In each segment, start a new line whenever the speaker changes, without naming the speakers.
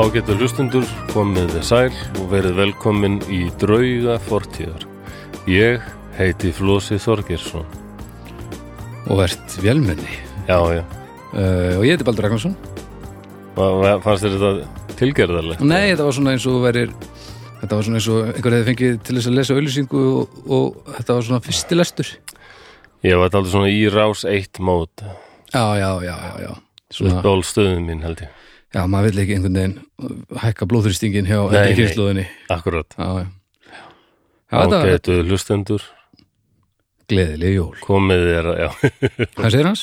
Ágættu hlustundur, komið þið sæl og verið velkomin í Drauga fortíðar. Ég heiti Flósi Þorgersson.
og ert velmenni
Já, já.
uh, og ég heiti Baldur Ragnarsson
Va- va- Fannst þér þetta tilgerðarlegt?
Nei, þetta var svona eins og þú verir þetta var svona eins og einhver hefði fengið til þess að lesa auðlýsingu og, og þetta var svona fyrsti lestur
Ég var talað svona í rás eitt mót.
Já, já, já, já, já
Upp
svona,
á stöðum mín held ég.
Já, maður vill ekki einhvern veginn hækka blóðþrýstingin hjá
Nei,
ekki
nei.
kynnslóðinni
Akkurat.
Já, já Já, þetta var
Ágættu hlustundur,
gleðileg jól
komið þér, já.
Hvað segir hans?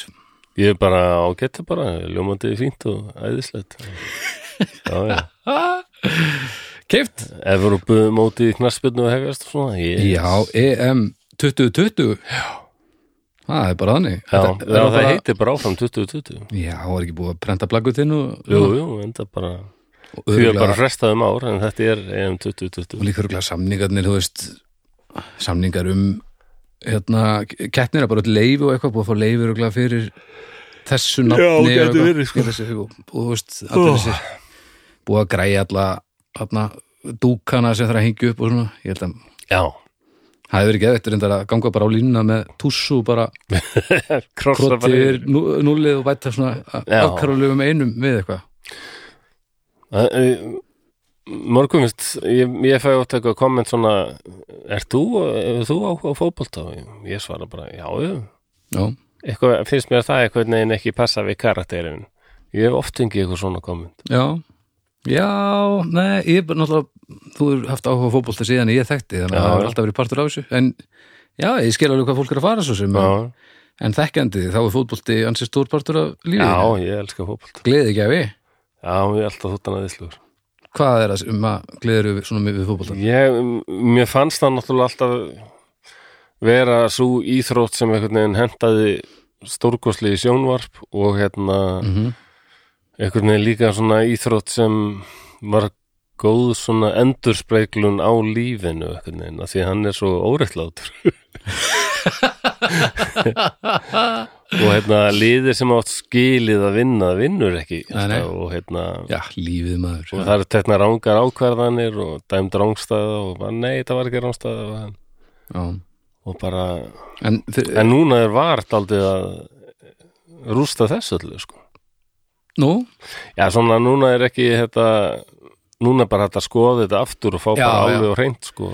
Ég er bara ágættu bara, ljómandi fínt og æðislegt. Já, já.
Keift?
Evrópu mótið í knarsbyrnu að hefjast og svona. Ég,
Já, E EM 2020 Já Það er bara þannig
Já,
Þetta-
já, það
bara-
heitir bara áfram 2020.
Já, var ekki búið að prenta plaggutinn og,
Jú, jú, enda bara
og
Því er
örugglega-
bara frestað um ár en þetta er EM
og
2020
líka örgulega samningarnir þú veist, samningar um hérna, keppnir að bara öll leifi og eitthvað, búið að fá leifi örgulega fyrir þessu nafni og
gæti
eitthvað,
verið, sko.
fyrir þessu, og, og þú veist, allir
Ó.
þessir búið að græja alla hérna, dúkana sem þarf að hengja upp og svona, ég held að
Já,
það hefur verið geðvægt reyndar að ganga bara á línuna með tússu og bara
krossa bara yfir.
krotir núlið og bæta svona
Já.
afkarulegum einum við eitthvað
Æ, æ, Morgum veist, ég, ég fæ átt eitthvað komment svona Er þú, er þú áhuga á fótbolta? Og Ég, ég svara bara, já, já
Já,
eitthvað, Finnst mér það eitthvað neginn ekki passa við karakterin Ég hef oft fengið eitthvað svona komment
já Já, nei, ég er bara náttúrulega þú hefur haft áhuga á fótbolta síðan ég þekkti þannig að
Já,
það hefur
já.
alltaf verið partur á þessu en já, ég skil alveg hvað fólk er að fara svo sem en,
Já,
en þekkjandi þá er fótbolti ansi stór partur af
já,
lífið
ég elska fótbolta
Gleði ekki að við
Já, ég er alltaf þóttan aðeinslugur
Hvað er það sem að gleðir við svona við fótbolta?
Ég, mér fannst það náttúrulega alltaf vera svo íþrótt sem einhvern veginn hentaði stórkosli í sjónvarp og hérna
Mm
einhvern veginn líka svona íþrótt sem var góð svona endurspreglun á lífinu einhvern veginn, af því að hann er svo órettlátur og hérna liðir sem átt skilið að vinna vinnur ekki
Nei, nei.
alltaf, og hérna
Já, lífið maður
og það eru tekna rángar ákvarðanir og dæmd rángstæða og bara nei, þetta var ekki rángstæða og,
já.
og bara,
En, þi-
en núna er vart aldrei að rústa þessu öllu sko.
nú?
já, svona núna er ekki þetta, núna er bara hægt að skoða þetta aftur og fá
Já,
bara
já.
alveg og reynd sko.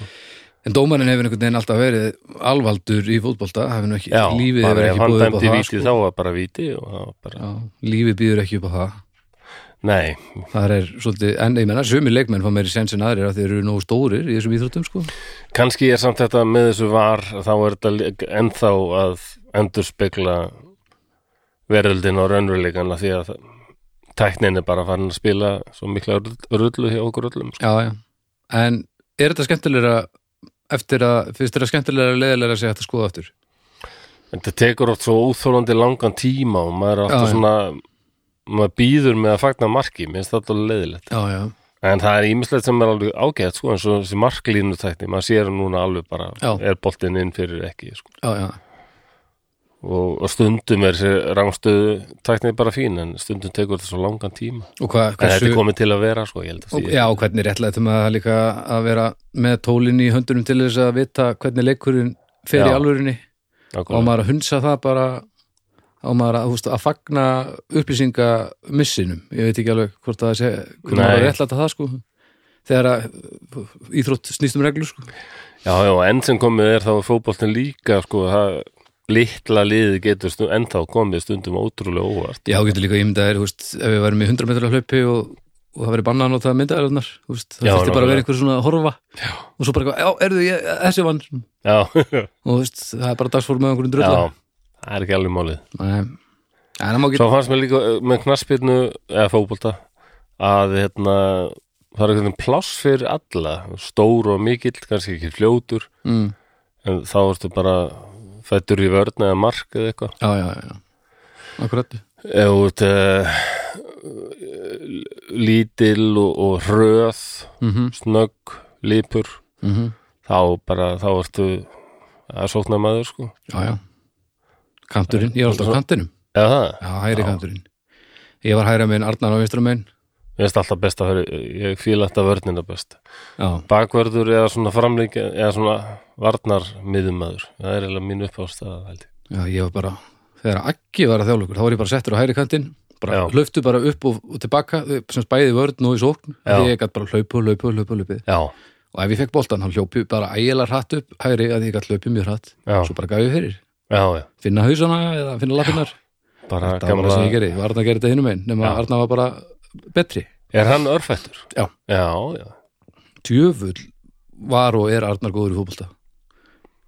En dómarinn hefur einhvern veginn alltaf verið alvaldur í fótbolta, hefur nú ekki,
já,
lífið hefur
bara
ekki
ef hann
búið upp á
dæmdi
það sko.
víti þá var bara víti og það var bara,
Já, lífið býður ekki upp á það
nei,
Það er svolítið, en ég menna, sumir leikmenn fá meiri sens en aðrir að þeir eru nógu stórir í þessum íþróttum, sko.
kannski er samt þetta með þessu var, þá er þetta lí- ennþá að endur spekla veröldin og raunveruleikanla því að það- tæknin er bara farin að spila svo mikla rull- rullu hjá okkur öllum sko.
Já, já. En er þetta skemmtilegra eftir að, finnst þetta skemmtilegra og leiðilegra að segja þetta skoða aftur?
en þetta tekur oft svo óþólandi langan tíma og maður er alltaf
Já, já.
svona maður býður með að fagna marki minnst þetta alveg leiðilegt
Já, já.
en það er ímislegt sem er alveg ágætt sko, eins og þessi marklínu tækni, maður sér núna alveg bara
Já.
er boltinn inn fyrir ekki sko.
Já, já.
og, og stundum er þessi rángstöðu tæknið bara fín en stundum tekur þetta svo langan tíma
Og hvað,
en þetta
hversu,
er komið til að vera sko, ég held að
og,
því
já, og hvernig réttlættum að það líka að vera með tólin í höndunum til þess að vita hvernig leikurinn fer í
Já.
alvörinni og
nákvæmlega.
maður að hunsa það bara og maður að, þú veist, að fagna upplýsinganissinum ég veit ekki alveg hvort það sé hvernig
Nei.
maður er réttlæta það sko þegar að íþrótt snýstum reglur sko
já, já, og enn sem komið er þá er fótboltin líka sko, það litla liði getur stund, ennþá komið stundum ótrúlega óvart
já, þú getur líka ímyndað þér, þú veist, ef við værum í 100 metra hlaupi og, og það verið bannað að nota myndaðarinnar þú veist, það
Já,
þurfti bara
nákvæmlega.
að vera einhver svona að horfa já. og svo bara, eitthvað, já, erðu, ég, þessi vann og
já,
þú veist, það er bara dagsfór með einhverjum
já,
drölla
það er ekki alveg málið
Nei. en það má ekki
svo fannst mér líka eh, með knarsbyrnu eða fótbolta að hérna það er einhvern pláss fyrir alla stór og mikill, kannski ekki fljótur
mm,
en þá ertu bara fættur í vörn eða mark eða eitthvað
já, já, já, já akkurat
ef þú ert uh, lítil og, og hröð
mhm, mhm
snögg, lípur þá bara, þá ertu að sókna maður sko
Já, já. Kanturinn, ég er alltaf á kantinum.
eða það,
Já, hægri kanturinn. Ég var hægra meginn, Arnar á vinstra meginn.
Mér finnst alltaf best að vera, ég fíla alltaf vörnina best.
já,
Bakvörður eða svona framlíkja, eða svona varnar miðumæður. Það er eiginlega mín uppástaða, held ég.
já, ég var bara þegar Aggi var að þjála ykkur, þá var ég bara settur á hæri kantinn bara
Já.
hlöftu bara upp og, og tilbaka eh, sem bæði í vörn og í sókn
Já.
því ég gætt bara hlaupu, hlaupu, hlaupu, hlaupu
Já,
og ef ég fekk boltan, þá hljópi bara ægilega hratt upp hæri að ég gætt hlaupið mjög hratt
já,
svo bara gaf ég fyrir,
já, já.
finna hausana eða finna lappinnar,
Bara
það var bara sem ég
gamla...
gerði og Arna gerði þetta hinum einn, nema
Já.
Arna var bara betri,
Er hann örfættur?
Já.
Já, já.
djöfull var og er Arnar góður í fótbolta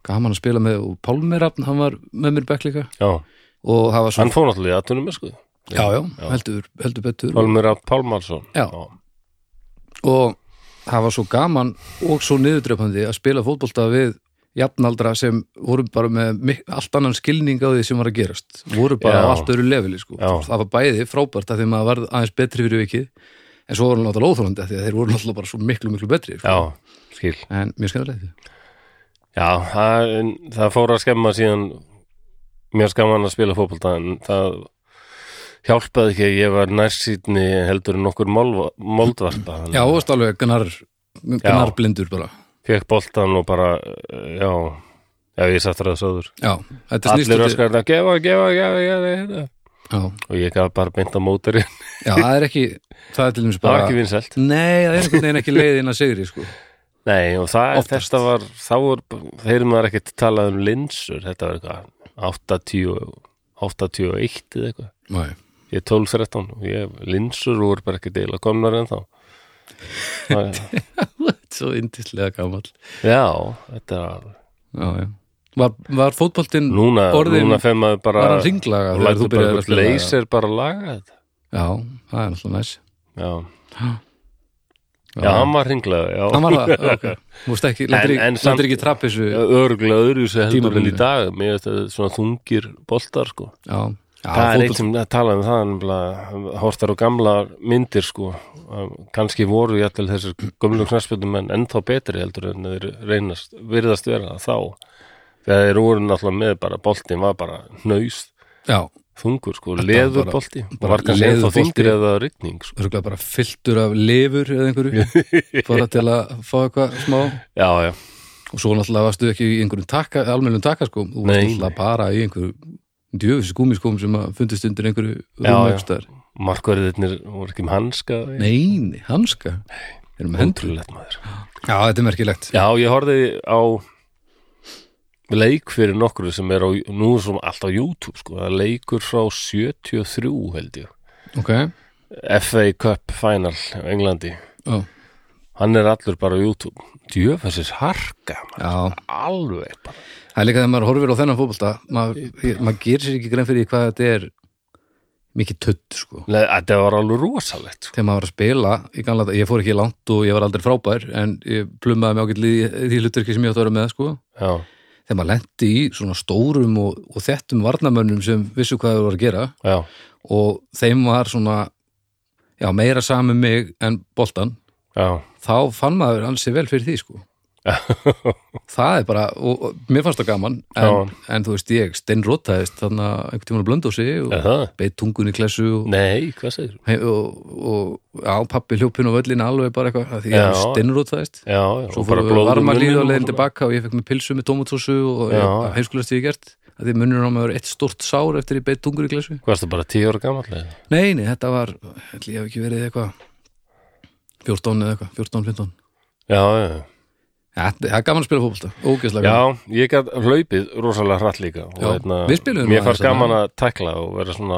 gaman að spila með og Pálmi Rafn, hann var með mér í bekk líka
Já,
og það var svo
hann fór náttúrulega í aðtunum, sko.
já, já,
já.
Heldur, heldur betur og,
Pálmur að Pálmarsson.
Já. og það var svo gaman og svo niðurdreifandi að spila fótbolta við jafnaldra sem voru bara með mik- allt annan skilning á því sem var að gerast voru bara
Já.
á allt öru leveli sko.
Já.
það var bæði frábært að því maður varð aðeins betri fyrir vikið en svo voru hann náttúrulega óþólandi að því að þeir voru náttúrulega bara svo miklu miklu betri sko.
Já, skil.
en mjög skemmtilegt
Já, það, en það fór að skemma síðan mjög skaman að spila fótbolta en það hjálpaði ekki að ég var nærsýtni heldur en nokkur málva- moldvarpa
já, og stálega gnar, gnar blindur bara
fekk boltan og bara eh, já, já ég sattur það sáður
já, þetta snýst
allir
svolítið-
öskarna, gefa, gefa, gefa, gefa, gefa
já,
og ég gaf bara beint á mótari
já, það er ekki það er til dæmis
það var
bara
ekki vinsælt
nei, það er einhvern veginn ekki leiðin að sigri sko.
Nei, og það,
Oftast.
þetta var, þá var, þeir maður ekkert talað um linsur, þetta var eitthvað, 80, 81 eða eitthvað.
Nei.
Ég er 12-13 og ég linsur og er bara ekki deila komnar en þá.
svo yndislega gammal
Já, þetta var,
já, já. Var, var fótboltinn
núna,
Orðin-
núna fer maður bara,
var hann ringlaga
og
þegar þú
lætur bara
byrjaði að
eitthvað
spila
leysir bara að laga þetta.
já, það er alltaf næs
Já,
Já.
já, hann var hringlega, já.
hann var það, ok Þú veist ekki,
En-
lendir
en
ekki,
samt-
lendir ekki trappisu já,
Örglega öðru sem heldur en í
Tímabilinu.
dag, mér veist að þetta er svona þungir boltar, sko.
já,
það er eitt
fótbolt-
sem talaði um það nefnilega, hortar á gamla myndir sko, að kannski voru jættil þessir gömlu knarsbjöndum en ennþá betri heldur en þeir reynast virðast vera það þá þegar þeir voru náttúrulega með bara boltinn var bara hnaust
já,
þungur sko,
Þetta var
leður
bara-
bolti og
bara
var kannski ennþá
leðurbolti.
þingri eða rigning sko.
örgulega bara fylltur af lifur eða einhverju bara til að fá eitthvað smá
já, já,
og svo náttúrulega varstu ekki í einhverjum taka, almennum takaskóm, þú varst
Nei.
náttúrulega bara í einhverjum djöfis gúmiskóm sem að fundist undir einhverju
Já, já.
rúmaukstar
markverðirnir voru ekki með hanska
Neini, hanska erum við hendur
hundrulegt maður
Já, þetta er merkilegt
Já, ég horfði á leik fyrir nokkru sem er á, nú er svo allt á YouTube sko, það er leikur frá 73 held ég,
Ok, já,
FA Cup Final á Englandi, hann er allur bara á YouTube, djöfessis harka, maður,
já
alveg bara,
Það er líka þegar maður horfir á þennan fótbolta maður mað gerir sér ekki grein fyrir því hvað þetta er mikið tutt sko
Nei, þetta var alveg rosalegt sko.
þegar maður var að spila í gamla, dag- ég fór ekki langt og ég var aldrei frábær en ég plummaði mig ágætli í í því hluturki sem ég átt að vera með sko
Já,
þegar maður lendi í svona stórum og, og þettum varnamönnum sem vissu hvað þau voru að gera
já,
og þeim var svona já, meira sami mig en boltan
já,
þá fann maður ansi vel fyrir því sko það er bara, og, og mér fannst það gaman en, en þú veist, ég steinrótaðist þannig að einhvern tímann blöndu á sig og
er það?
beitt tungun í klessu og,
Nei, hvað segir þú?
og, og, já, pappi hljópin og völlin alveg bara eitthvað, af því
Já.
ég steinrótaðist
Já, já,
svo
og
fór
blóð úr
varma líð
munninum
og leiðin
svona.
tilbaka og ég fekk mér pilsu með tómatósu og
Já.
heimskulast ég gert að því munnur á mig var eitt stort sár eftir ég beitt tungur í glesu
Hvað er það bara 10 ára gamallega?
nei, nei, þetta var, ætli ég hef ekki verið eitthvað 14 eða eitthvað, 14, 15
Já, já, já.
ja, það er gaman að spila fótbolta, ógeðslega gaman.
Já, ég gæt hlaupið rosalega hratt líka og hérna,
Já, við spiluðum
mér
aðeins hérna.
fannst
þarna.
gaman að tekla og vera svona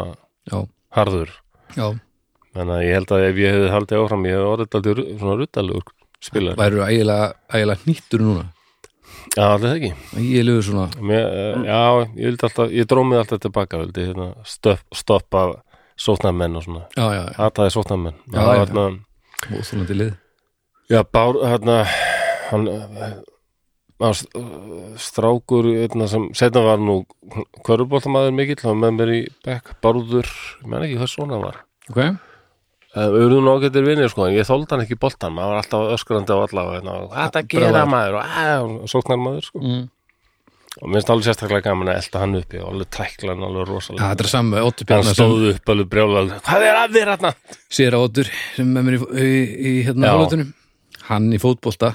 já,
harður
já,
þannig að ég held að ef ég hefði haldið áfram ég hefði orðið aldrei svona ruttalugur spilar,
væru ægilega, ægilega hnýttur núna
já, allir ekki
ægilegu svona,
mér,
Mm.
eh, já, ég vildi alltaf, ég drómið alltaf tilbaka vildi hérna, stöpp, stoppa sótnamenn og svona,
já, já, já,
hataði sótnamenn
Já,
það
já.
var hérna,
óþólandi lið
já, bár hérna, hann á, strákur hérna, sem setna var nú körfuboltamaður mikill, hann var með mér í bekk, bárður, ég menn ekki hvað svona var
ok,
Eh, Við verðum ágættir vinnir sko, en ég þóldi hann ekki í boltan, maður var alltaf öskrandi á alla og hérna, hvað það gera
Brjálæður.
maður og að, sóknar maður sko.
mm.
og mér finnst alveg sérstaklega gaman að elta hann uppi og alveg tækla hann alveg
Já,
rosalega
þetta er saman með Óttur
hann
Bjarnar sem
stóð upp alveg brjálað hvað er að þér hérna? hann?
sér að Óttur sem er með mér í, í, í hérna
Já.
álutunum hann í fótbolta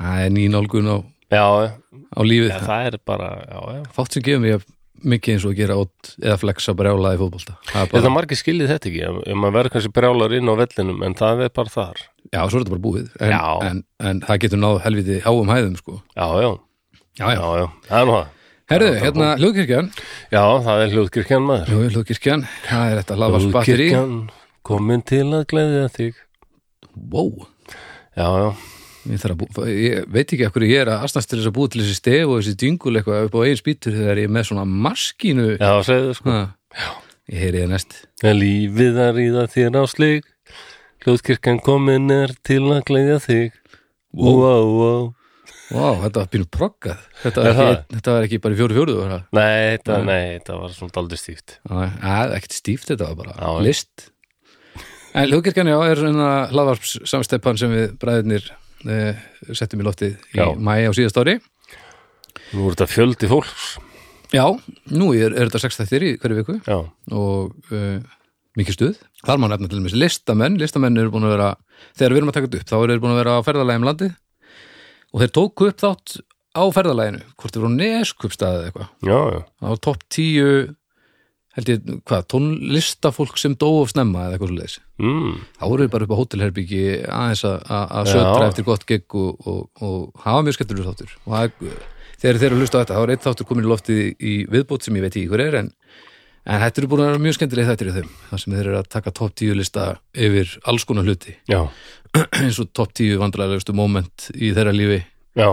það er nýnálgun á,
Já,
á lífið
já, það er bara já, já.
fátt sem gefur mér mikið eins og að gera ótt eða flexa brjála í fótbolta Það er
Þetta
bara,
margir skiljið þetta ekki, ef- ef maður verður kannski brjálar inn á vellinum, en það er bara þar.
já, svo er þetta bara búið en,
Já.
en, en það getur náð helviti háum hæðum sko.
Já, já,
já, já.
já, já, það er nú það.
herðu,
Já, það er
hérna hljóðkirkjan
Já, það er hljóðkirkjan maður.
Jú, hljóðkirkjan, það er þetta lavarsbatteri
komin til að gleðja þig.
wow,
Já, já,
ég, þarf að bú, ég veit ekki af hverju ég er að astnast til þess að búið til þessi stef og þessi dingul eitthvað upp á eigin spýtur þegar ég er með svona maskínu
já, segðu sko.
Ha, ég heyri það næst
En lífið að ríða þér á slik, hljóðkirkjan komin er til að gleðja þig. Wow, wow, wow.
Vá, þetta var pínu proggað Þetta,
Er
var
það?
ekki- þetta var ekki bara í fjóru fjóruðu var það?
Nei, þetta, nei, þetta var svona daldur stíft.
Já, að, ekkert stíft þetta var bara,
Já, já.
list En hljóðkirkjan já er svona hlaðvarps samsteppan sem við bræðinir eh, settum í loftið í
Já.
mæ á síðast ári
Nú er þetta fjöldi fólks.
Já, nú er, er þetta sextættir í hverju viku
Já,
og eh, mikið stuð Þar má nefna til mér listamenn listamenn eru búin að vera, þegar við erum að taka þetta upp þá eru þeir búin að vera á ferðalagi um landið og þeir tóku upp þátt á ferðalaginu hvort þeir voru neskupstaðið eitthvað
já, já.
á topp tíu held ég, hvað, tónlistafólk sem dó of snemma eða eitthvað svo leiðis
Mm.
þá voru við bara upp á hótelherbyggi aðeins að- að að sötra
Já.
eftir gott gegg og, og, og hafa mjög skemmtilegur þáttur og það, þegar þeir eru að hlusta á þetta þá er einn þáttur komin í loftið í viðbót sem ég veit ekki hver er en, en þetta eru búin að vera mjög skemmtileg þættir í þeim þar sem þeir eru að taka topp tíu lista yfir alls konar hluti
Já,
eins og topp tíu vandræðilegustu moment í þeirra lífi
já,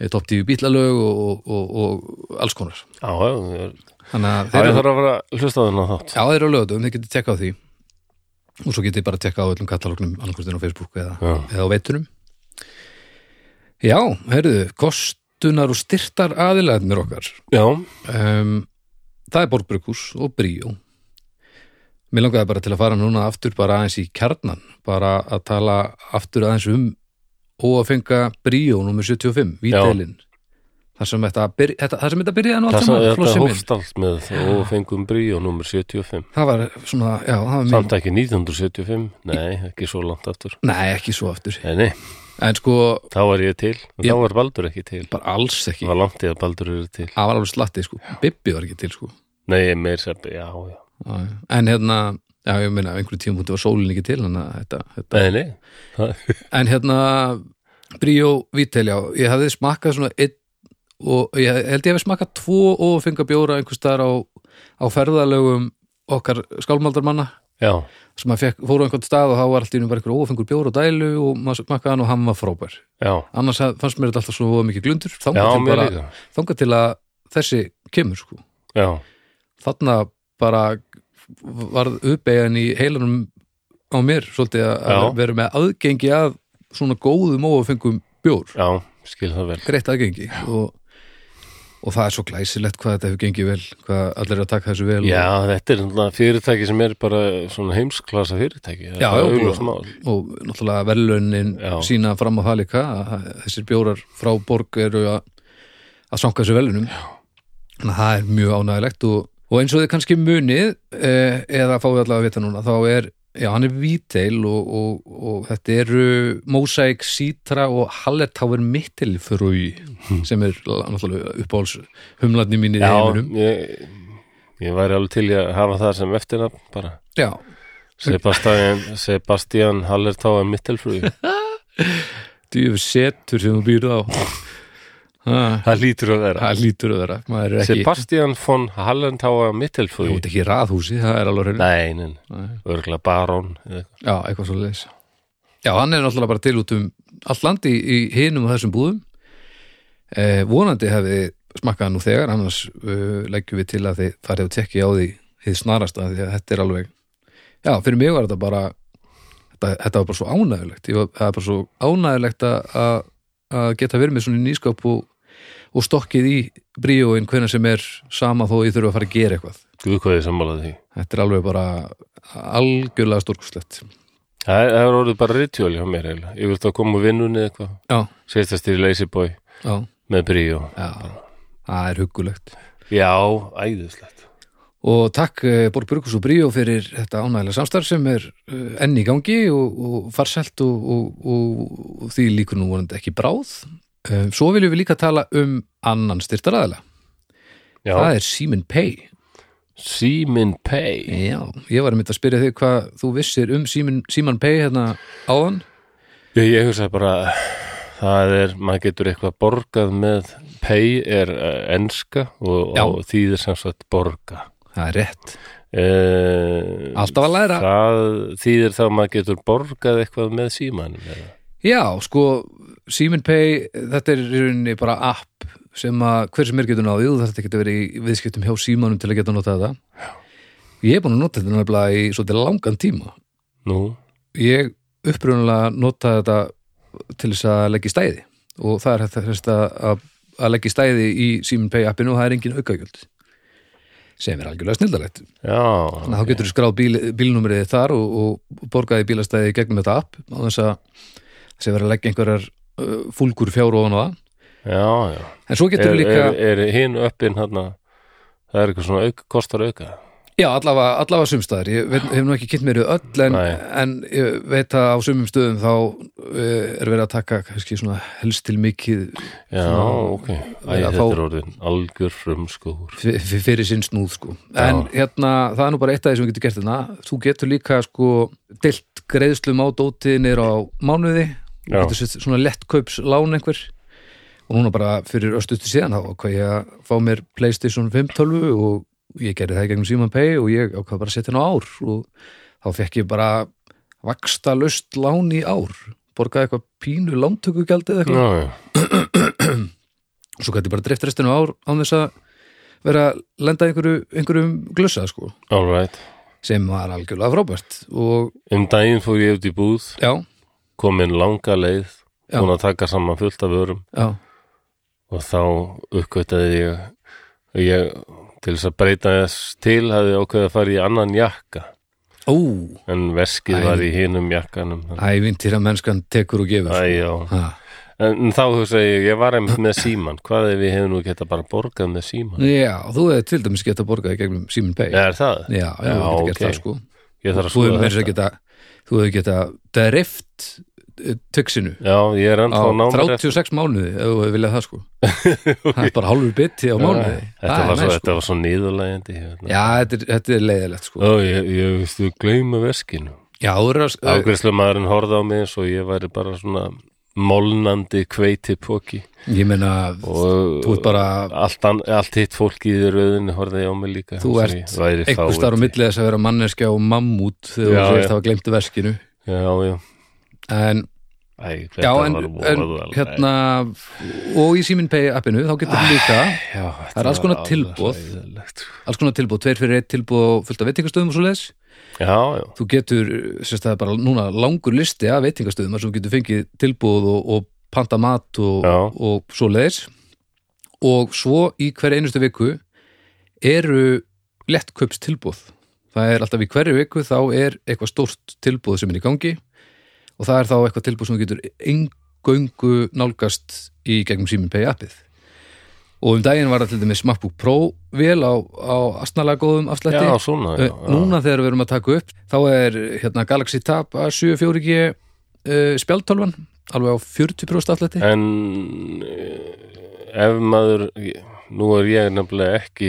eh, topp tíu bílalög og, og, og, og alls konar
já, já.
þannig að
Það
þeir
er
eru
þarf að vera hlustaðun á þátt.
Já, þeir eru á lögatum, þið getið tekka á því og svo getið bara tekka á öllum katalógnum annarkvistinu á Facebook eða,
Já.
eða á veitunum Já, heyrðu, kostunar og styrtar aðilæðnir okkar
Já,
um, Það er Borgbrukus og Bríó Mér langaði bara til að fara núna aftur bara aðeins í kjarnan bara að tala aftur aðeins um óafenga Bríó nummer 75, Vítelin þar sem þetta, byrja, þetta, þar sem þetta byrjaði nú allt
það sem
saman,
þetta
flossi minn.
hófst allt með og fengum bríó nummer 75.
það var svona, já, það var mjög
Samt ekki 1975, nei, ekki svo langt aftur.
Nei, ekki svo aftur.
Nei, nei,
En sko,
þá var ég til, en
Já.
þá var Baldur ekki til.
bara alls ekki.
Það var langt í að Baldur eru til.
Það var alveg slatti, sko. Bibbi var ekki til, sko.
Nei, ég meir sér, já, já.
Já, já. En hérna, já, ég meina, á einhverju tímapunkti var sólin ekki til, þannig að þetta, þetta.
Nei, nei, það,
En hérna, Bríó Vítel, já, ég hafði smakkað svona einn og ég held ég hefði smakkað tvo og fengar bjóra einhvers staðar á, á ferðalögum okkar skálmaldarmanna
já,
sem að fekk, fóru á einhvern stað og þá var allt í unum bara einhver ófengur bjóra og dælu og maður smakkaði hann og hann var frábær.
já,
Annars haf- fannst mér þetta alltaf svo voða mikið glundur.
já,
Þangað til
mér
bara-
líka.
þangað til að þessi kemur sko.
Já,
þarna bara varð uppeyjan í heilanum á mér svolítið að
Já.
vera með aðgengi að svona góðum óafengum bjór,
já, skil það vel.
greitt aðgengi og, og það er svo glæsilegt hvað þetta hefur gengið vel, hvað allir eru að taka þessu vel
Já, þetta er náttúrulega fyrirtæki sem er bara svona heimsklasa fyrirtæki.
Já, já,
það er auðvitað mál.
og, og náttúrulega verðlaunin
Já.
sína fram á það líka að að þessir bjórar frá borg eru að að sanka þessu verðlaunum þannig að það er mjög ánægilegt og, og eins og þið kannski munið eh, eða fáið allavega að vita núna þá er, já hann er víteil og, og, og þetta eru Mosaic, Citra og Hallertáver Mittelfrúi sem er náttúrulega uppáhals humlarni mínir í
Já,
heiminum
ég, ég væri alveg til í að hafa það sem eftirnafn bara.
já,
Sebastian, Sebastian Hallertáa Mittelfrú
djúfi setur sem þú býrð á Ha,
Það lítur að vera
það lítur að vera maður er ekki
Sebastian von Hallertáa
Þú
Mittelfrú
ert ekki í raðhúsi, það er alveg hreinu.
Nei, nein,
Nei.
örgulega barón eða eitthvað.
Já, eitthvað svo leis. Já, hann er náttúrulega bara til út um allt land í, í hinum og þessum búðum. Eh, vonandi hefði smakkað hann nú þegar, annars uh, leggjum við til að þið farið að tekki á því þið snarasta, því að þetta er alveg... Já, fyrir mig var þetta bara... Þetta, þetta var bara svo ánægulegt. Ég var, það var bara svo ánægulegt að- að að geta verið með svona nýskap og, og stokkið í bríóin hvenær sem er sama þó ég þurfa að fara að gera eitthvað.
Guð hvað ég sammálaði því
Þetta er alveg bara algjörlega stórkustlegt.
Það er- það er orðið bara ritual hjá mér eiginlega Ég vilt að koma úr vinnunni eða eitthvað
Já,
Sérstast í Lazy Boy
já,
með bríu
Já, það er huggulegt
já, æðislegt
Og takk eh, Borg Brukus og Bríó fyrir þetta ánægilega samstarf sem er eh, enn í gangi og, og farselt og, og, og, og því líkur nú vonandi ekki bráð. Eh, Svo viljum við líka tala um annan styrtaraðala.
já,
Það er Simen Pay.
Simin Pay
Já, ég var að mynda að spyrja þig hvað þú vissir um Simen, Simen Pay hérna áðan.
ég, ég hugsa bara það er, maður getur eitthvað borgað með Pay er uh, enska og,
Já.
og þýðir sem sagt borga
Það er rétt.
uh,
Alltaf að læra.
það þýðir þá maður getur borgað eitthvað með símanum eða?
Já, sko, Simen Pay, þetta er í rauninni bara app sem að hver sem er getur náðið, þú þarf ekki að vera í viðskiptum hjá símanum til að geta notað þetta. Já. Ég er búin að nota þetta nefnilega í svolítið langan tíma.
nú,
Ég upprunalega notaði þetta til þess að leggja í stæði og það er þetta þess að, að, að leggja í stæði í Simen Pay appinu og það er engin aukagjöld sem er algjörlega snildalegt.
já
Þannig að þá getur þú skráð bíl, bílnúmerið þitt þar og, og borgaði bílastæði í gegnum þetta app á þess að þessi verið að leggja einhverjar uh, fúlgur fjár ofan á það.
já, já
En svo getur
er,
þú líka,
er, er hinn uppin hann það er eitthvað svona auk, kostar auka
já allavega, allavega sumstæðar, ég veit, hef nú ekki kynnt mér við öll en,
Nei.
en ég veit að á sumum stöðum þá uh, er verið að taka kannski svona helst til mikið
já,
Svona-
ok, Æ,
Eða
þetta
þá-
er orðin algjör frumskóður
f- f- fyrir sinn snúð sko. en hérna, það er nú bara eitt af því sem við getum gert þarna þú getur líka sko deilt greiðslum á dótið niður á mánuði og
Já.
getur sett svona lettkaups lán einhver og núna bara fyrir östustu síðan þá hvað ég að fá mér Playstation 5 tölvu og ég gerði það í gegnum Simon Pay og ég ákvað bara að setja hann á ár og þá fekk ég bara vaksta löst lán í ár borgaði eitthvað pínu lántökugjald eða eitthvað
já, já,
og svo gæti bara dreift restinu ár án þess að vera að lenda í einhverju, einhverjum glössa sko,
all right
sem var algjörlega frábært og
um daginn fór ég út í búð
já,
komin langa leið
Já.
búin að taka saman fullt af vörum
já,
og þá uppgötaði ég og ég til þess að breyta þess til hafði ákveðið að fara í annan jakka
ó
en veskið
Æ.
var í hinum jakkanum þannig-
ævintýra mennskan tekur og gefur
Æ, já,
ha.
en þá hugsa ég, ég var einmitt með síman, hvað ef við hefum nú geta bara borgað með síman?
já, þú hefði til dæmis geta borgaði gegnum Simen Pay
Er það?
já, já,
Já,
þú hefði
ok.
gert það sko
Ég þarf að
þú hefði
skoða
meira að
þetta.
segja geta þú hefði geta dreift töksinu
Já, ég er
á
ennþá námið
36 mánuði ef þú hefði viljað það sko það er bara hálfur biti á mánuði
Þetta
Það er
var svo,
næs, sko.
þetta var svo nýðulægandi. hérna.
já, þetta er, þetta er leiðilegt sko
Ó, ég, ég veist, þú gleyma veskinu.
já, þú eru að
Ágreyslu maðurinn horfði á mig eins og ég væri bara svona molnandi kveiti póki
Ég meina,
og
þú ert bara
allt, an, allt hitt fólkið í rauðinu horfði á mig líka.
Þú
eins og
ert
ég væri
einhver
fáviti.
starf á milli þess að vera manneskja og mammút
Já,
þegar þú veist
já.
hafa glemt verskinu
Já, já.
en,
Æ,
já,
þetta
en,
var
en
voðalegt.
hérna og í Simin Pay appinu þá getur þú líka
Já, þetta
það er alls konar
var
tilboð.
hræðilegt, sko.
alls konar tilbúð, tveir fyrir eitt tilbúð og fullt af veitingastöðum og svo leis
Já, já.
þú getur, sérst það er bara núna langur listi af veitingastöðum þar sem þú getur fengið tilbúð og, og panta mat og,
Já.
og svo leiðis og svo í hverja einustu viku eru lettköps tilbúð það er alltaf í hverju viku þá er eitthvað stórt tilbúð sem er í gangi og það er þá eitthvað tilbúð sem þú getur engöngu nálgast í gegnum síminn pay appið og um daginn var það til dæmis MacBook Pro vel á, á astnalega góðum afslætti
Já, svona, já.
Eh, Núna þegar við erum að taka upp þá er hérna Galaxy Tab A74G uh, spjaldtölvan alveg á 40% aflætti
En eh, ef maður, nú er ég nefnilega ekki,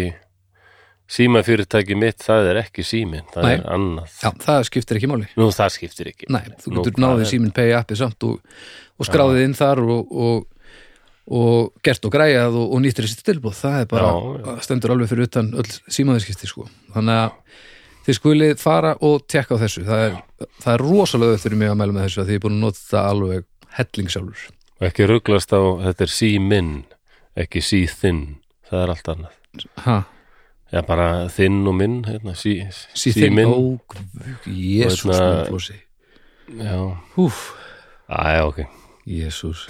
símafyrirtæki mitt, það er ekki síminn, það
Nei.
er annað.
Já, það skiptir ekki máli
Nú, það skiptir ekki.
Nei, þú
Nú,
getur
hvað
náðið
er-
síminn pay appið samt og, og skráðið inn þar og, og, og gert og græjað og, og nýttir þessi tilbúð það er bara,
Já,
stendur alveg fyrir utan öll símaðiskipti sko þannig að þið skulið fara og tekka á þessu það er, það er rosalega auðvitað fyrir mig að mæla með þessu að því ég er búin að nota það alveg hellingsjálfur
Ekki rugglast á, þetta er síminn, ekki síþinn, það er allt annað.
ha,
Já, bara þinn og minn, hérna, sí,
síðan
síminn.
óg jésús
Hérna-
minn flósi
Já,
húf,
Á, já, ok.
jésús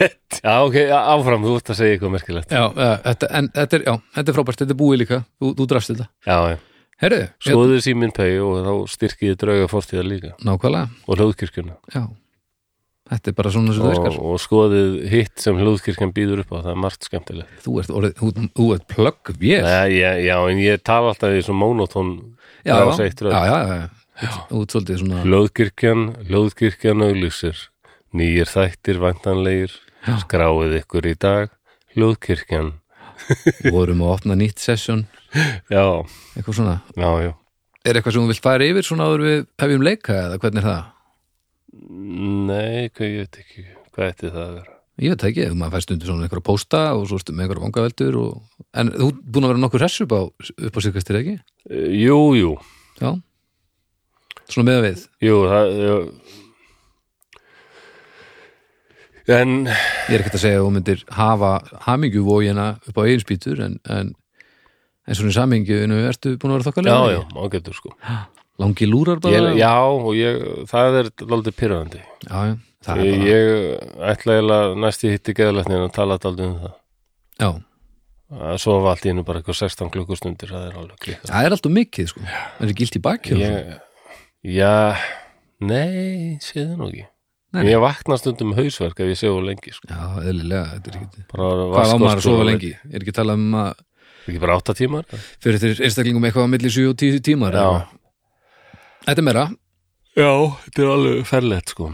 Já, ok, áfram, þú ert að segja eitthvað merkilegt.
já, eh, þetta, en, þetta, er, já, þetta er frábært þetta er búið líka, þú, þú drafst þetta
Já, já.
herðu, ég,
Skoðið síminn pegi og þá styrkið drauga fórstíða líka
nákvæmlega
og hljóðkirkjuna.
já, Þetta er bara svona sem þú
og,
virkar.
og skoðið hitt sem hljóðkirkjan býður upp á það er margt skemmtilegt
Þú ert, orðið, þú, þú ert plögg vél.
Nei, já, já, en ég tala alltaf í svo monotón
já, já,
rás
já,
eitt röð.
já, já, já. Þú ert svolítið svona,
Hljóðkirkjan, hljóðkirkjan auglýsir nýjir þættir vantanlegir
Já.
skráið ykkur í dag hljóðkirkjan
vorum að opna nýtt session,
já,
eitthvað svona.
já, já
Er eitthvað sem þú vilt fara yfir svona áður við hefjum leika eða hvernig er það?
nei, hvað ég veit ekki hvað ætti það að vera
Ég veit það ekki, maður fæst undir svona einhverja pósta og svo ertu með einhverja vangaveldur og... En þú ert búin að vera nokkur hressu upp á, upp á síðkastir ekki?
E, jú, jú,
Já. Svona meða við.
jú það, jú. en
Ég er ekkert að segja að þú myndir hafa hamingjuvógina upp á eigin spýtur en, en, en svona í samhenginu ertu búin að vera
já,
þokkalega?
já, ágættur sko
Langi lúrar bara?
ég, já, og ég, það er daldið pyrrandi
já, já. Það er
ég,
bara,
ég ætla eiginlega næst ég hitti geðlæknir að tala daldið um það
já.
að sofa allt í einu bara eitthvað 16 klukkustundir það er alveg klika
Það er alltaf mikið, sko. Það er gilt í bakkjöf.
ég, já, nei sé það nú ekki
Nei.
ég vakna stundum hausverk ef ég sefu lengi sko.
Já, eðlilega, þetta er ekki...
bara
Hvað á
vatnsskortur
maður að sofa
og-
lengi? Er ekki talað um að
ekki bara 8 tímar
fyrir þeir einstaklingum eitthvað á milli 7 og 10 tímar?
já,
eða? Þetta er meira.
já þetta er alveg ferlegt sko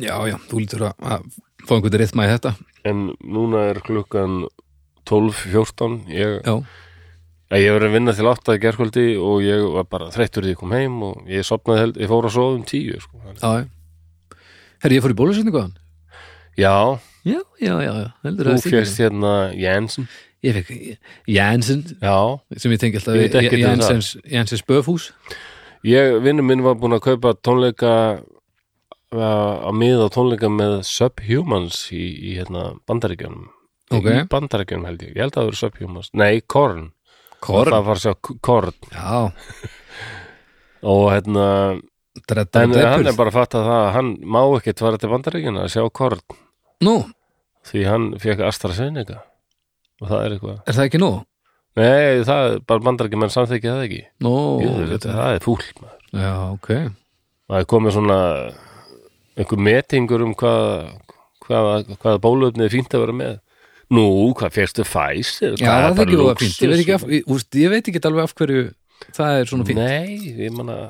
Já, já, þú lítur að, að fá einhvern rithma í þetta.
en núna er klukkan 12.14 ég,
Já,
að ég verið að vinna til 8 í gerkvöldi og ég var bara þreyttur því ég kom heim og ég sopnaði held, ég fór að sofa um 10 sko. Þannig-
já, já. Herri, ég fór í bólusetninguðan.
já,
Já, já, já, já. Heldur
þú
að Mm. stíka.
fjast hérna Jensen
Ég fekk Jansen,
já,
sem ég tengi alltaf
Ég veit
við
ekkert um
Jansens, Jansens Böfhús.
Ég, vinnum minn var búin að kaupa tónleika uh, að miða tónleika með Subhumans í, í hérna bandaríkjunum
Ok.
í bandaríkjunum held ég, ég held að það eru Subhumans nei, Korn,
Korn.
það var svo Korn
Já,
og hérna
dredda
en
og
hann er
dreppur.
bara að fatta það að hann má ekkert fara til bandaríkjuna að sjá Korn
Nú,
því hann fekk AstraZeneca og það er eitthvað
er það ekki nú?
nei, það er bara bandaríkjumenn samþykja það ekki
Nú,
Jú, þetta, það er fúl maður
Já, ok.
það er komið svona einhver metingur um hvað hvað, hvað bólöfni er fínt að vera með nú, hvað fyrstu fæs
Já, það er ekki það fínt. Ég veit ekki, af, ég, úst, ég veit ekki alveg af hverju það er svona fínt.
sko. nei, ég manna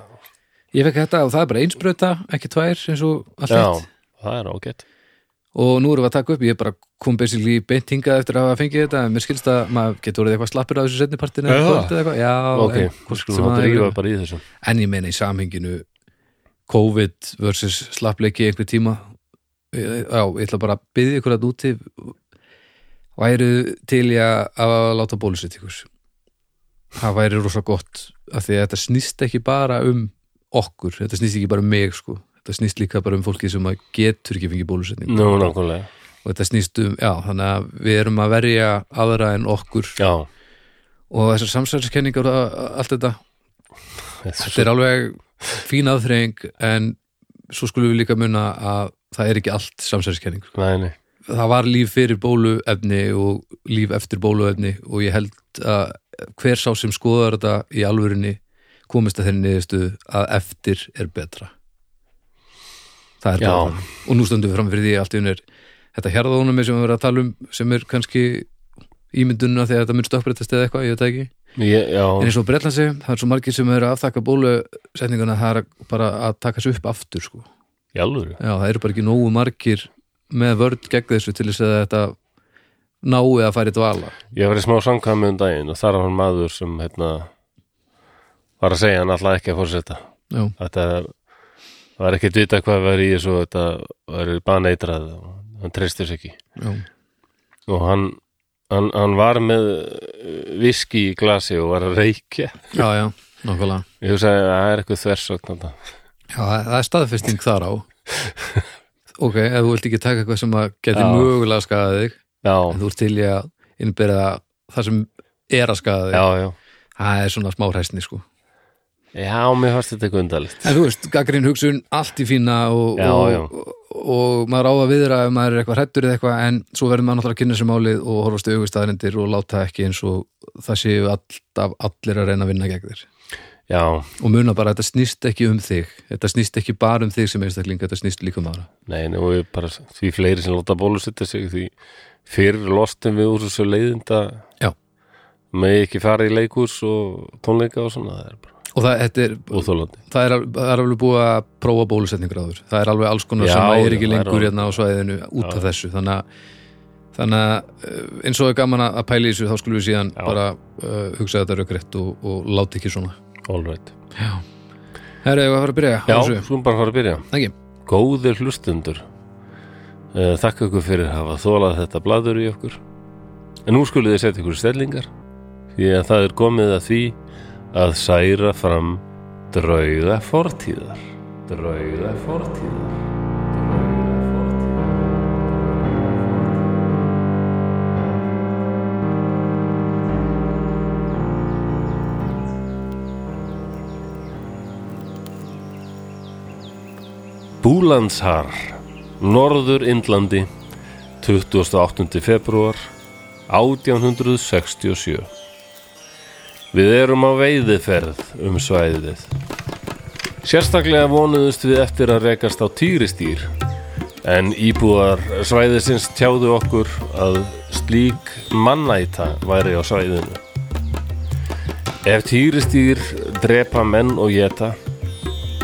Ég fekk þetta og það er bara einsbröta, ekki tvær eins og allt
já,
hitt.
það er ágætt
Og nú erum við að taka upp, ég bara kom basically beint hingað eftir að hafa fengið þetta, en mér skilst að maður getur orðið eitthvað slappur á þessu setnipartinu
Já.
eða kvöld eða eitthvað. Já,
ok,
en,
hvað
sem
skulum
að
að drífa
hefur-
bara í þessum
en ég meina í samhenginu COVID versus slappleiki í einhver tíma. Ég- Já, ég ætla bara að byggja ykkur að úti væru til ég að láta bólusett ykkur. Það væri rosa gott, af því að þetta snýst ekki bara um okkur, þetta snýst ekki bara um mig, sko. Þetta snýst líka bara um fólki sem að getur ekki fengið bólusetningu
nú, nákvæmlega,
og þetta snýst um, já, þannig að við erum að verja aðra en okkur
já
og þessar samsæðiskenningar og a- allt þetta, þetta
þetta
er alveg fín aðþreying en svo skulum við líka munna að það er ekki allt samsæðiskenning.
Nei, nei.
Það var líf fyrir bóluefni og líf eftir bóluefni og ég held að hver sá sem skoðar þetta í alvörinni komist að þeirri niðurstu að eftir er betra. Það er
Já.
bara þannig. og nú stöndum við fram fyrir því að allt í unir þetta hérðaðunum sem við verðum að tala um sem er kannski ímyndununa þegar þetta mun stökkbreytast eða eitthvað, ég veit það ekki
Ég,
en
já,
eins og breytlan sig, það er svo margir sem eru að aftakka bólusetninguna, það er að- bara að taka sig upp aftur sko.
í alvöru
Já, það eru bara ekki nógu margir með vörd gegn þessu til þess að þetta nái að fara í dvala
Ég var í smá samkvæmi um daginn og þar var hann maður sem hérna, var að segja hann alltaf ekki að fórseta.
Já.
Þetta var ekkert vita hvað var í þessu, þetta var baneitrað og hann treystir sér ekki.
Já,
Og hann, hann, hann var með viski í glasi og var að reykja.
já, já nokkulega
Ég hugsaði að það er eitthvað þversögn þetta.
Já, það það er staðfesting þar á Ok, ef þú vilt ekki taka eitthvað sem að geti
Já.
mögulega skadað þig en
Já,
þú ert til í að innbyrða það sem er að skada þig
já, já.
Það er svona smá hræstni sko
Já, mér fannst þetta eitthvað undarlegt.
En þú veist, gaggrín hugsun, allt í fína og,
Já, já.
og, og maður á að viðra ef maður er eitthvað hrættur eða eitthvað en svo verður maður náttúrulega að kynna sér málið og horfast augustæðarindir og láta ekki eins og það séu alltaf allir að reyna að vinna gegn þér.
já,
og muna bara að þetta snýst ekki um þig þetta snýst ekki bara um þig sem einstakling þetta snýst líka um aðra
nei, nei, og ég bara, því fleiri sem láta bólusetja sig, því fyrir lostum við úr þessu leiðinda
Já.
með ekki fara í leikurs og tónleika og svona, það er bara
og það, þetta er,
úþólandi.
það, er, al- það er alveg búið að prófa bólusetningur áður það er alveg alls konar
Já,
sem
já,
er ekki
það er
lengur
alveg-
hérna á svæðinu út af þessu þannig að þannig að eh, eins og er gaman að að pæla í þessu þá skulum við síðan
Já.
bara uh, hugsa þetta raukrétt og, og láti ekki svona
All right.
Herra, ég var að fara að byrja á
Já,
þessu?
skulum bara fara að byrja.
Ekki.
Góðir hlustundur. Eh, Þakka ykkur fyrir að hafa þólað þetta bladur í okkur. En nú skulið þið setja ykkur í stellingar því að það er komið að því að særa fram drauga fortíðar. Drauga fortíðar. Drauga fortíðar. Búlandshar, Norður Indlandi, 28. februar 1867. Við erum á veiðiferð um svæðið. Sérstaklega vonuðust við eftir að rekast á týristýr, en íbúar svæðisins tjáðu okkur að slík mannæta væri á svæðinu. Ef týristýr drepa menn og geta,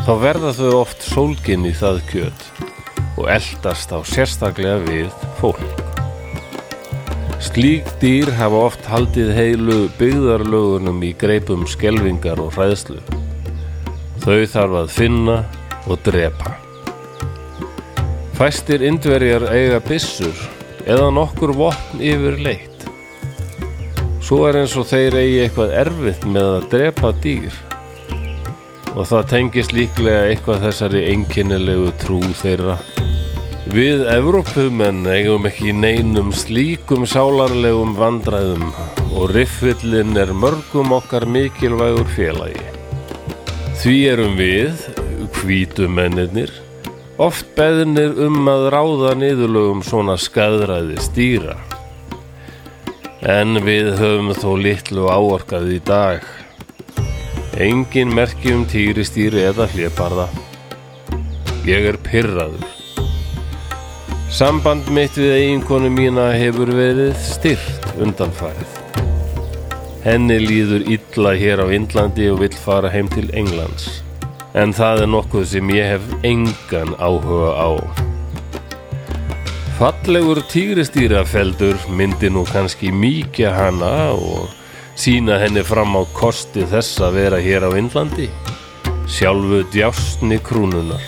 þá verða þau oft sólginn í það kjöt og eldast á sérstaklega við fólk. Slík dýr hafa oft haldið heilu byggðarlögunum í greipum skelvingar og hræðslu. Þau þarf að finna og drepa. Fæstir indverjar eiga byssur eða nokkur vopn yfir leitt. Svo er eins og þeir eigi eitthvað erfitt með að drepa dýr og það tengist líklega eitthvað þessari einkennilegu trú þeirra. Við Evrópumenn eigum ekki í neinum slíkum sálarlegum vandræðum og riffillin er mörgum okkar mikilvægur félagi. Því erum við, hvítumennir, oft beðnir um að ráða niðurlögum svona skadræði stýra. En við höfum þó litlu áorkað í dag. Engin merki um týristýri eða hlébarða. Ég er pyrraður. Samband mitt við eiginkonu mína hefur verið styrkt undanfarið. Henni líður illa hér á Indlandi og vill fara heim til Englands. En það er nokkuð sem ég hef engan áhuga á. Fallegur týristýrafeldur myndi nú kannski mýkja hana og sína henni fram á kosti þess að vera hér á Indlandi. Sjálfu djásni krúnunar.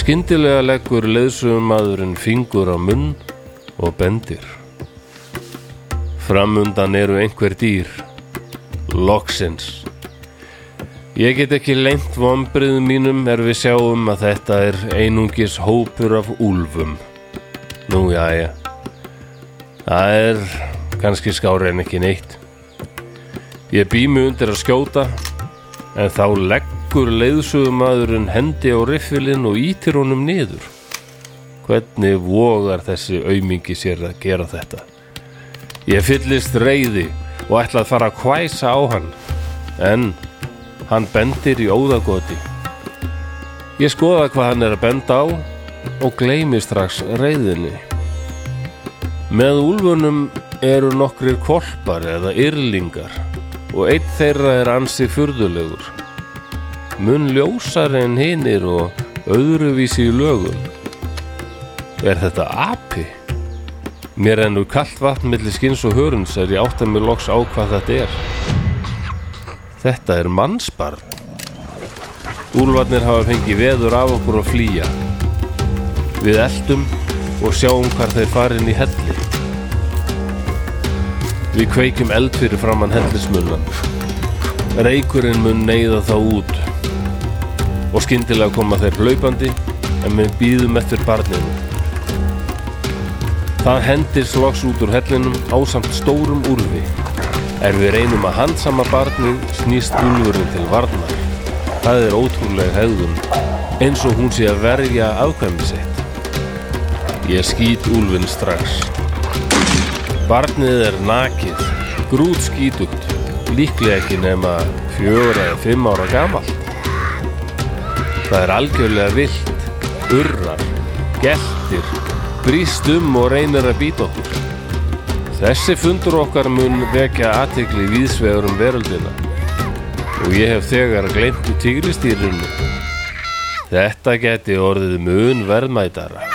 Skyndilega leggur leðsugumadurinn fingur á munn og bendir. Framundan eru einhver dýr. Loksins. Ég get ekki lengt vombriðum mínum er við sjáum að þetta er einungis hópur af úlfum. Nú, jæja. Það er kannski skári en ekki neitt. Ég bými undir að skjóta, en þá leggur leiðsögumadurinn hendi á riffilinn og ítir honum niður. Hvernig vogar þessi aumingi sér að gera þetta? Ég fyllist reyði og ætla að fara að hvæsa á hann, en... Hann bendir í óðagoti. Ég skoða hvað hann er að benda á og gleymi strax reyðinni. Með úlfunum eru nokkrir kolpar eða yrlingar og einn þeirra er ansi furðulegur. Mun ljósar en hinir og öðruvísi í lögum. Er þetta api? Mér ennur kallt vatn milli skins og hörns er ég átt að mér loks á hvað þetta er. Þetta er mannsbarn. Úlfarnir hafa fengið veður af okkur að flýja. Við eldum og sjáum hvar þeir farin í helli. Við kveikjum eld fyrir framann hellismunnan. Reykurinn mun neyða þá út. Og skyndilega koma þeir hlaupandi en við býðum eftir barninu. Það hendir sloks út úr hellinum ásamt stórum úrfi. Er við reynum að handsama barnið snýst úlfurinn til varnar. Það er ótrúlega hegðun, eins og hún sé að verja afkvæmi sitt. Ég skýt úlfinn strax. Barnið er nakið, grút skýtugt líklega ekki nema fjögur eða fimm ára gamalt. Það er algjörlega vilt, urrar, geltir, brýst um og reynir að býta okkur. Þessi fundur okkar mun vekja aðtegli víðsvegur um veröldina og ég hef þegar gleymt tígristýrinu. Þetta geti orðið mun verðmætara.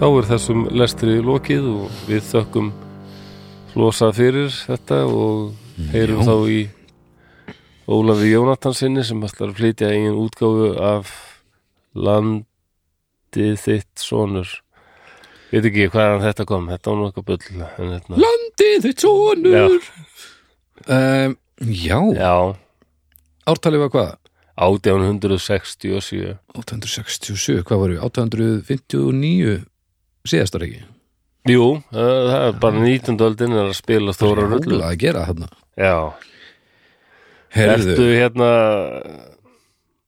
Þá er þessum lestri lokið og við þökkum losa fyrir þetta og heyrum
Já.
þá í Ólafi Jónatansinni sem ætlar að flytja eigin útgáfu af landið þitt sonur. Veit ekki hvaðan þetta kom, þetta var nú eitthvað bull en hérna,
Landið þitt sonur um, Já,
já,
ártalið var hvað?
1867
867, hvað voru? 859 síðastar ekki?
Jú, það það er bara 19. öldin er að spila stóra rullu
Rúla að gera þarna
Já, ertu
Herðu,
hérna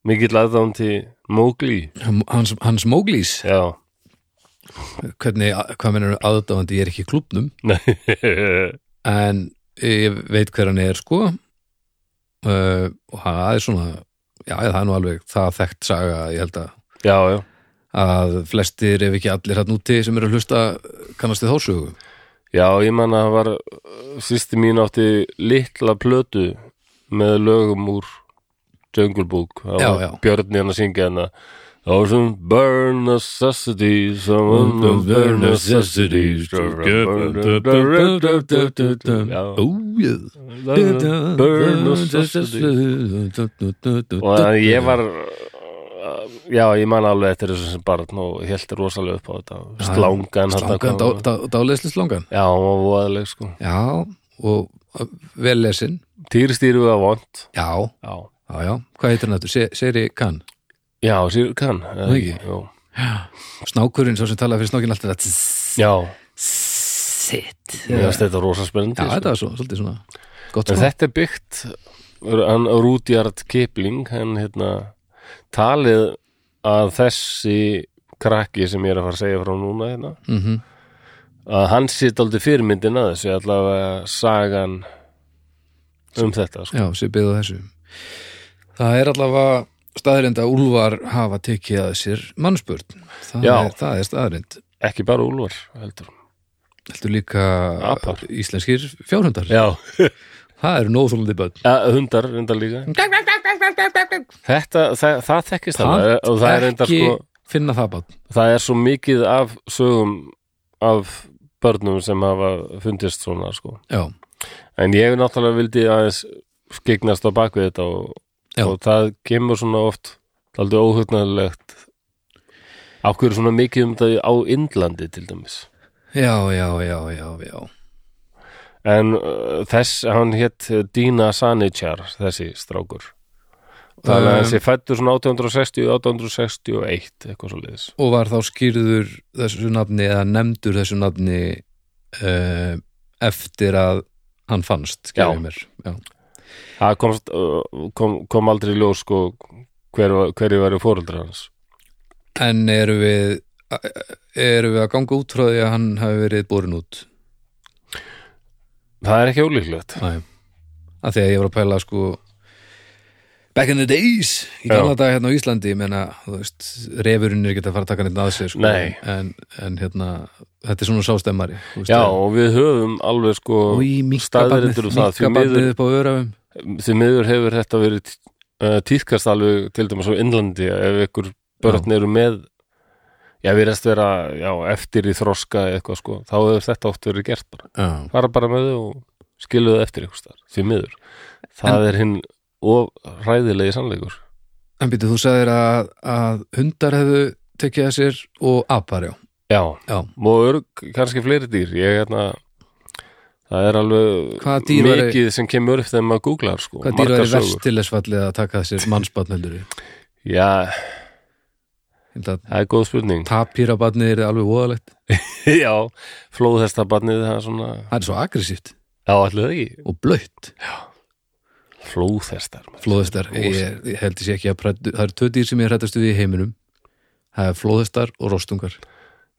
mikill aðdán til Mowgli,
hans, hans Móglís
já
hvernig, hvað mennur aðdáðandi ég er ekki í klubnum
Já,
en ég veit hver hann er sko uh, og það er svona já, það er nú alveg það þekkt saga ég held að,
já,
að flestir ef ekki allir hann úti sem eru að hlusta kannast þið þásögu
já ég man að það var sýsti mín átti litla plötu með lögum úr Jungle Book það
Já,
var
já.
Björn hérna að syngja hana Það var sem burn necessities some of the burn necessities Já.
Ó, jöð.
Burn necessities og þannig að ég var uh, já, ég man alveg eftir þessu sem barn og held rosalega upp á þetta slangan þarna
Slangan,
kom-
dálæsli slangan
já, hún var voðaleg sko
Já, og uh, vel lesin
týrstýru var vond
Já,
já,
já, já, hvað heitir hann aftur? Se- Seri Kann
já síður kann
Það ekki?
já,
Snákurinn, svo sem talaði fyrir snákinn alltaf þetta
já
Sitt
mér
Já,
finnst þetta rosa spennandi
þetta var svo, svolítið svona Gott
en
sko
þetta er byggt hann Rúdjart Kipling hann hérna talið að þessi krakki sem ég er að fara að segja frá núna hérna
mm
að hann sitt aldrei fyrirmyndin að þessu allavega sagan um þetta sko.
Já, sem byggðu þessu Það er allavega staðrind að Úlfar hafa tekið að sér mannspörn Það,
Já.
er, það er staðrind
ekki bara úlvar heldur
Þetta er líka
Apar.
íslenskir fjárhundar
já,
Það eru nóþólandi bönn
hundar reyndar líka þetta, það, það þekkist það og það er reyndar
ekki
sko
finna það bönn
það er svo mikið af sögum af börnum sem hafa fundist svona sko
Já,
en ég náttúrulega vildi aðeins skegnast á bakvið þetta og,
Já.
og það kemur svona oft aldrei óhugnarlegt af hverju er svona mikið um þetta á Indlandi til dæmis
já, já, já, já, já.
en uh, þess, hann hétt Dina Sanichar, þessi strákur þannig
Um,
að þessi fættur svona 1860, 1861 eitthvað svo liðis
og var þá skýrður þessu nafni eða nefndur þessu nafni uh, eftir að hann fannst
Já.
skýrðum mér já.
það komst, uh, kom, kom aldrei í ljós sko hver, hverju væri fóreldrar hans
en eru við eru við að ganga út frá því að hann hafi verið borin út
það er ekki ólíklegt
Æ. að því að ég var að pæla sko back in the days í
Já.
gamla dag hérna á Íslandi ég menna, þú veist, refurinn er ekki að fara að taka neitt að sér sko,
Nei.
en, en hérna, þetta er svona sástemmari þú veist,
já
að-
og við höfum alveg sko
Í minkabarnið,
staðreyndir um það, því
minkabarnið
miður-
upp á öraum
því miður hefur þetta verið t- uh, tíðkast alveg til dæmis á Indlandi ef ykkur börn eru með já við rest vera já, eftir í þroska eitthvað sko þá hefur þetta oft verið gert bara
Já.
fara bara með þau og skilu þau eftir eitthvað staðar, því miður það er hinn of ræðilegi sannleikur
En býttu, þú sagðir að, að hundar hefðu tekið að sér og apar, já.
já,
Já.
og örg kannski fleiri dýr ég hérna það er alveg
Hvaða dýr væri-
mikið sem kemur upp þegar maður googlar sko,
Hvað dýra
margar
er verst
sögur.
til þess fallið að taka að sér mannsbarnheldur í?
já, það er góð spurning
Tapírabarnið er alveg voðalegt.
já, flóðhestabarnið það er svona
Það er svo aggressíft
Já, allir það ekki.
og blöytt.
Flóðhestar maður.
flóðhestar, ég, ég held ég sé ekki að prættu, það eru tvö dýr sem ég er hrættastu við í heiminum það er flóðhestar og rostungar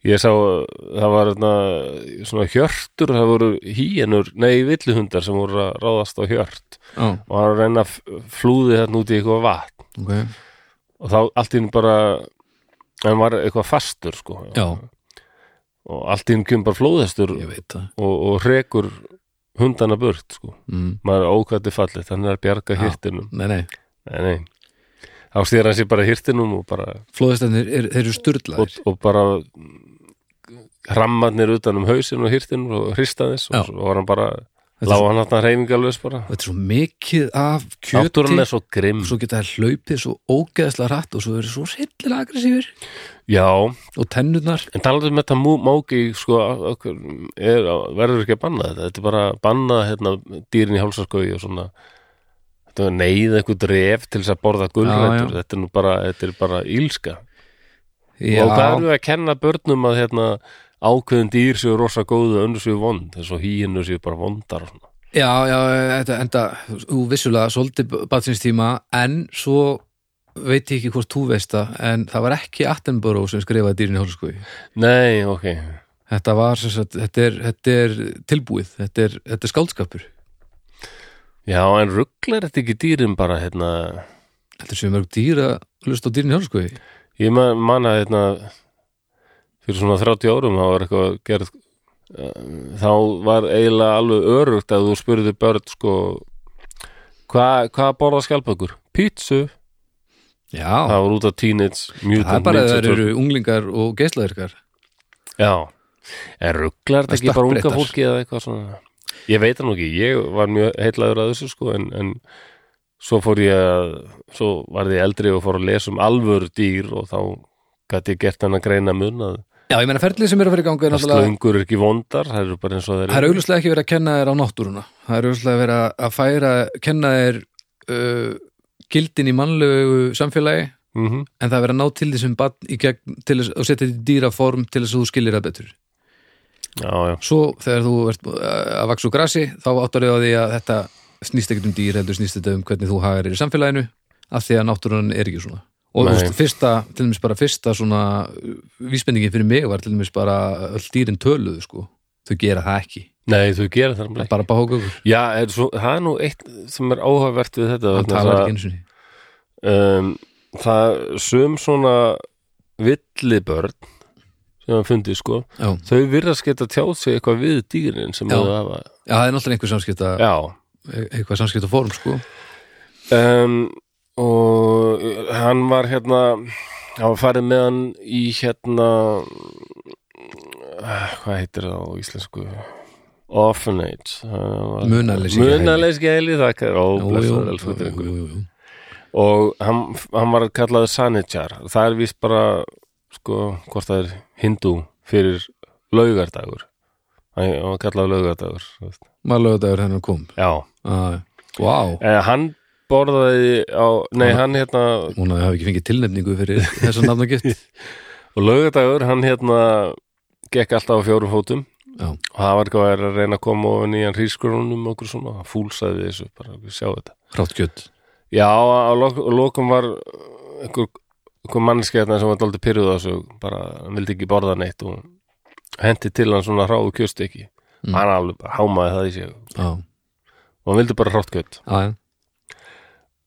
Ég sá, uh, það var na, svona hjörtur, það voru hýjenur, nei, villuhundar sem voru að ráðast á hjört
ah,
og hann var að reyna f- flúði þarna út í eitthvað vatn
okay.
og þá allt í einu bara, hann var eitthvað fastur, sko
já,
og allt í einu kemur bara flóðhestur
ég veit það
og, og rekur hundana burt, sko
mm.
maður er ókvæði fallið, hann er að bjarga
Já.
hirtinum
nei, nei,
nei, nei þá stýr hann sér bara hirtinum og bara
flóðhestarnir, er, þeir eru
og,
styrlaðir
og bara rammarnir utan um hausinn og hirtinn og hristaðis
Já.
og svo var hann bara
Þetta er
lág hann hann reyningalus bara
þetta er svo mikið af kjöti
náttúran er svo grimm
svo geta það hlaupið svo ógeðslega rætt og svo verið svo sillilega aggressífur
já,
og tennurnar
en talaðu um þetta mú- mági sko, okkur, er, verður ekki að banna þetta þetta er bara að banna hérna, dýrin í hálsarskói og svona þetta er neyð einhver dref til þess að borða gulrætur þetta er nú bara, þetta er bara ílska
já,
og hvað erum við að kenna börnum að hérna, ákveðin dýr séu rosa góðu önnur séu vond, þess að hýinu séu bara vondar og svona
já, já, þetta enda þú vissulega svolítið batsinstíma en svo veit ég ekki hvort þú veist það en það var ekki Attenborough sem skrifaði dýrin í hálskói
Nei, ok,
þetta var sem sagt, þetta er, þetta er tilbúið, þetta er, þetta er skáldskapur
já en rugglar þetta ekki dýrin bara hérna,
þetta er sem mörg dýr að hlusta á dýrin í hálskói
ég man, man að hérna, fyrir svona 30 árum þá var eitthvað gerð eh, þá var eiginlega alveg örugt að þú spurði börn sko hvað hva borða skjálpökur? Pítsu,
já,
það var sko. út af Teenage Mutant
það er bara að
Ninja
það
Turtles.
eru unglingar og geislaðirkar
Já, en rugglar þetta
Það
ekki bara unga
stökkbreytar.
fólki eða eitthvað svona Ég veit það nú ekki, ég var mjög heillaður að þessu sko en, en svo fór ég að svo varð ég eldri og fór að lesa um alvöru dýr og þá gæti ég gert hann að greina mun að
já, ég menna ferlið sem er að vera í gangi er
að
náttúrulega
slöngur er ekki vondar það eru bara eins og þeir
Það er augljóslega ekki verið að kenna þér á náttúruna Það er augljóslega verið að- að færa kenna þér uh, gildin í mannlegu samfélagi
mm -hmm.
en það er verið að ná til því sem bann í gegn til þess og setja þetta í dýraform til þess að þú skilir það betur
Já, já,
Svo þegar þú ert uh, að vaksa úr grasi þá áttar þau á því að þetta snýst ekkert um dýr heldur snýst þetta um hvernig þú hagar þér í samfélaginu af því að náttúrunan er ekki svona og þú
Nei.
veist, fyrsta, til dæmis bara fyrsta svona uh, vísbendingin fyrir mig var til dæmis bara að öll dýrin töluðu sko þau gera það ekki,
nei þú gerir það
það
nefnilega
er bara báhugaugur
ekki Já, er svo, það er nú eitt sem er áhugavert við þetta
hann
vegna þess
talar
að-
ekki eins og niður
um, það sum svona villibörn sem hann fundið sko
Já.
þau virðast geta tjáð sig eitthvað við dýrin sem
Já.
þau hafa
Já, það er náttúrulega einhver samskipta
já
eitthvað samskipta form, sko
um, og hann var hérna hann var farið með hann í hérna eh, hvað heitir það á íslensku orphanage hann var-
Munarleysingjahæli.
munarleysingjahæli, þakka þér, ó, blessaður, elsku
jú,
drengur.
jú, jú.
og hann, hann var kallaður Sanitjar það er vist bara sko, hvort það er hindú fyrir laugardagur hann hann var kallaður laugardagur þú veist.
Maður lögðaður hennar kom
já,
ah, Vá,
eh, hann borðaði á, nei hann hérna
hún hafi ekki fengið tilnefningu fyrir þessa nafn og gift
og laugardagur, hann hérna gekk alltaf á fjórum fótum
Já.
og það var eitthvað að reyna að koma ofan í hann hrískurunum og okkur svona, hann fúlsaði þessu bara, sjá þetta
Hrátt kjött
Já, á lok- lokum var einhver, einhver mannskjarnar sem var daldið pyrrðu þessu, bara hann vildi ekki borða neitt og hendi til hann svona hráu kjöst ekki
Mm.
hann alveg bara hámaði það í sig
Já,
og hann vildi bara hrátt kjött
já, já.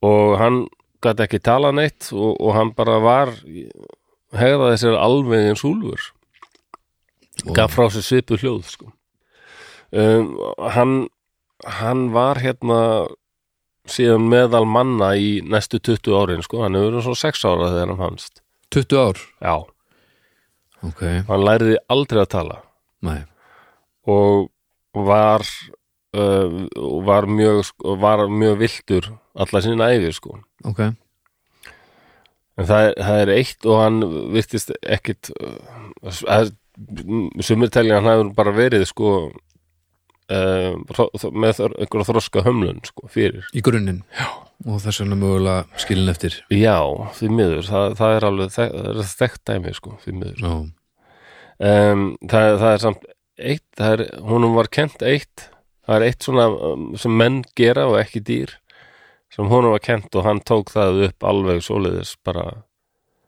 og hann gæti ekki tala neitt og, og hann bara var hegðaði sér alveg eins húlfur
Og-
gaf frá sér svipu hljóð sko. um, hann hann var hérna síðan meðal manna í næstu 20 árin sko. hann hefur verið svo 6 ára þegar hann fannst
20 ár
já,
Ok,
hann læriði aldrei að tala
nei
og var uh, og var mjög sko, var mjög viltur alla sinna æfi sko.
Ok,
en það er, það er eitt og hann virtist ekkit uh, sumir telja hann hefur bara verið sko uh, með þor- einhverja þroska hömlun sko, fyrir
í grunninn Já Og þess vegna mögulega skilin eftir
já, því miður, það, það er alveg þek, það er þekkt dæmi sko, því miður
Já,
um, það, það er samt eitt, það er, honum var kent eitt það er eitt svona um, sem menn gera og ekki dýr sem honum var kent og hann tók það upp alveg svoleiðis bara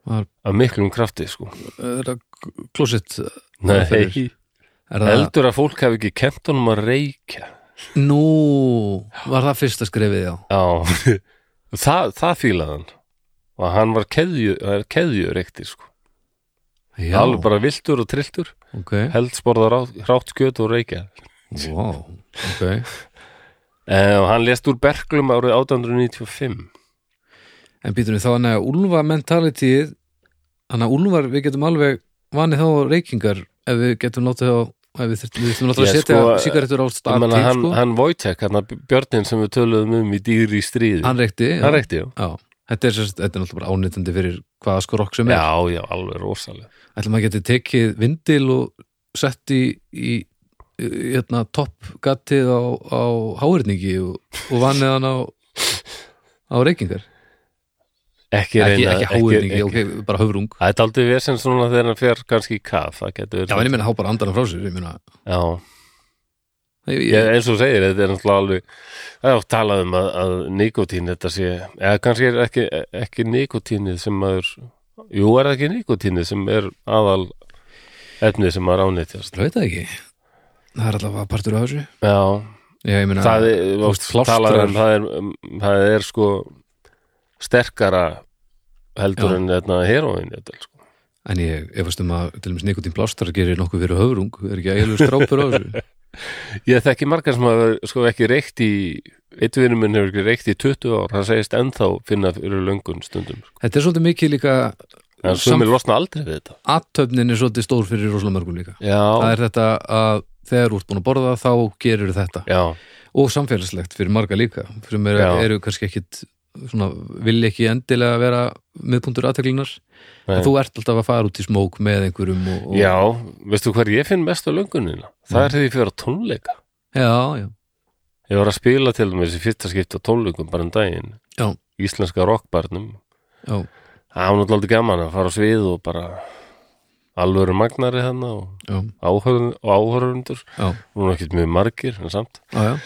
Var-
af miklum krafti sko
er það klósitt
Nei,
fyrir. er það,
heldur að fólk hafi ekki kent honum að reykja
nú var það fyrsta skrefið já
Já, það, það fílaði hann og hann var keðju, keðjur ektir sko,
já,
alveg bara viltur og trilltur
ok,
heldsborða rátt kjöt og reykja
wow, ok
Eh, og hann lést úr Berglum árið 1895
En býtum við þá hann að úlfa mentalitíð hann að úlfar við getum alveg vanið þá á reykingar ef við getum látið þá ef við þurftum, við þurftum látið að
Ég,
setja
sko,
sigarettur á
Ég
statíf
meina, hann,
sko. hann,
hann Wojtek, hann björnin sem við töluðum um í dýri í stríði, hann,
hann reykti já.
reykti já.
Já. Þetta, er, sem sagt- þetta er náttúrulega bara ánýtandi fyrir hvaða skrokk sem er
já, já, alveg rosalega
Ætlum að geti tekið vindil og sett í, í, í hérna, toppgattið á, á háhyrningi og, og vanið hann á á reykingar ekki,
ekki reyna
ekki háhyrningi, ok, bara höfrung
Það er aldrei vesens núna þegar hann fer kannski í kaf það getur
Já, en ég meina há bara andanum frá sér ég meina,
já.
ég,
Ég, eins og þú segir, þetta er náttúrulega alveg það er oft talað um að, að nikotín þetta sé, eða kannski er ekki, ekki nikotínið sem maður jú, er það ekki nikotínið sem er aðal efnið sem maður ánýtjast
Það veit það ekki Það er alltaf að partur af þessu
já,
Já, ég meina
það er,
þú veist,
oft talað um,
plástrar.
það, er, um, það er sko sterkara heldur
Já.
en þetta heroin þetta, er, sko.
En ég efast um að til dæmis nikotín blástar gerir nokkuð fyrir höfrung Er ekki ægilegur strápur á þessu
ég þekki margar sem hafa sko ekki reykt í eitt vinnum minn hefur ekki reykt í 20 ár hann segist ennþá finna fyrir löngun stundum sko.
Þetta er svolítið mikið líka
en
Samt-
sumir losna aldrei við þetta
Athöfnin er svolítið stór fyrir rosalega mörgum líka Það
já,
er þetta að þegar þú ert búin að borða þá gerir þetta
já,
Og samfélagslegt fyrir marga líka Fyrir mér
Já.
eru kannski ekkit svona, vilja ekki endilega vera miðpuntur aðteklinar
Nei.
en þú ert alltaf að fara út í smók með einhverjum og, og...
já veistu hver ég finn mest á löngunina það er því fyrir að tónleika
já, já,
ég var að spila til mér þessi fyrsta skipti á tónleikum bara um daginn
Já.
íslenska rockbarnum
já.
Það var náttúrulega aldrei gaman að fara á svið og bara alvöru magnari þarna og
já,
áhörun- og áhörundur
já,
núna ekkert mjög margir en samt
já, já.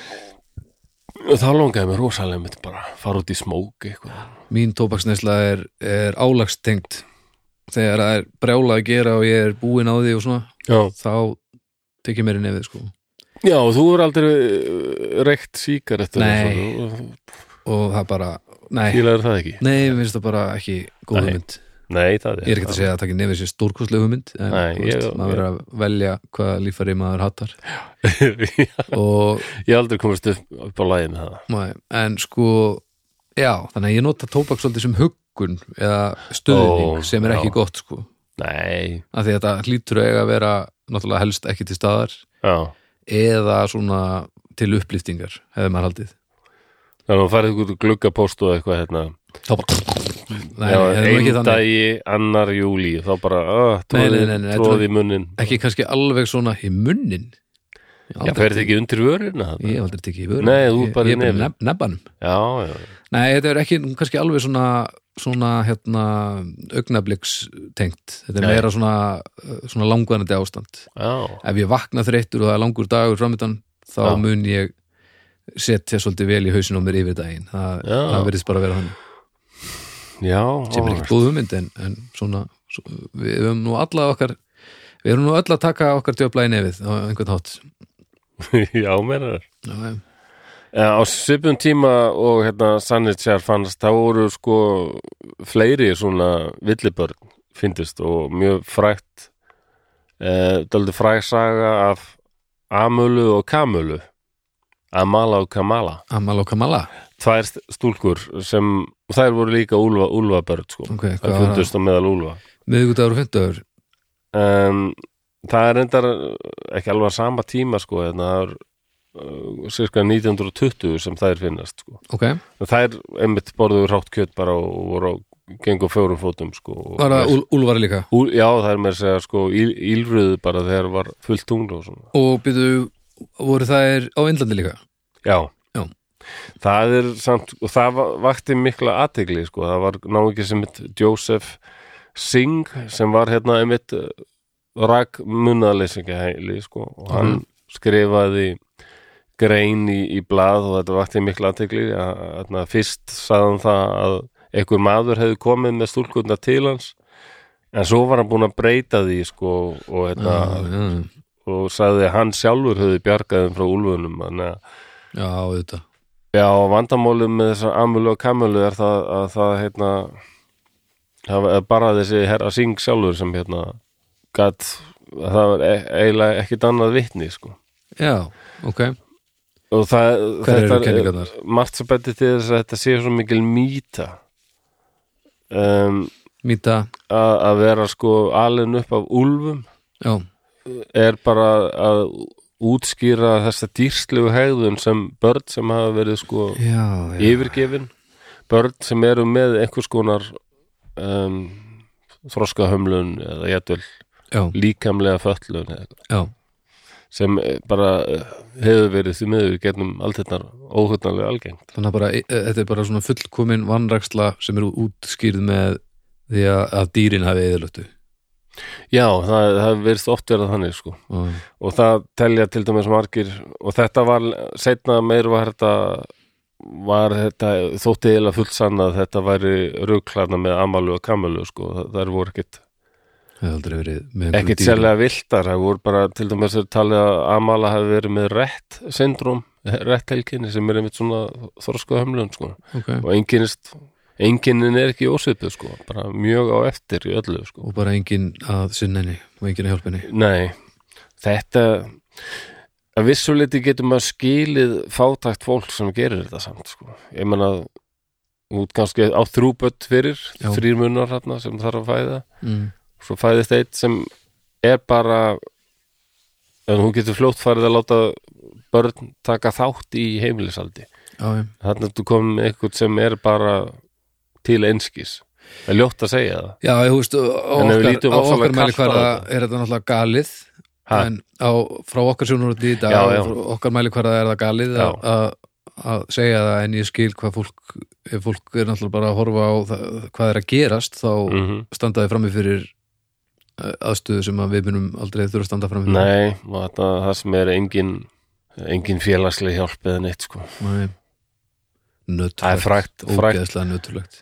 og þá langaði mér rosalega mitt bara að fara út í smók eitthvað
mín tóbaksnesla er, er álagstengt þegar það er brjála að gera og ég er búinn á því og svona
Já,
þá tek ég mér í nefið sko
Já og þú er aldrei eh, reykt síkar eftir
Nei. og það bara, nei,
Fílaður það ekki?
nei, mér finnst það bara ekki góð
Nei,
hugmynd,
Nei, það er
ég er ekki að segja að taka í nefið sér stórkostlega hugmynd en
Nei,
þú veist,
ég-
maður verður að velja hvaða líffæri maður hattar
segja
og,
Ég hef aldrei komist upp, upp á lagi með það
nei, en sko já, þannig að ég nota tóbak svolítið sem huggun eða stöðning
Ó,
sem er ekki
já.
gott sko,
Nei,
af því að þetta hlýtur að eiga að vera náttúrulega helst ekki til staðar
já
eða svona til upplýftingar hefði maður haldið
Þannig að þú færið ykkur gluggapóst og eitthvað hérna
þá bara nei,
Já,
þetta er nú ekki
einn
þannig
dagi, annar júli þá bara, uh,
Nei, nei,
tróði,
nei, nei,
tróði í munnin
ekki kannski alveg svona í munnin ég
Já,
aldrei-
ferði ekki undir vörina þarna?
ég hef aldrei tekið í vörun
Nei, þú bara í
ég, ég er
nefið.
bara nef, nefbanum
Já, já,
nei, þetta er ekki kannski alveg svona svona hérna augnabliks tengt þetta er
Nei.
meira svona, uh, svona langvarandi ástand
já,
ef ég vakna þreyttur og það er langur dagur framöndan þá
Já.
mun ég setja svolítið vel í hausinn á mér yfir daginn Þa,
Já.
það verðist bara að vera þannig
já
sem er ekkert góð hugmynd en, en svona, svo, við höfum nú alla okkar við erum nú öll að taka okkar djöfla í nefið á einhvern hátt
alveg Já, meina þér
Já, já.
Eh, Á svipum tíma og hérna Sanitjar fannst, þá voru sko fleiri svona villibörn fyndist og mjög frægt eh, döldu fræg saga af Amölu og Kamölu Amala og Kamala
Amal og Kamala
Tvær st- stúlkur sem, þær voru líka úlfa, úlfabörn sko,
ok, hvað
það
var það?
fundust á meðal úlfa
miðvikudagur og fymtudagur
um, það er reyndar ekki alveg á sama tíma sko, en það er uh, cirka 1920 sem þær finnast sko.
ok,
En þær einmitt borðu rátt kjöt bara og voru á gengu á fjórum fótum sko, og-
var það Úl- Úlfar líka
Úl, já, það er með að segja sko íl, ílruðu bara þegar var fullt tungl og svona.
og byrju, voru þær á Indlandi líka
Já.
Já.
Það er samt, og það va- vakti mikla athygli sko, það var náungi sem mitt Joseph Singh sem var hérna einmitt uh, rak munaleysingahæli sko og hann skrifaði grein í, í blað og þetta vakti mikla aðtegli að, að, að fyrst sagði hann það að einhver maður hefði komið með stúlkunna til hans en svo var hann búin að breyta því sko og þetta
já,
og sagði að hann sjálfur hefði bjargaðum frá úlfunum þannig að
já, auðvitað
Já, vandamálið með þessar amölu og kamölu er það að það heitna, það er bara þessi herra Singh sjálfur sem hérna gat, það var e eiginlega ekkit annað vitni, sko
Já, ok,
og það,
Hver eru
þetta
kenningarnar?
er margt sem betur til þess að þetta sé svo mikil mýta um,
mýta
að, að vera sko alinn upp af úlfum
Já,
er bara að útskýra þessa dýrslegu hegðun sem börn sem hafa verið sko
já, já
yfirgefin börn sem eru með einhvers konar um, þroskahömlun eða jætvel
Já,
líkamlega föllun eða, eitthvað,
já,
sem eh, bara eh, hefur verið því miður getnum allt þetta óhugnarlega algengt
þannig að bara, e, þetta er bara svona fullkomin vannraksla sem eru útskýrð með því að, að dýrin hafi eðalötu
Já, það, það verðst oft verið þannig sko og það telja til dæmis margir og þetta var setna meir var þetta var þetta þótti eiginlega fullsann að þetta væri rugklarna með amalu og kamalu sko, það, það voru ekkit
Það er aldrei verið með einhverjum
ekkert
dýrum.
sérlega viltar það voru bara til dæmis að talið að Amala hafi verið með rétt syndrom rétt helginni sem er einmitt svona þorsku hömlun sko
Ok.
og enginnist enginin er ekki ósvipuð sko bara mjög á eftir í öllu sko
Og bara engin að sinna henni og engin að hjálpa henni
nei, þetta að vissuleiti getur maður skilið fátækt fólk sem gerir þetta samt sko ég menna út kannski á þrúbött fyrir
Já.
þrýr munnar hérna sem þarf að fæða
mm.
svo fæðist eitt sem er bara en hún getur fljótt farið að láta börn taka þátt í heimilisaldi
Já, já,
þannig að þú komum með eitthvað sem er bara til einskis það er ljótt að segja það
já, ég veist á á
En ef við
okkar,
lítum
á
ofsalega
okkar mæli
kalt á
hverða
þetta.
er þetta náttúrulega galið
Ha?
en á, frá okkar sjónur út í dag
Já, já.
frá okkar mæli hverða er það galið
Já.
að- að að segja það en ég skil hvað fólk ef fólk er náttúrulega bara að horfa á það, hvað er að gerast þá
mm
standaði frammi fyrir eh, aðstöðu sem að við munum aldrei þurfa að standa frammi fyrir
nei, og þetta, það sem er engin engin félagsleg hjálp eða neitt sko
Nei.
það er
Nöturlegt,
frægt, frægt
ógeðslega nöturlegt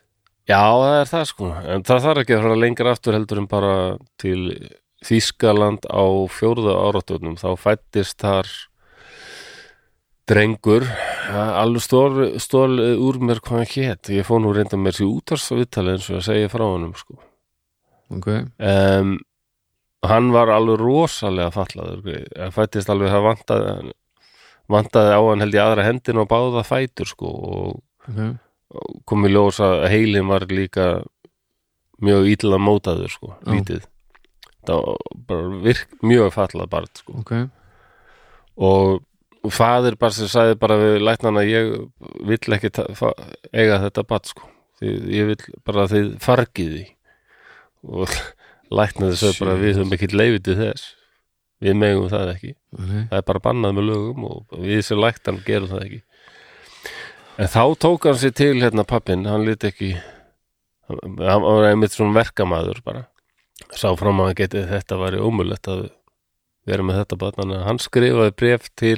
já, það er það sko en það þarf ekki að fara lengra aftur heldur en bara til Þýskaland á fjórða áratunum þá fættist þar drengur ja, alveg stól, stól úr mér hvað hann hét ég fór nú reynda mér sér útarsviðtali eins og að segja frá honum sko.
okay.
um, hann var alveg rosalega fallaður grey. hann fættist alveg það vantaði hann- vantaði á hann held ég aðra hendin og báða fætur sko, og
Okay.
og kom í ljós að heilin var líka mjög ítla mótaður sko,
Já.
lítið það var bara virk, mjög fallað barn sko
Okay.
og fadir bara sem sagði bara við læknana ég vill ekki ta- fa- eiga þetta bat sko því, ég vill bara að þið fargið því og læknaði svo bara
Shit.
við höfum ekki leifið til þess við megum það ekki
Nei.
það er bara bannað með lögum og við sem læktan gerum það ekki en þá tók hann sér til hérna pappin, hann lít ekki hann hann var einmitt svona verkamaður bara, sá fram að hann geti þetta væri ómulett að vera með þetta bara, þannig að hann skrifaði bref til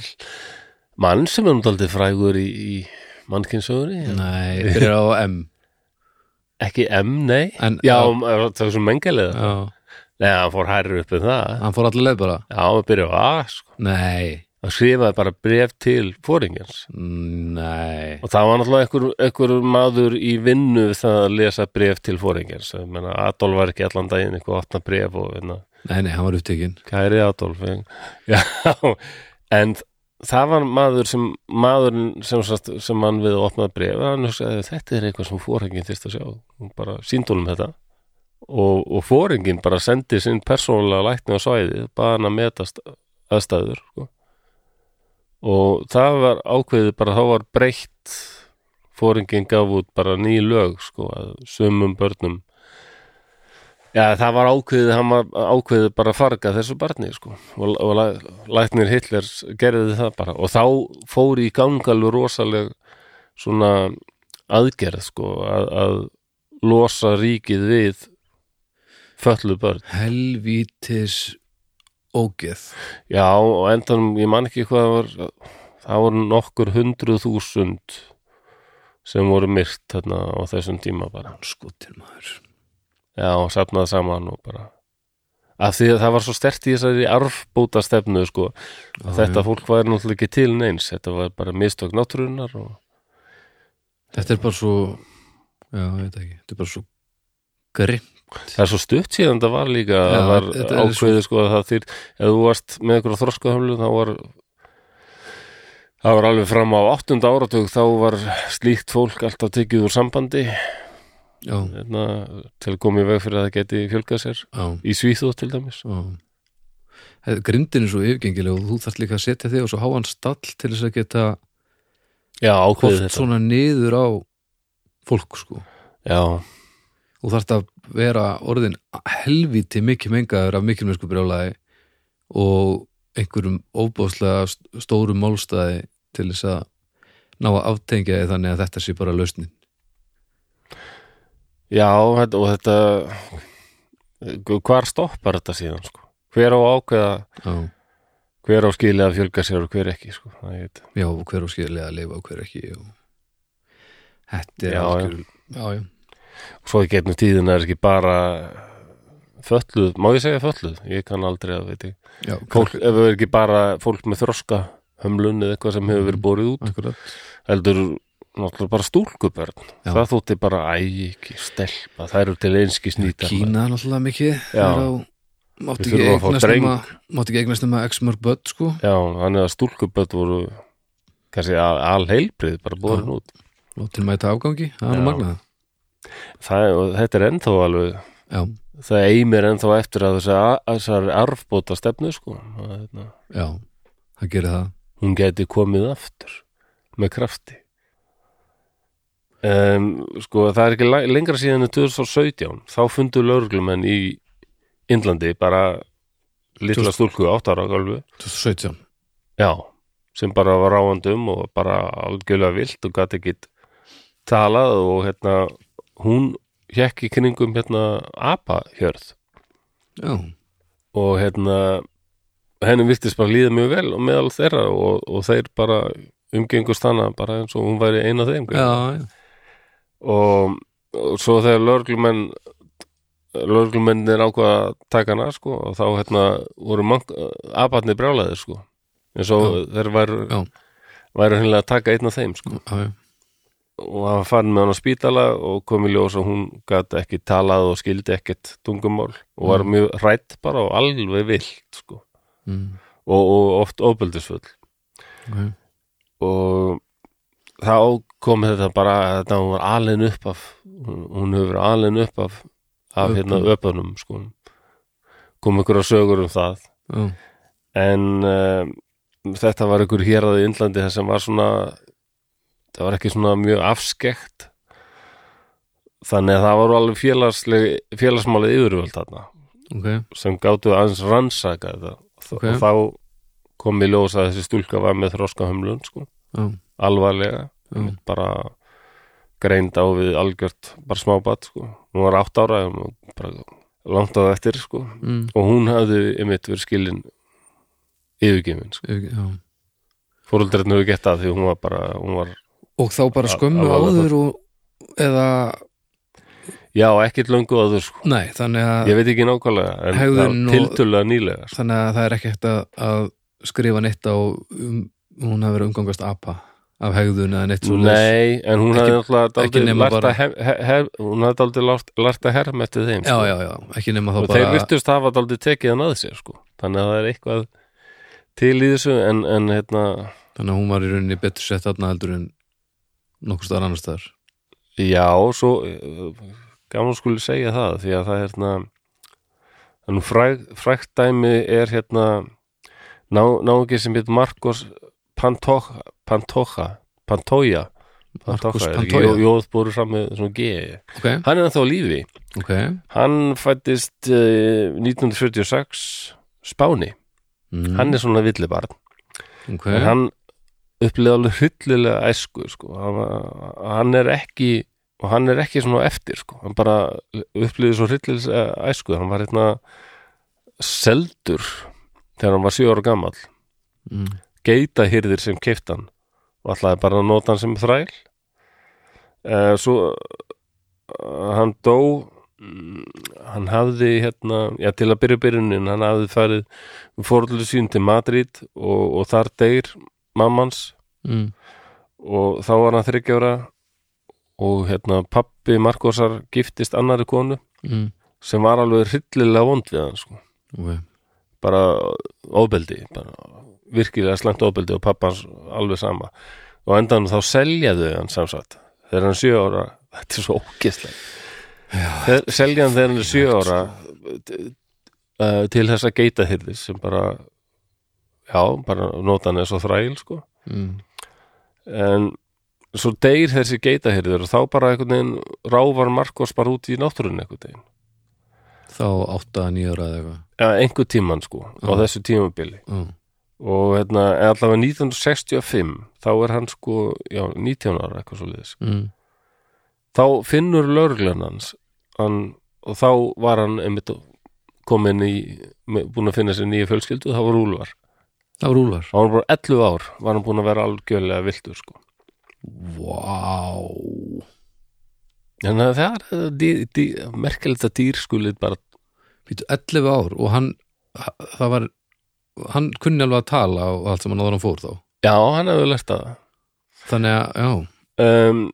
mann sem er umdaldið frægur í, í mannkinsögunni,
Nei, byrjar á M
ekki M, nei
en,
já, það er svo mengalega
já,
nei, hann fór hærri upp en það
Hann fór allir leið bara
já, hann byrjaði á A, sko
Nei,
hann skrifaði bara bref til fóringjans
nei
Og það var náttúrulega einhver, einhver maður í vinnu við það að lesa bref til fóringjars. Ég meina, Adolf var ekki allan daginn eitthvað að opna bref og hérna,
Nei, nei, hann var upptekinn
kæri Adolf. ég- Já, en það var maður sem, maðurinn sem, sagt, sem hann við að opna bref, hann hugsaði þetta er eitthvað sem fóringin þyrst að sjá. Hún bara síndunum þetta og, og fóringin bara sendi sinn persónulega lækni á svæðið, bara hann að metast aðstæður. Sko. Og það var ákveðið bara, þá var breytt fóringin gaf út bara ný lög sko, að sumum börnum Já, það var ákveðið, hann var ákveðið bara að farga þessu barni, sko og, og læ- læknir Hitler gerði það bara og þá fór í gangalu rosaleg svona aðgerð, sko að, að losa ríkið við föllu börn
Helvítis ógeð
Já, og endanum, ég man ekki hvað það var það voru nokkur hundruð þúsund sem voru myrt þarna á þessum tíma bara
skotir maður
já, og safnað saman og bara af því að það var svo stert í þessari arfbóta stefnu
Já,
sko að þetta fólk var náttúrulega ekki til neins þetta var bara mistök náttúrunar og
þetta er bara svo já, ég veit ekki, þetta er bara svo grimm
það er svo stutt síðan það var líka
Já,
það var
þetta er
ákveðið sko að það þýr ef þú varst með einhverja þroskahömlu þá var það var alveg fram á áttunda áratug þá var slíkt fólk alltaf tekið úr sambandi
já,
hérna, til að koma í veg fyrir að það geti fjölgað sér
já,
í Svíþjóð til dæmis
já. Þetta- grindin er svo yfirgengileg og þú þarft líka að setja þig og svo háan stall til þess að geta
já, ákveðið
koft
þetta
svona niður á fólk sko
já,
og þarft að vera orðin helviti mikið mengaður af mikilmennsku brjálæði og einhverjum óbáslega stórum málstæði til þess að ná að aftengja þið þannig að þetta sé bara lausnin
já þetta- og þetta hvar stoppar þetta síðan sko hver á að ákveða
já,
hver á skilið að fjölga sér og hver ekki sko. það er þetta.
já og hver á skilja að lifa og hver ekki og þetta er
Já,
algjör já, já,
og svo í gegnum tíðina er ekki bara fölluð, má ég segja fölluð ég kann aldrei að veit ég
já,
fólk, ef það er ekki bara fólk með þroska hömlun eða eitthvað sem hefur verið borið út
akkurat
heldur náttúrulega bara stúlkubörn
Já.
það þótti bara ægi ekki stelpa það eru til einski snýtar
Kína náttúrulega mikið
Já.
þar á mátti
Við
ekki
þurfum að fá
eignast
dreng.
nema mátti ekki eignast nema x mörg börn sko
já, þannig að stúlkubörn voru kannski alheilbrið bara borin út
látið mæta afgangi, það er nú
Já.
magnað
það, er- og þetta er ennþá alveg
já,
það eimir ennþá eftir að þessar, þessar arfbóta stefnu sko að, hérna,
já, það gerir það
hún gæti komið aftur með krafti um, sko það er ekki la- lengra síðan en 2017 þá fundu lögreglumenn í Indlandi bara litla stúlku átt ára gálfu
2017
já, sem bara var ráandum og bara algjörlega vilt og gæti ekki talað og hérna hún hjekk í kringum hérna apahjörð
Já,
og hérna henni virtist bara líða mjög vel og meðal þeirra og, og þeir bara umgengust hana bara eins og hún væri eina þeim sko.
já, já,
og, og svo þegar lörglumenn lörglumennir ákvað að taka hana sko og þá hérna voru mank, abatni brjálaðir sko eins og þeir væru
Já.
væru hennilega að taka einn af þeim sko
já, já.
og hann fann með hann á spítala og kom í ljós og hún gat ekki talað og skildi ekkert tungumál og var mjög hrætt bara og alveg vilt sko
Mm,
og, og oft óböldisfull
ok.
og þá kom þetta bara þetta hún var alin upp af hún, hún hefur verið alin upp af af
Öpum.
hérna öpunum sko kom ykkur að sögur um það
Já,
en um, þetta var ykkur héraði í Indlandi þar sem var svona það var ekki svona mjög afskekt þannig að það var alveg félagsleg, félagsmálið yfirvöld þarna
ok,
sem gátu aðeins rannsaka þetta
Ok.
og þá kom í ljós að þessi stúlka var með þroskahömlun sko,
já,
alvarlega
já,
bara greind á við algjört bara smábatt sko, hún var átt ára og bara langt á það eftir sko
mm,
og hún hafði einmitt verið skilin yfirgefin sko,
ok, já.
fóröldræðin hefur gett að því hún var bara, hún var,
Og þá bara
Al-
skömmu
alvarlega
áður og eða,
já, ekkert löngu áður sko,
nei, þannig að
ég veit ekki nákvæmlega en
Hegðun
það
og-
var tiltölulega nýlega sko.
þannig að það er ekki hægt að, að skrifa neitt á um, hún hafi verið að umgangast apa af hegðun eða neitt svo
Nei, en hún
Ekki-
hafði náttúrulega
ekki
daldið
nema
lært
bara-
að hef, hef, hef, hún hafði daldið lært, lært að herm eftir þeim
Já,
sko.
já, já, ekki nema þá
og
bara
þeir virtust hafa daldið tekið hann að sér sko. þannig að það er eitthvað til í þessu en, en hérna
þannig að hún var í rauninni betur sett þarna heldur en nokkur staðar annar staðar
já, svo eh, gaman skuli segja það því að það er hérna en fræg, frægt dæmi er hérna ná, náungi sem heit Marcos Pantoja Pantoja Pantoja
Marcos
er ekki
Pantoja.
jó- Jóðbúru fram með svona G
Ok,
hann er ennþá á lífi
ok,
Hann fættist uh, 1946 Spáni,
mm,
hann er svona villibarn
ok,
en hann upplýði alveg hryllilega æsku sko. hann, var- hann er ekki og hann er ekki svona á eftir sko. hann bara upplýði svo hryllilega æsku hann var hérna seldur þegar hann var sjö ára gamall
mm,
geitahyrðir sem keftan og ætlaði bara að nota hann sem þræl uh, svo uh, hann dó mm, hann hafði hérna, já til að byrja byrjunin hann hafði farið fórhullu sín til Madrid og, og þar deyr mammans
mm.
og þá var hann þryggjára og hérna pappi Markosar giftist annari konu
Mm.
sem var alveg hryllilega vond við hann sko.
Okay.
bara ofbeldi bara virkilega slæmt ofbeldi og pappans alveg sama og á endanum þá selja þau hann samsagt þegar hann er sjö ára þetta er svo ógeðslega Þeir- selja hann þegar hann er sjö ára uh, til þessa geitahyrðis sem bara já, bara nota hann eða svo þræl sko
Mm.
en svo deyr þessi geitahyrður og þá bara einhvern veginn ráfar Markos bara út í náttúrunni einhvern veginn
þá átta að nýjara eða eitthvað
eða einhvern tíman sko á
Mm.
þessu tímabili
mm.
og hérna, eða allavega 1965 þá er hann sko, já, 19 ára eitthvað svo liðis,
Mm.
þá finnur lögreglan hans hann, og þá var hann einmitt komin í, með- búin að finna sér nýja fjölskyldu, þá var Úlfar
það var úlvar
þá var hann bara 11 ár, var hann búin að vera algjörlega viltur sko
Vá
þannig að það er dý, dý, merkilegt að dýr skulið bara
Býtu 11 ár og hann það var, hann kunni alveg að tala og allt sem hann áður en hann fór þá
Já, hann hefur lært að
þannig að, já,
það um,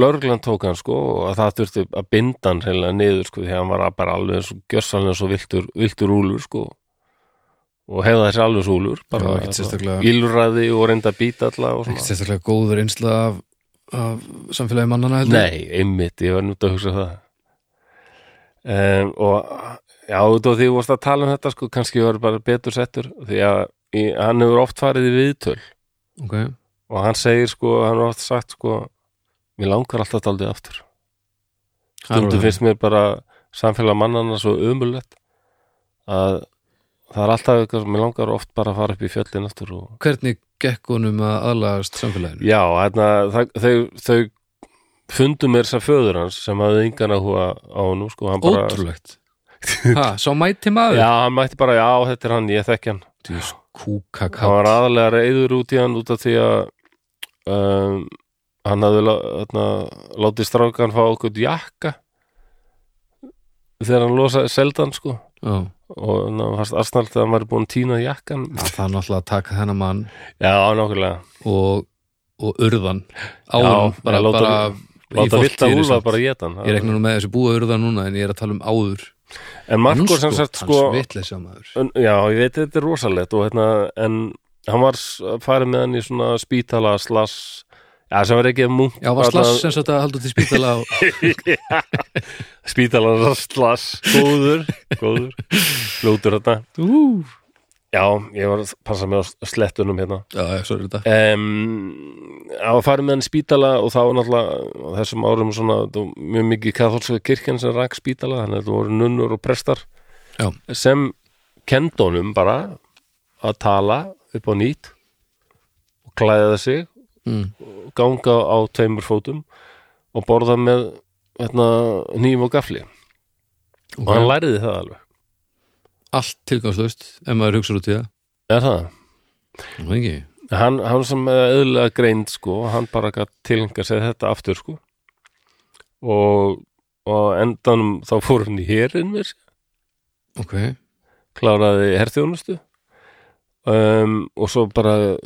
Lörgland tók hann sko og það þurfti að binda hann heila niður sko því að hann var bara alveg svo gjössalega svo viltur, viltur úlur sko og hefða þessi alveg svo úlur
Já,
bara
ekkert sérstaklega-
ílræði og reynda að býta alla og
ekki
svona
sérstaklega góður einsla af, af samfélagi mannana heldur
Nei, einmitt, ég var nút að hugsa það um, og já, út af því þú varst að tala um þetta sko, kannski var bara betur settur því að í, hann hefur oft farið í viðtöl
Ok,
og hann segir sko, hann er oft sagt sko, mér langar alltaf daldið aftur stundum
Alveg.
finnst mér bara samfélag mannana svo umulett að það er alltaf eitthvað sem mér langar oft bara að fara upp í fjöllin aftur og
Hvernig gekk honum að aðlagast samfélaginu?
já, hérna, það, þau, þau fundu mér þess að föður hans sem hafði yngan að húa á nú sko, hann bara,
Ótrúlegt Ha, sá mæti maður?
já, hann mætti bara já, þetta er hann, ég þekki hann
Dís kúkaká
hann var aðalega reyður út í hann út af því að um, hann hafði lá- þarna, látið strákan fá okkur jakka þegar hann losaði seldan sko
Já,
og ná, fast Arsenal þegar hann var búin að týna jakkan
það er náttúrulega að taka þennan mann
já, nákvæmlega
og, og urðan áður,
Já,
bara,
ég láta-
bara í
láta vilt að
fortíðinni
úlfa
samt.
bara geta hann
Ég reikna nú með þessu búa urðan núna en ég er að tala um áður
en Marko sem sagt sko
hans vitleysa maður
en- já, ég veit þetta er rosalegt og hérna, en hann var s- farið með hann í svona spítala slass já, sem var ekki munk
já, var slass sem sagt að haldur til spítala og...
spítala slass, góður góður, fljótur þetta já, ég var að passa mig á slettunum hérna
já, já, svo er þetta
um, að fara með hann í spítala og þá náttúrulega á þessum árum svona, þetta var mjög mikið katholska kirkjan sem rak spítala, þannig að þetta voru nunnur og prestar
já,
sem kendónum bara að tala upp á nýtt og klæða sig
mm.
og ganga á tveimur fótum og borða með hérna, nýjum og gafli og hann
okay.
læriði það alveg
allt tilgangslöst ef maður hugsa út í það
er það?
Nú, ekki.
Hann, hann sem auðlega greind sko, hann bara gætt tilhengar sér þetta aftur sko og, og á endanum þá fór hann í hérinn mér,
ok,
kláraði herþjónustu um, og svo bara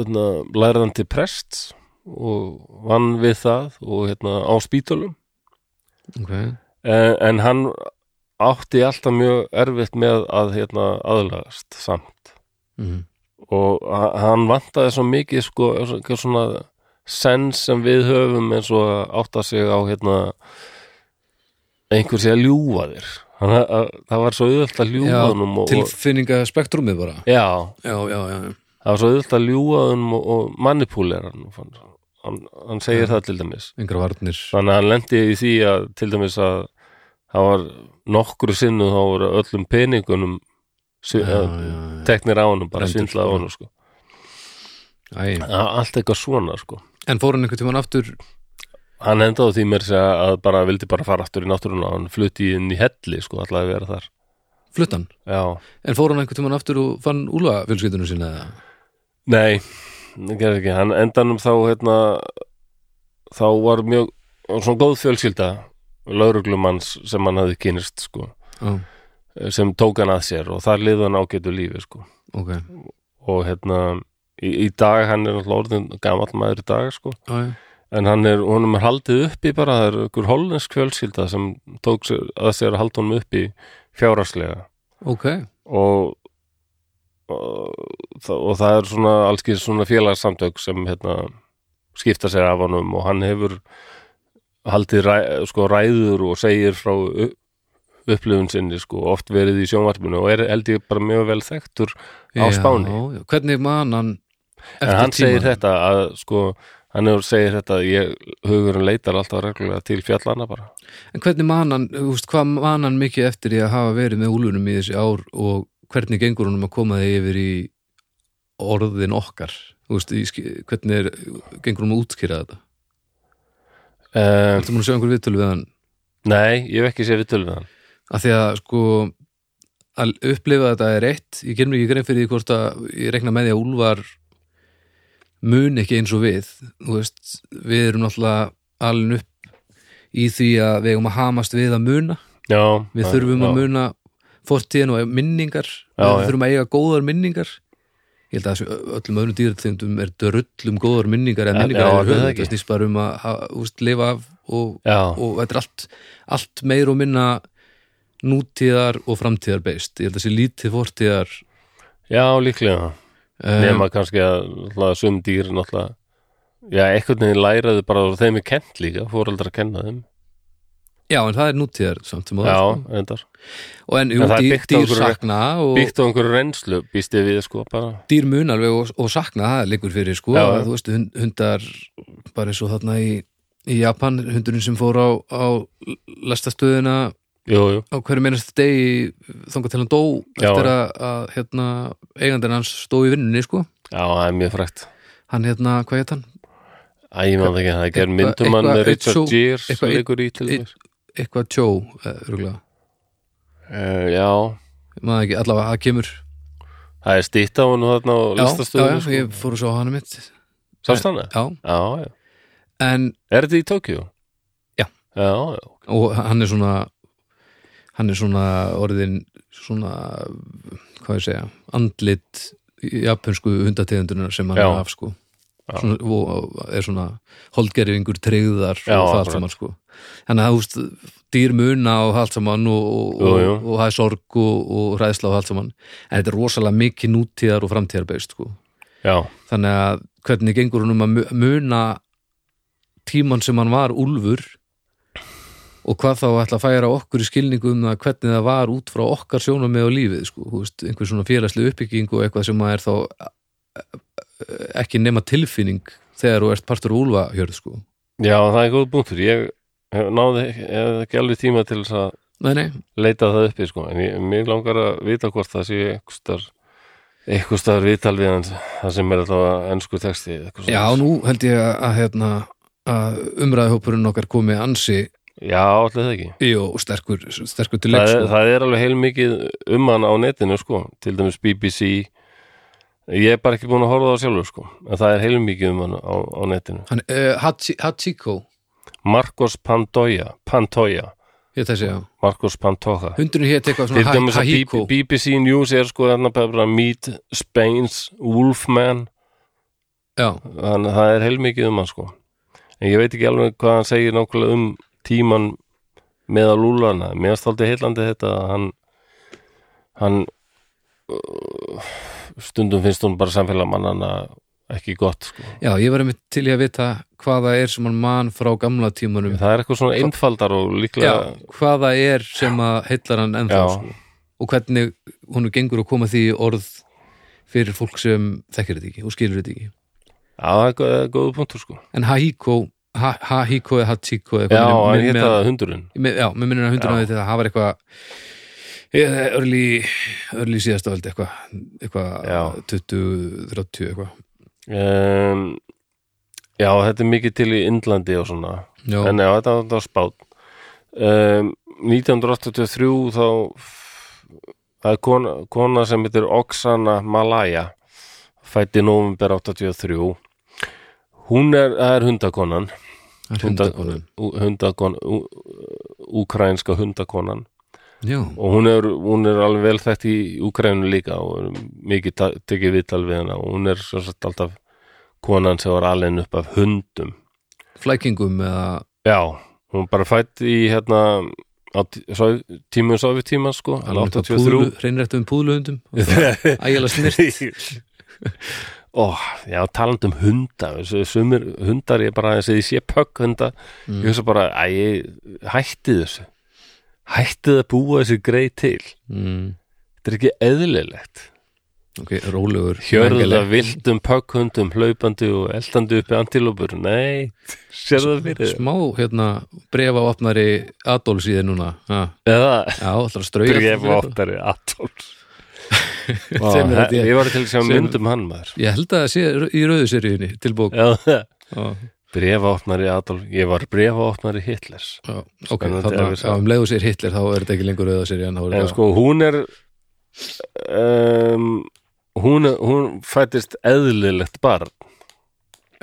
hérna, lærði hann til prest og vann við það og hérna á spítölum
ok
en, en hann átti alltaf mjög erfitt með að hérna aðlagast samt
mm.
og h- hann vantaði svo mikið sko, eitthvað svona sens sem við höfum eins og að átta sig á hérna einhver sé að ljúfa þér hann, að, að, það var svo auðvöld að ljúfa
Já,
honum og, og,
tilfinninga spektrumið bara
já,
já, já, já, já.
það var svo auðvöld að ljúfa honum og, og manipulera hann, fann- hann hann segir það til dæmis
yngra varnir
þannig að hann lendi í því að til dæmis að það var nokkru sinnu þá voru öllum peningunum
já, já,
ja,
já.
teknir á honum bara
Brenndur,
svindlað á
sko.
honum sko.
Æ.
Það var allt eitthvað svona sko
en fór hann einhvern tímann aftur
Hann endaði á því mér segja að bara vildi bara fara aftur í náttúruna hann flutti inn í helli sko allavega að vera þar
fluttan,
Já,
en fór hann einhvern tímann aftur og fann úlfa fjölskyldunum sína eða?
Nei, það gerði ekki hann endanum þá hérna, þá var mjög var svona góð fjölskylda lauruglumanns sem hann hafði kynist sko,
Já,
sem tók hann að sér og þar liði hann ágætu lífi sko.
ok
og hérna í, í dag hann er alltaf orðin gamall maður í dag sko.
Já, já,
en hann er, honum er haldið uppi bara, það er ykkur hollensk fjölskylda sem tók sér, að sér að halda honum uppi fjáraslega
ok
og og, þa- og það er svona allskið svona félagssamtök sem hérna, skipta sér af honum og hann hefur haldið ræ, sko, ræður og segir frá u- upplifun sinni sko, oft verið í sjónvarpinu og er held ég bara mjög vel þekktur á
Já,
Spáni
já. Hvernig man hann
en hann segir
tímann?
þetta að sko, hann hefur segir þetta að ég hugurinn leitar alltaf reglulega til fjallana bara
En hvernig man hann, þú veist, hvað man hann mikið eftir í að hafa verið með úlunum í þessi ár og hvernig gengur honum að koma þig yfir í orðin okkar? Þú veist, í, ski- hvernig er, gengur honum að útskýra þetta?
um,
Þetta múin að sjá einhver viðtölu við hann
nei, ég hef ekki séð viðtölu við hann
að því að sko að upplifa þetta er rétt ég ger mér ekki grein fyrir því hvort að ég rekna með því að Úlfar mun ekki eins og við þú veist, við erum náttúrulega alin upp í því að við eigum að hamast við að muna
já,
við
já,
þurfum
já.
að muna fortíðin og minningar
Já,
við
já.
þurfum að eiga góðar minningar ég held að þessu ö- öllum öðrum dýrategundum er drullum góðar minningar eða
Já,
minningar
já,
eða
er það
höfum
ekki?
þetta snýst bara um að ha- þú veist, lifa af og
já,
og þetta er allt, allt meir og minna nútíðar og framtíðar beist, ég held að sé lítið fortíðar
já, líklega
um,
nema kannski að náttúrulega, sum dýr náttúrulega já, einhvern veginn læraðu bara og þeim er kent líka, fóreldrar að kenna þeim
já en það er nútíðar samt sem áður,
já,
sko.
endar,
og en, jú,
En það er
dýr,
byggt á
dýr
einhverju-
sakna og
byggt á einhverju reynslu býst ég við sko, bara
dýr mun alveg og, og sakna það liggur fyrir sko,
Já,
að,
já.
þú veist, hund- hundar bara eins og þarna í, í Japan hundurinn sem fór á, á lestastöðina
jú, jú,
á hverju meinast degi þangað til hann dó
Já,
eftir
já.
að, að hérna, eigandinn hans stóð í vinnunni sko,
já, það er mjög frægt
hann hérna, hvað hétt hann?
æ, ég maður ekki, það ger
Eitthvað-
myndumann
eitthvað-
Richard
eitthvað-
Gere sem
eitthvað-
leikur í til
eitt-
þess
eitthvað eh, tjó, örgulega
Eh, já,
maður ekki, allavega það kemur
það er stýtt á hann þarna á
já, já, já,
listastöðinu sko.
ég fór að sjá hana mitt
sást hann það?
já,
já, já,
en,
er þetta í Tokjó?
Já.
já, já,
og hann er svona hann er svona orðin svona, hvað ég segja andlit japansku hundategundunar sem hann
Já.
er af sko
Já.
svona, og og er svona holdgerfingur tryggðar
Já,
og það
akkurat.
allt saman sko þannig að þú veist, dýr muna og það allt saman og, og,
Jú, jú.
og, og það er sorg og, og ræðsla og allt saman en þetta er rosalega mikið nútíðar og framtíðarbeist sko
já,
þannig að hvernig gengur hann um að mu- muna tíman sem hann var úlfur og hvað þá ætla að færa okkur í skilningu um það hvernig það var út frá okkar sjónum með á lífið sko, þú veist, einhver svona félagslega uppbygging og eitthvað sem að er þá eh, ekki nema tilfinning þegar þú ert partur úr úlfa hjörð sko.
já, það er góð punktur ég hef náði ekki- hef ekki alveg tíma til þess að
Nei, nei,
leita það uppi sko en ég, mér langar að vita hvort það sé einhverstar einhverstar viðtal við hans það sem er alltaf ennsku texti eitthvað
já,
svoleiðis.
nú held ég að, að hérna að umræðhópurinn okkar komi ansi
já allir það ekki
jó, sterkur, sterkur til leik
það er,
sko.
það er alveg heilmikið um hann á netinu sko til dæmis BBC ég er bara ekki búin að horfa á það sjálfur sko en það er heilmikið um hann á, á netinu
Hann, uh, Hachi, Hachiko
Marcos Pantoja Pantoja,
hétt þessi, já
Marcos Pantoja
Hundurinn hétt eitthvað
til
svona
dæmis
ha-
að
Hahiko
B- BBC News er sko þarna bara Meet Spains Wolfman
Já,
þannig að það er heilmikið um hann sko en ég veit ekki alveg hvað hann segir nákvæmlega um tíman með að lúla hana, mér stolti heillandi þetta að hann hann uh, stundum finnst hún bara samfélagmannana ekki gott sko
já, ég var einmitt til í að vita hvað það er sem hann man frá gamla tímanum
það er eitthvað svona einfaldar og
Já,
líklega
hvað það er sem að heillar hann ennþá
Já.
sko. og hvernig hún gengur að koma því í orð fyrir fólk sem þekkir þetta ekki og skilur þetta ekki
Já, það er gó- það er góðu punktur sko
En Hahiko, ha, Hahiko eða Hachiko eða
Já,
hvað
hann
minnir-
hitta
minnir-
það hundurinn
með, já, með minnur að hundurinn
Já.
að þetta hafa eitthvað eða örlí örlí síðasta völdi eitthvað
Já.
eitthvað 20, 30 eitthvað
um, Já, þetta er mikið til í Indlandi og svona
Já,
en já, þetta var- þetta var spátt um, 1983 þá það er kona, kona sem heitir Oksana Malaya fætt í november 83 hún er, það er hundakonan
Það er hundakonan.
Ú- hundakon, ú- úkrainska hundakonan
Já,
og hún er, hún er alveg vel þekkt í Úkrainu líka og er mikið ta- tekið viðtal við hana og hún er svo sett alltaf konan sem var alveg upp af hundum
flækingum eða
Já, hún var bara fætt í hérna á tí- sov- tímum sofitíma sko,
alveg
alveg
eitthvað púðlu-
83
hreinrættum púðluhundum ægjala snirt
Ó, já, talandi um hunda þessu- sumir hundar, ég bara þess að ég sé pökk hunda, ég hugsa bara æ, ég- hætti þessu hættið að búa þessu greið til
mm.
þetta er ekki eðlilegt
ok, rólegur
hjörða
mængilegt.
vildum pökkhundum hlaupandi og eldandi uppi antilópur nei, sér það fyrir þér?
smá hérna brefa opnari Adolf síðan núna ha,
eða
já, allra strauja
bref áttari Adolf Vá,
Sem er
það-
þetta ég.
ég var til að sjá
Sem-
myndum hann maður
ég held að það sé í rauðu seríunni til bók
Já,
Já,
bréfaopnari Adolf ég var bréfaopnari Hitlers
já, ok,
Spennandi
þannig
að við
að
sjá.
um leiðu sér Hitler þá er þetta ekki lengur rauða seríun þá er
en
þetta-
sko hún er um, hún, hún fættist eðlilegt barn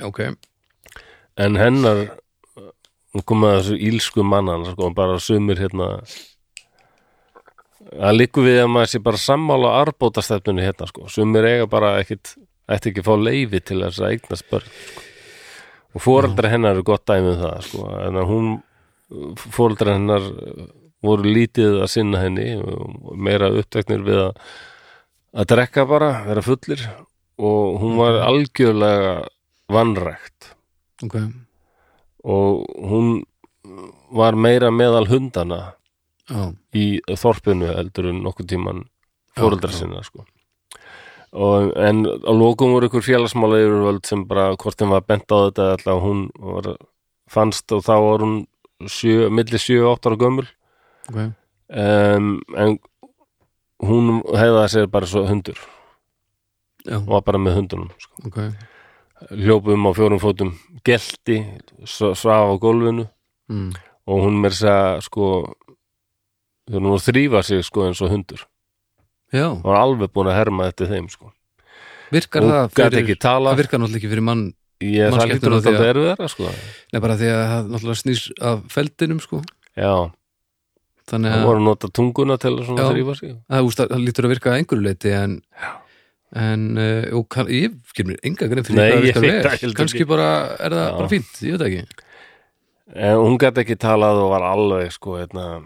ok,
en hennar hún kom að þessu ílsku mannan sko, bara sumir hérna það liggur við að maður sé bara sammála arbótastefnunni hérna sko. sumir eiga bara ekkit ætti ekki að fá leifi til þess að eignast börn sko. og fóreldra hennar eru gott dæmi um það sko. en að hún fóreldra hennar voru lítið að sinna henni og meira uppteknir við að að drekka bara, vera fullir og hún var algjörlega vannrækt
ok
og hún var meira meðal hundana
já,
í þorpinu eldur en nokkuð tíman
Já,
fóreldra
já.
sinna sko. og, en á lokum voru ykkur félagsmála yfirvöld sem bara hvort þeim var bent á þetta alltaf hún var, fannst og þá var hún sjö, milli 7-8 ára gömul
ok
um, en hún hefða sér bara svo hundur
já,
og var bara með hundunum sko.
ok,
hljópum á fjórum fótum gelti, s- svaf á gólfinu
mm.
og hún mér segja sko þegar hún var að þrýfa sig sko eins og hundur
já,
hún var alveg búin að herma þetta þeim sko
virkar
hún
það
gæti
fyrir
ekki tala
það virkar náttúrulega ekki fyrir mann
ég, það
mannskepnuna
lítur að
því að-
þetta er vera sko
Nei, bara því að það náttúrulega snýs af feldinum, sko.
já,
Þannig
hún
að
var að nota tunguna til að svona
Já.
þrýfa sig
það úst að- það lítur að virka að einhverju leiti, en, en uh, og, kann- ég ger mér enga grein fyrir
Nei,
hvað
ég
virkar
veit það
vel.
heldur
Kannski
ekki.
bara, er það
Já.
bara fínt, ég veit það ekki.
en Eh, hún gæti ekki talað og var alveg sko hérna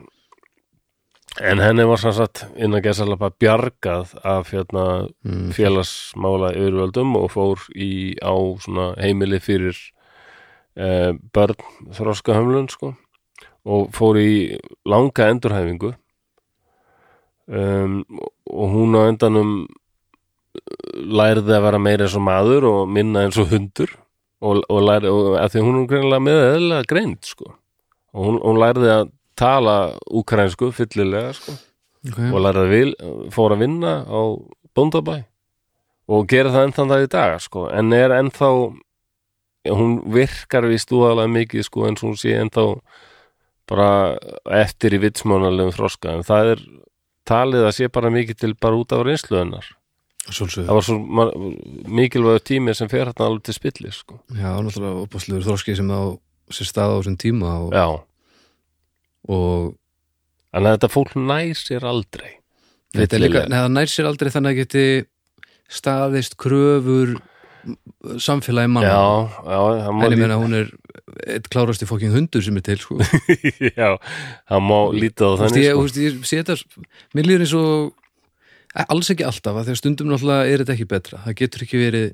en henni var sann satt innan gæsalapa bjargað af hérna
Mm.
félagsmála yfirvöldum og fór í á svona heimili fyrir eh, börn þroskahömlun sko og fór í langa endurhæfingu um, og hún á endanum eh, lærði að vera meira eins og maður og minna eins og hundur og, og lærði, og, að því hún er greinilega með eðlilega greind sko og hún, hún lærði að tala úkransku fyllilega sko
Okay.
og lærði að vil, fór að vinna á bóndabæ og gera það ennþann það í dag sko. en er ennþá já, hún virkar við stúðalega mikið sko, eins og hún sé ennþá bara eftir í vitsmánalegum þroska en það er talið að sé bara mikið til bara út af reynslu hennar
Svolsög.
það var svo mar- mikilvægur tími sem fer hérna alveg til spilli sko.
Já, náttúrulega opaslegur þroski sem á sér stað á þessum tíma og,
já,
og
en þetta fólk nær sér aldrei
þetta er líka,
Fyllilega.
nei, það nær sér aldrei þannig að geti staðist kröfur m- samfélagi
já,
manna.
já, það má
En ég
lí-
meina hún er eitt klárasti fokking hundur sem er til, sko.
já, það má lítið á
Þú veist,
þannig
ég,
sko.
sko. ég sé þetta, mér líður eins og eh, alls ekki alltaf, að þegar stundum náttúrulega er þetta ekki betra, það getur ekki verið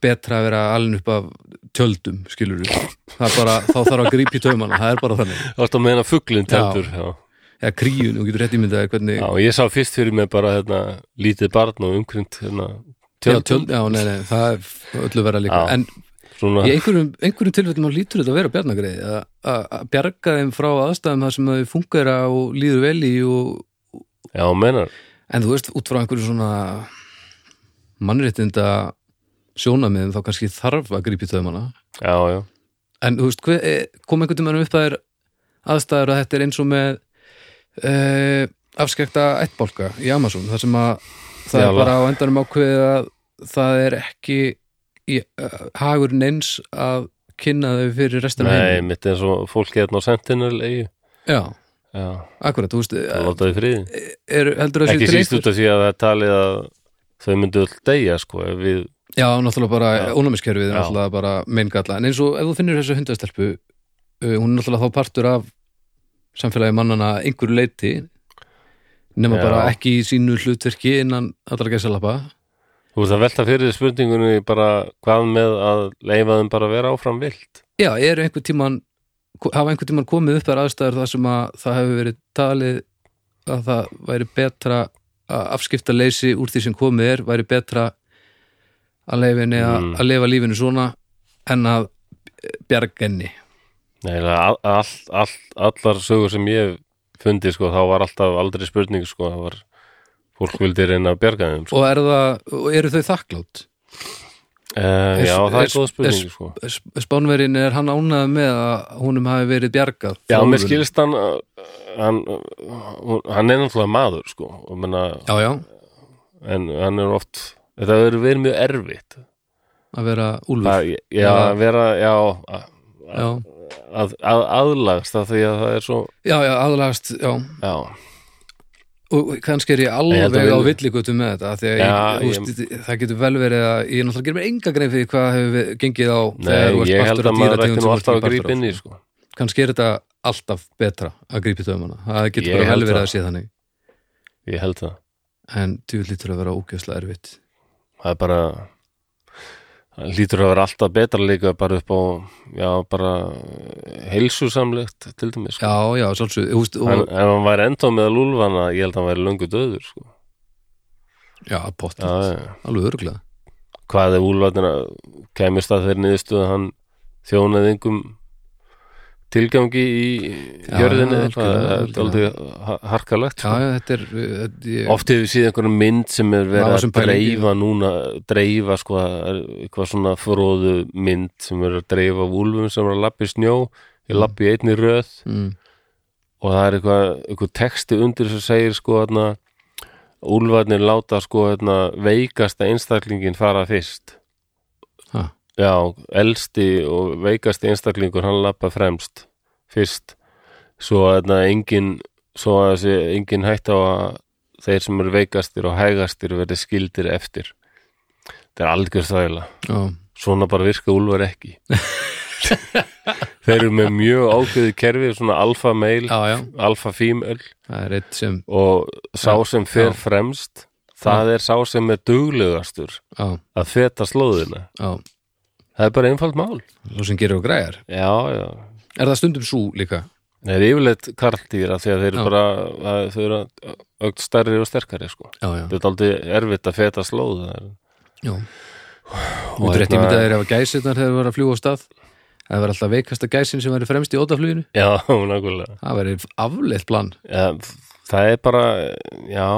betra að vera alin upp af tjöldum, skilur við það er bara, þá þarf að grípa í taumana, það er bara þannig
Þú ert að meina fugglinn tældur já.
eða kríun, þú getur rétt ímyndað þér hvernig
já, ég sá fyrst fyrir mig bara hérna, lítið barn og umkrynd hérna,
Já,
tjöld,
tjöld, já, nei, nei, það er öllu vera líka,
Já.
en
svona,
í einhverjum, einhverjum tilfellum þá lítur þetta að vera bjarnagreið að- að að bjarga þeim frá aðstæðum þar sem þau fungera og líður vel í og,
já, menar
En þú veist, út frá einhverju svona mannréttinda sjónamiðum þá kannski þarf að grípa í taumana
já, já,
en þú veist, hver, eh, kom einhvern tímann upp að þér aðstæður að þetta er eins og með uh, afskekta ættbálka í Amazon þar sem að það
Já,
er
la-
bara á endanum ákveðið að það er ekki í, uh, hagur neins að kynna þau fyrir restina af
Nei,
heiminum.
mitt eins og fólki hérna á sentinel eigi.
Já,
Já,
akkurat, þú veist
það
eh,
látaði friði.
er, heldur það
Ekki síst út af því að það er talið að þau myndu öll deyja, sko, ef við,
Já, náttúrulega bara,
Já.
ónæmiskerfið er
Já.
náttúrulega bara meingalla, en eins og ef þú finnur þessu hundastelpu, uh, hún er náttúrulega þá partur af samfélagi mannana að einhverju leiti nema
Já.
bara ekki í sínu hlutverki innan allra gæsalappa
þú veist að velta fyrir þér spurningunni bara hvað með að leifa þeim bara að vera áfram vilt.
Já, eru einhver tíman hafa einhver tíman komið upp þar aðstæður þar sem að það hefur verið talið að það væri betra að afskipta leysi úr því sem komið er væri betra að leifinni að,
Mm.
að leifa lífinu svona en að bjarga henni
Nei, all, all, all, allar sögur sem ég hef fundið, sko, þá var alltaf aldrei spurning, sko, það var, fólk vildi reyna að bjarga þeim, sko.
og, er það, og eru þau þakklátt
Uh,
Er-
já, það
er-
er góð spurning,
er-
sko.
Sp- Spánverjinn er hann ánæði með að honum hafi verið bjargað
Já,
frá
mér
álfunum.
skilst hann, uh, hann, uh, hann er náttúrulega maður, sko, og menna,
Já, já,
en hann er oft, þetta hefur verið mjög erfitt.
að vera úlfur
Það, já,
Já.
að vera, já, að,
Já,
að, að, aðlagst það því að það er svo,
já, já aðlagast, já
já,
og kannski er ég
Ég held að
alveg á
við-
villigutum með þetta af því að ég,
Já,
ég, úst, það getur vel verið að ég náttúrulega gerir mér enga grein fyrir hvað hefur við- gengið á þegar þú
nei,
ert
ég
partur
held
af
að maður
dýrategund
ætti
sem
nú
þú ert
alltaf
ekki
að grípa
partur
inn í,
af.
sko.
kannski er þetta alltaf betra að grípa í taumana það getur
Ég
bara
held
vel verið
það.
að sé þannig
Ég held það.
en þú lítur að vera ógjöfslega erfitt
Það er bara, það lítur að vera alltaf betra líka bara upp á, já, bara eh, heilsusamlegt, til dæmis, sko.
já, já, svolsug úst,
En,
og,
ef hann væri enda með lúlfana, ég held að hann væri löngu döður sko.
já, pottitt,
já, já.
alveg örgulega
Hvað ef úlfarnir kemist að þeirri niðurstöðu að hann þjónaði engum tilgangi í
Já,
jörðinni
algjörlega,
eitthvað, þetta
algjörlega.
er aldrei harkalegt
já,
sko.
já, þetta er uh, þetta, ég,
Oft hefur síðan einhverjum mynd sem er verið að
Vafasöm pæling í-
dreifa núna, dreifa sko, það er eitthvað svona fróðu mynd sem er að dreifa af úlfum sem er að lappi snjó, ég lappi í einni röð
mm,
og það er eitthvað, eitthvað texti undir sem segir sko hérna úlfarnir láta sko hérna veikasta einstaklingin fara fyrst
ha,
já, elsti og veikasti einstaklingur hann lappa fremst fyrst svo hérna engin svo að þessi engin hætt á að þeir sem eru veikastir og hægastir verði skildir eftir þetta er algjör þvæla
já,
svona bara virka úlfar ekki þeir eru með mjög ákveði kerfi svona alfa meil,
já, já,
alfa female
það er eitt sem
og sá
Já,
sem fer
já.
fremst það er sá sem er duglegastur
já,
að feta slóðina
já,
það er bara einfalt mál
svo sem gerir og græjar
já, já,
er það stundum svo líka
það er yfirleitt karldýra því að þeir eru
Já.
bara að, þau eru ögt stærri og sterkari sko.
já, já,
þetta er aldrei erfitt að feta slóð það er-
já Þú veitur rétt
hérna-
ímyndað þér ef að gæsirnar þegar var að fljúa á stað Það var alltaf veikasta gæsin sem væri fremst í ótafluginu
já, nákvæmlega
Það væri afleitt plan
ja, það er bara, já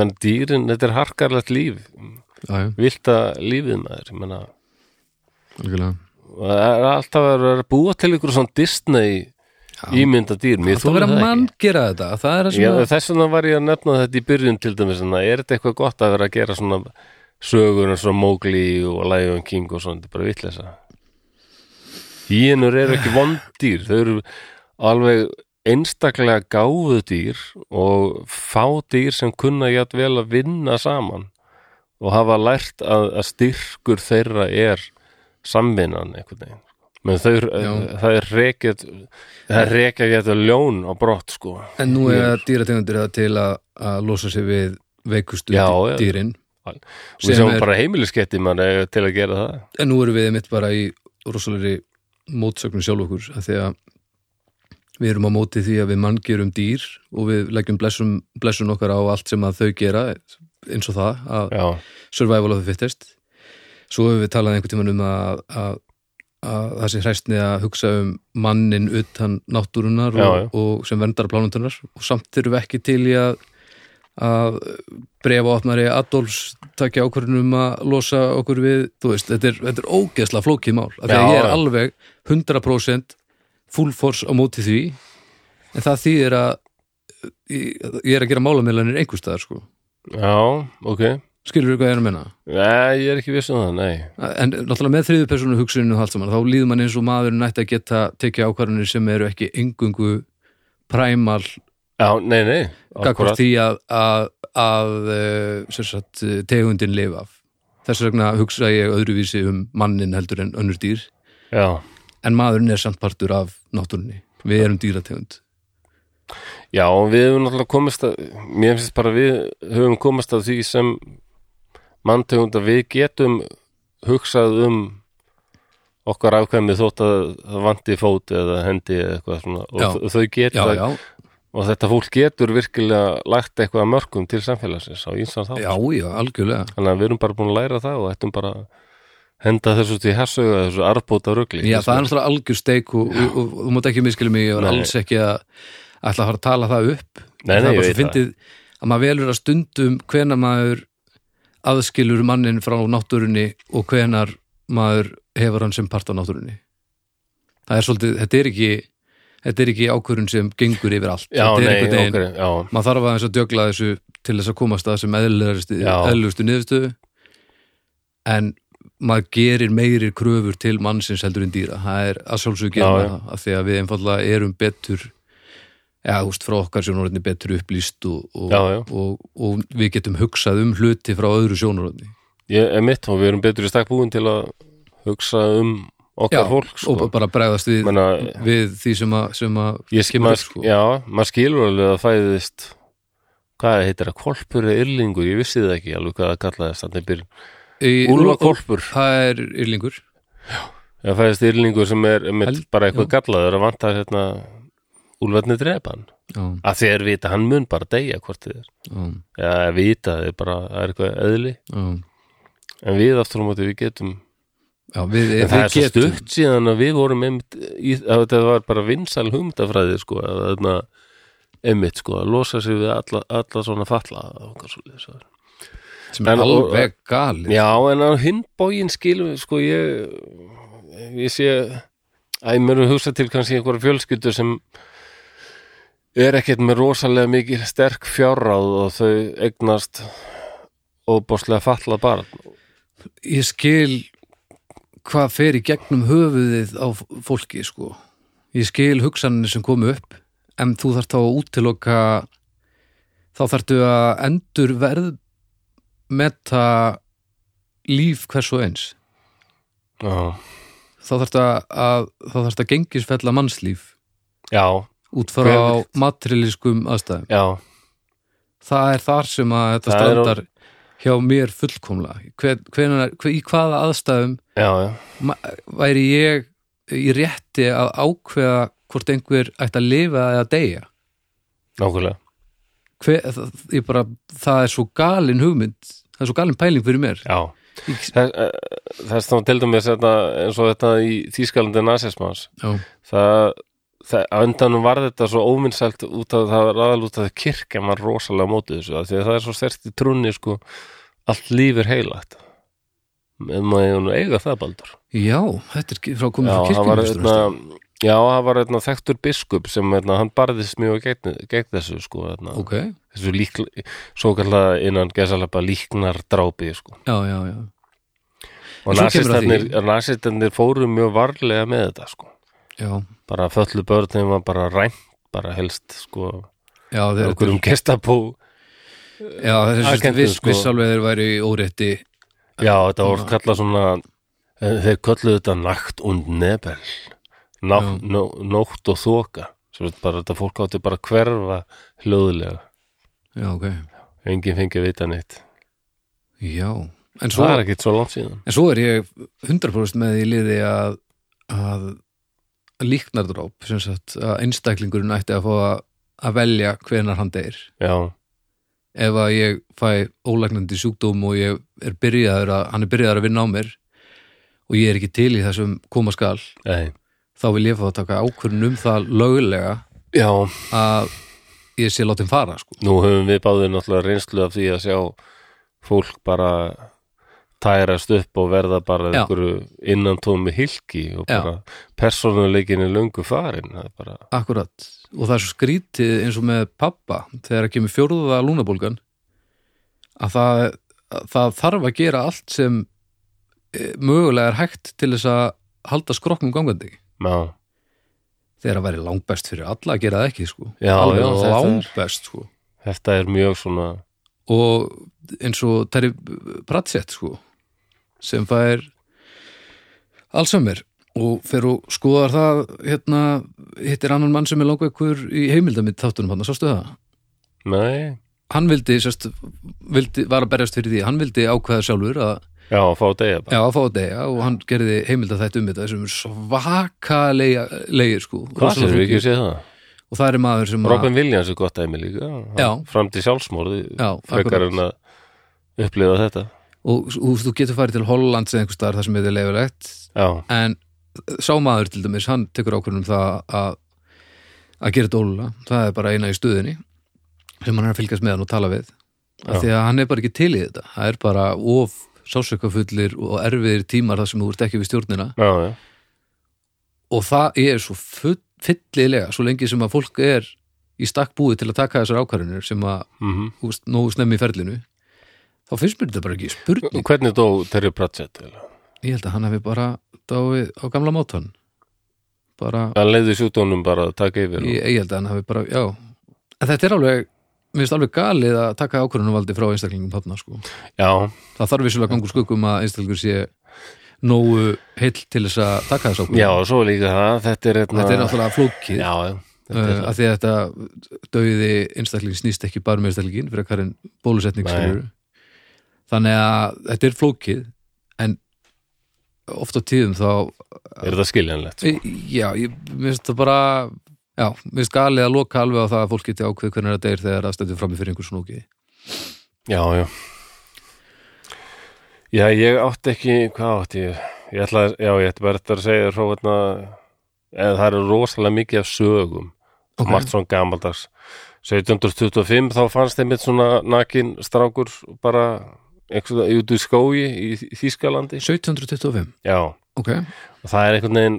menn dýrin, þetta er harkarlegt líf
Já, já,
vilta lífið maður ég menna,
algjörlega
það er alltaf að vera að búa til ykkur svona Disney ímynda dýr mér
Það
þolir
verið að
það ekki.
mann gera þetta Það er það sem
Já,
að
þess vegna var ég að nefna þetta í byrjun til dæmis en er þetta eitthvað gott að vera að gera svona sögur eins og Mowgli og Lion King og svona, þetta er bara vitleysa Hínur eru ekki vondýr, þau eru alveg einstaklega gáðu dýr og fá dýr sem kunna jætt vel að vinna saman og hafa lært að, að styrkur þeirra er samvinnan einhvern veginn menn þau,
Já.
það er rekjað það er rekjað jætt ljón á brott sko
En nú er dýrategundir það til að, að losa sig við veikustu
Já,
dý-
já.
dýrin
Við
sem
sjáum
er-
bara heimilisketti mann eh, til að gera það.
En nú erum við mitt bara í rosalegri mótsögnum sjálf okkur af því að við erum á móti því að við manngerum dýr og við leggjum blessum, blessun okkar á allt sem að þau gera eins og það að
Já,
survival of the fittest svo hefur við talað einhvern tímann um að, að, að það sé hræstni að hugsa um mannin utan náttúrunar og,
Já, já.
og sem verndar plánundunar og samt þurfum við ekki til í að að brefa opnari Adolfs takja ákvörðun um að losa okkur við, þú veist, þetta er, þetta er ógeðsla flókið mál, af því að
Já,
ég er
já.
alveg 100% full force á móti því en það þýðir að ég, ég er að gera málamiðlanir einhverstaðar sko
já, ok.
skilur við hvað ég er að menna
Nei, ég er ekki viss um það, nei
en náttúrulega með þriðu persónu hugsuninu og allt saman, þá líður mann eins og maður nætti að geta tekið ákvarðanir sem eru ekki engungu præmal
Já, nei, nei,
gagvart
akkúrat.
því að, að, að eh, sem sagt, eh, tegundin lifa af þess vegna hugsa ég öðruvísi um mannin heldur en önnur dýr
Já,
en maðurinn er samt partur af náttúrunni við erum dýrategund
já, og við höfum náttúrulega komist að Mér finnst bara við höfum komist að því sem manntegund að við getum hugsað um okkar afkvæmi þótt að það vanti fót eða hendi eða eitthvað svona
Já.
og já. þau
já,
geta,
já,
og þetta fólk getur virkilega lægt eitthvað að mörgum til samfélagsins á ýmsan þá
já, já, algjörlega
þannig að við erum bara búin að læra það og ættum bara að henda þessu til hersauga þessu arbóta rugli
Já, það er náttúrulega algjör steik og, og, og, og þú mátt ekki miskilja mig, ég var
Nei.
alls ekki að ætla að fara að tala það upp
Nei,
það er
nei, ég
bara svo
veit
fyndið að maður velur að stundum hvenar maður aðskilur mannin frá náttúrunni og hvenar maður hefur hann sem part á náttúrunni það er svolítið, þetta er ekki þetta er ekki ákvörun sem gengur yfir allt
já,
þetta er
nei,
einhvern veginn,
okkur, já,
maður þarf aðeins að djögla þessu til þess að komast að þessum eðlustu,
Já.
eðlustu niðurstöðu en maður gerir meiri kröfur til mannsins heldur en dýra það er að sjálfsögur gera
Já,
maður
já.
það af því að við einfallega erum betur eða þú veist frá okkar sjónaröfni betur upplýst og, og,
Já, já.
Og, og við getum hugsað um hluti frá öðru sjónaröfni
ég er mitt og við erum betur í stakk búin til að hugsa um okkar fólk sko.
og bara bregðast við,
Menna,
við því sem að, sem að
ég,
kemur
maður,
upp, sko.
já, maður skilur alveg að fæðist hvað heitir það, kolpur eða yrlingur ég vissi það ekki alveg hvað það kallaðist þannig byrjun,
Í-
úlfakolpur
það er yrlingur
það fæðist yrlingur sem er mitt,
Held-
bara eitthvað gallaður að vanta hérna úlfarnir drepan
já,
að þér vita, hann mun bara deyja hvort þið er
já,
Já, að vita, það er bara, það er eitthvað eðli
já,
en við aftur á móti við getum
já við,
en það
við
er svo stutt síðan að við vorum einmitt, í, að þetta var bara vinsal hugmyndafræði sko, að þarna einmitt sko, að losa sig við alla, alla svona falla já,
sem er
En- og-
alveg galið
en á hinbógin skilum við, sko, ég ég sé að mér er hugsa til kannski einhverja fjölskyldur sem er ekkert með rosalega mikið sterk fjárráð og þau eignast óbáslega falla barn
ég skil hvað fer í gegnum höfuðið á f- fólki sko ég skil hugsanir sem komu upp en þú þarft þá að útiloka þá þarftu að endur verð metta líf hvers og eins
já,
þá þarftu að, að þá þarftu að gengisfella mannslíf
já,
út frá
Hver-
materialiskum aðstæðum
já.
það er þar sem að þetta
Það er á-
strandar hjá mér fullkomlega hver, hver, hver, í hvaða aðstæðum
Já, já,
ma- væri ég í rétti að ákveða hvort einhver ætti að lifa eða deyja
nákvæmlega
Hver, það, ég bara, það er svo galin hugmynd það er svo galin pæling fyrir mér
Já,
Ég-
Þess- eh, þess þá til dæmis þetta, eins og þetta í Þýskalandi nasismans
já,
það, það, á endanum var þetta svo óvinnsælt út af það var aðal út af að kirkja var rosalega á móti þessu, af því að það er svo stert í trunni sko, allt líf er heilægt en maður nú eiga það baldur
já þetta er ekki frá komið frá
það var
kirkjum
einna, já, það var einna þektur biskup sem einna, hann barðist mjög gegn, gegn þessu sko, einna,
ok,
þessu lík, svo kallega innan gesalapa líknar drápi sko
já, já, já
og
En svo kemur að
nasistarnir, nasistarnir fóru mjög varlega með þetta sko.
já,
bara föllu börnum var bara rænt bara helst sko
já þeir,
okkur um gestapú
já, þeir
Agentum,
sérst viss,
sko.
viss alveg þeir væri í órétti
já þetta voru kallað svona eh, þeir kölluðu þetta nátt und nebel Ná,
Já.
nó, nótt og þoka Svo þetta bara, þetta fólk átti bara að hverfa hljóðlega,
já, ok,
enginn fengi að vita neitt
já en svo,
það er ekkert svo langt síðan
en svo er ég 100% með í liði að, að líknardróp sem sagt að einstaklingurinn ætti að fá að, að velja hvenar hann deyr
já,
ef að ég fæ ólæknandi sjúkdóm og ég er byrjaður að, hann er byrjaður að vinna á mér og ég er ekki til í þessum koma skal
nei,
þá vil ég fá að taka ákvörun um það lögulega
já
að ég sé látin fara sko.
Nú höfum við báðið náttúrulega reynslu af því að sjá fólk bara tærast upp og verða bara
Já.
einhverju innan tómi hilki og
Já.
bara persónuleikin er löngu farin það er bara,
akkurat og það er svo skrítið eins og með pappa þegar að kemur fjórða lúnabólgan að það það þarf að gera allt sem eh, mögulega er hægt til þess að halda skrokkum gangandi
já,
þegar að væri langbest fyrir alla að gera það ekki sko.
Já,
alveg
já, þetta er-
langbest sko.
þetta er mjög svona
og eins og Terry Pratchett sko, sem fær allsömmir og fer og skoðar það hérna, hittir annan mann sem er langveikur í heimildamitt þáttunum hann, sástu það?
nei,
Hann vildi, sérst, vildi, var að berjast fyrir því, hann vildi ákveða sjálfur að
já, fá degja bara
Já, að fá að deyja og hann gerði heimildar þetta um þetta sem er svakalega leigir sko
hvað
Rosalega
sér við
flókið.
ekki að sé það?
og það er maður sem að,
Robin Williams er gott dæmi líka
Já.
fram til sjálfsmorði
já,
frekar
akkurat.
en að upplifa þetta
og þú veist, þú getur farið til Hollands eða einhvers staðar þar sem þetta er leifilegt
já,
en sá maður til dæmis, hann tekur ákvörðunum það að að gera dóla, það er bara eina í stuðinni sem hann er að fylgjast með hann og tala við af
Já.
því að hann er bara ekki til í þetta það er bara of sásökafullir og erfiðir tímar þar sem þú ert ekki við stjórnina
já, já,
og það er svo full, fyllilega svo lengi sem að fólk er í stakk búið til að taka þessar ákvarðunir sem að
mhm
þú veist, nógu snemmi í ferlinu þá finnst mér þetta bara ekki spurning
Hvernig dó Terry Pratchett? eiginlega?
ég held að hann hefði bara dáið á gamla mátan bara,
Hann leiði sjúkdónum bara að taka yfir og-
ég, ég held að hann hefði bara já, en þetta er alveg mér finnst alveg galið að taka ákvarðunum valdi frá einstaklingum þarna sko,
Já,
það þarf vissulega gangur skuggum um að einstaklingur sé nógu heill til þess að taka þess ákvarðunum
já, og svo líka það Þetta er hérna-
þetta er náttúrulega flókið
Já, já, þetta
uh,
er það.
að því að þetta dauði einstakling snýst ekki bara um með einstaklingin fyrir að hverjum bólusetning
Nei.
skilur þannig að þetta er flókið en oft á tíðum þá
er þetta skiljanlegt sko?
e, já, ég mér finnst það bara já, mér finnst galið að loka alveg á það að fólk geti ákveð hvernig það deyr þegar það stendur frammi fyrir einhver snúki
Já, já Já, ég átti ekki, hvað átti ég? Ég ætla að, já, ég ætti bara eftir að segja þér svo hérna eða það eru rosalega mikið af sögum
Ok.
margt svona gamaldags 1725 þá fannst einmitt svona nakin strákur bara einhverjum út úr skói í Þýskalandi
1725,
Já,
ok
og það er einhvern veginn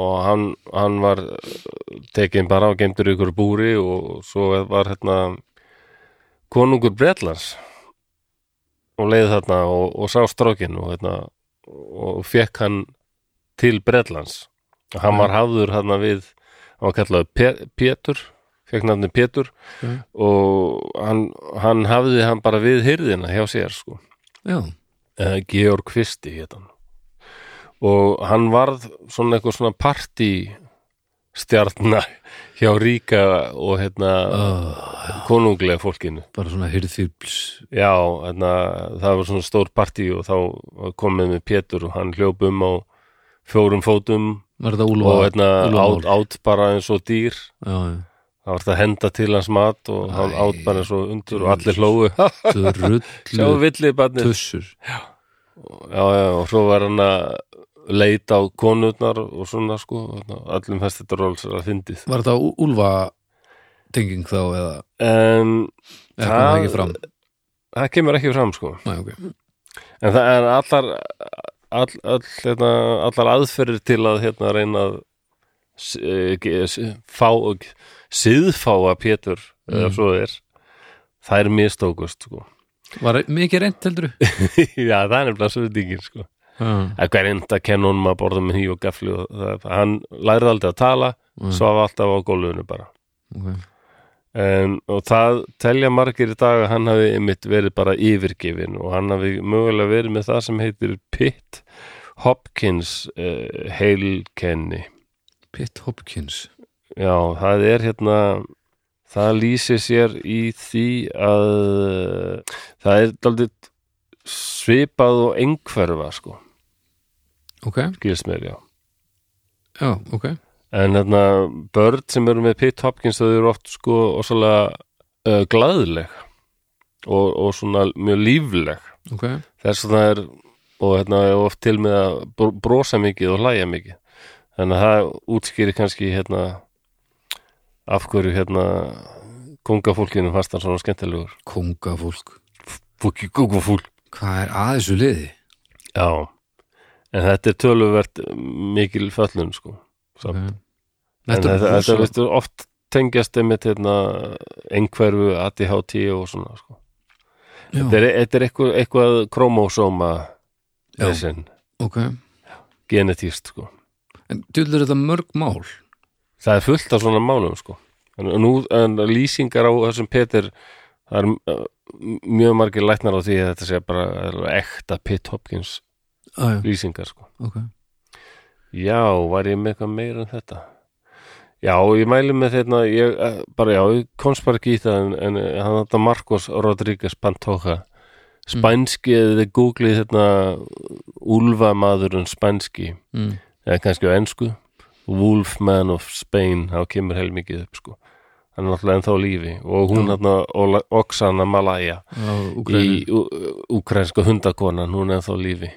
og hann, hann var uh, tekinn bara og geimtur ykkur búri og svo var hérna konungur Bretlands og leiði þarna og, og sá strókin og hérna og fekk hann til Bretlands og hann var hafður hérna við hann var kallaður Pe- Pétur fekk nafni Pétur
Já.
og hann, hann hafði hann bara við hirðina hjá sér sko
já,
uh, Georg Kvisti hétt hann og hann varð svona eitthvað svona partistjarna hjá ríka og hérna
Ah.
konunglega fólkinu
bara svona hyrðfýrbls
já, hérna, það var svona stór partí og þá komið með Pétur og hann hljóp um á fjórum fótum
var þetta úlfa,
og hérna
úlfamál?
átt, átt bara eins og dýr
já, já.
það var þetta að henda til hans mat og hann
Æ.
átt bara eins og undur og allir hlógu sjáu
drullu
villið barnið
tussur
já, já, og svo var hann að leita á konurnar og svona sko, þarna, allum fæst þetta róls að fyndið
var þetta úlfa tenging þá eða
en
eða kom
Það-
það ekki fram
það kemur ekki fram sko
Næ, okay.
en það er allar all, all, hérna, allar aðferðir til að hérna reyna að s- eh, ge- s- fá síðfáa Pétur eða
Mm.
svo það er það er mistókust sko
var e- mikið reynd heldur
já, það er nefnilega svolítið sko að hver enda kenna honum að borða með hý og gafli og það, hann lærði aldrei að tala
Mm.
svo var alltaf á gólfinu bara
okay.
um, og það telja margir í dag að hann hafi einmitt verið bara yfirgefin og hann hafi mögulega verið með það sem heitir Pitt Hopkins uh, heilkenni
Pitt Hopkins
já, það er hérna það lýsir sér í því að það er daldið svipað og einhverfa sko,
ok,
skilst mér, já
já, ok
En hérna, börn sem eru með Pitt Hopkins þau eru oft sko ósalega uh, glaðleg og, og svona mjög lífleg
ok,
þess að það er og hérna er oft til með að br- brosa mikið og hlæja mikið þannig að það útskýri kannski hérna af hverju hérna kongafólkinu fannst hann svona skemmtilegur
kongafólk
Fúki kongafólk
hvað er að þessu liði?
Já, en þetta er töluvert mikil föllun sko Samt.
Okay.
En
Þetta,
þetta,
er
þetta
rosa-
veistu, oft tengjast einmitt hérna, einhverfu ADHD og svona sko.
Já.
þetta er, þetta er eitthvað, eitthvað kromosóma
Já.
þessin,
ok
genetíst sko.
en djúlur þetta mörg mál
það er fullt af svona málum sko. en, nú, en lýsingar á þessum Peter það er uh, mjög margir læknar á því að þetta sé bara alveg ekta Pitt Hopkins
ah, já,
lýsingar sko.
ok
já, var ég með eitthvað meira en þetta já, ég mæli með þetta ég, eh, bara já, ég komst bara ekki í það en, en eh, hann þetta Marcos Rodríguez Pantoja spænski, mm. eða googlið þetta úlfamaðurinn spænski
mm.
eða kannski á ennsku Wolfman of Spain þá kemur heilmikið upp sko hann er náttúrulega ennþá á lífi og hún hann Ola- Oksana Malaya
á Ukraínu
í ukrainska hundakonan hún er ennþá á lífi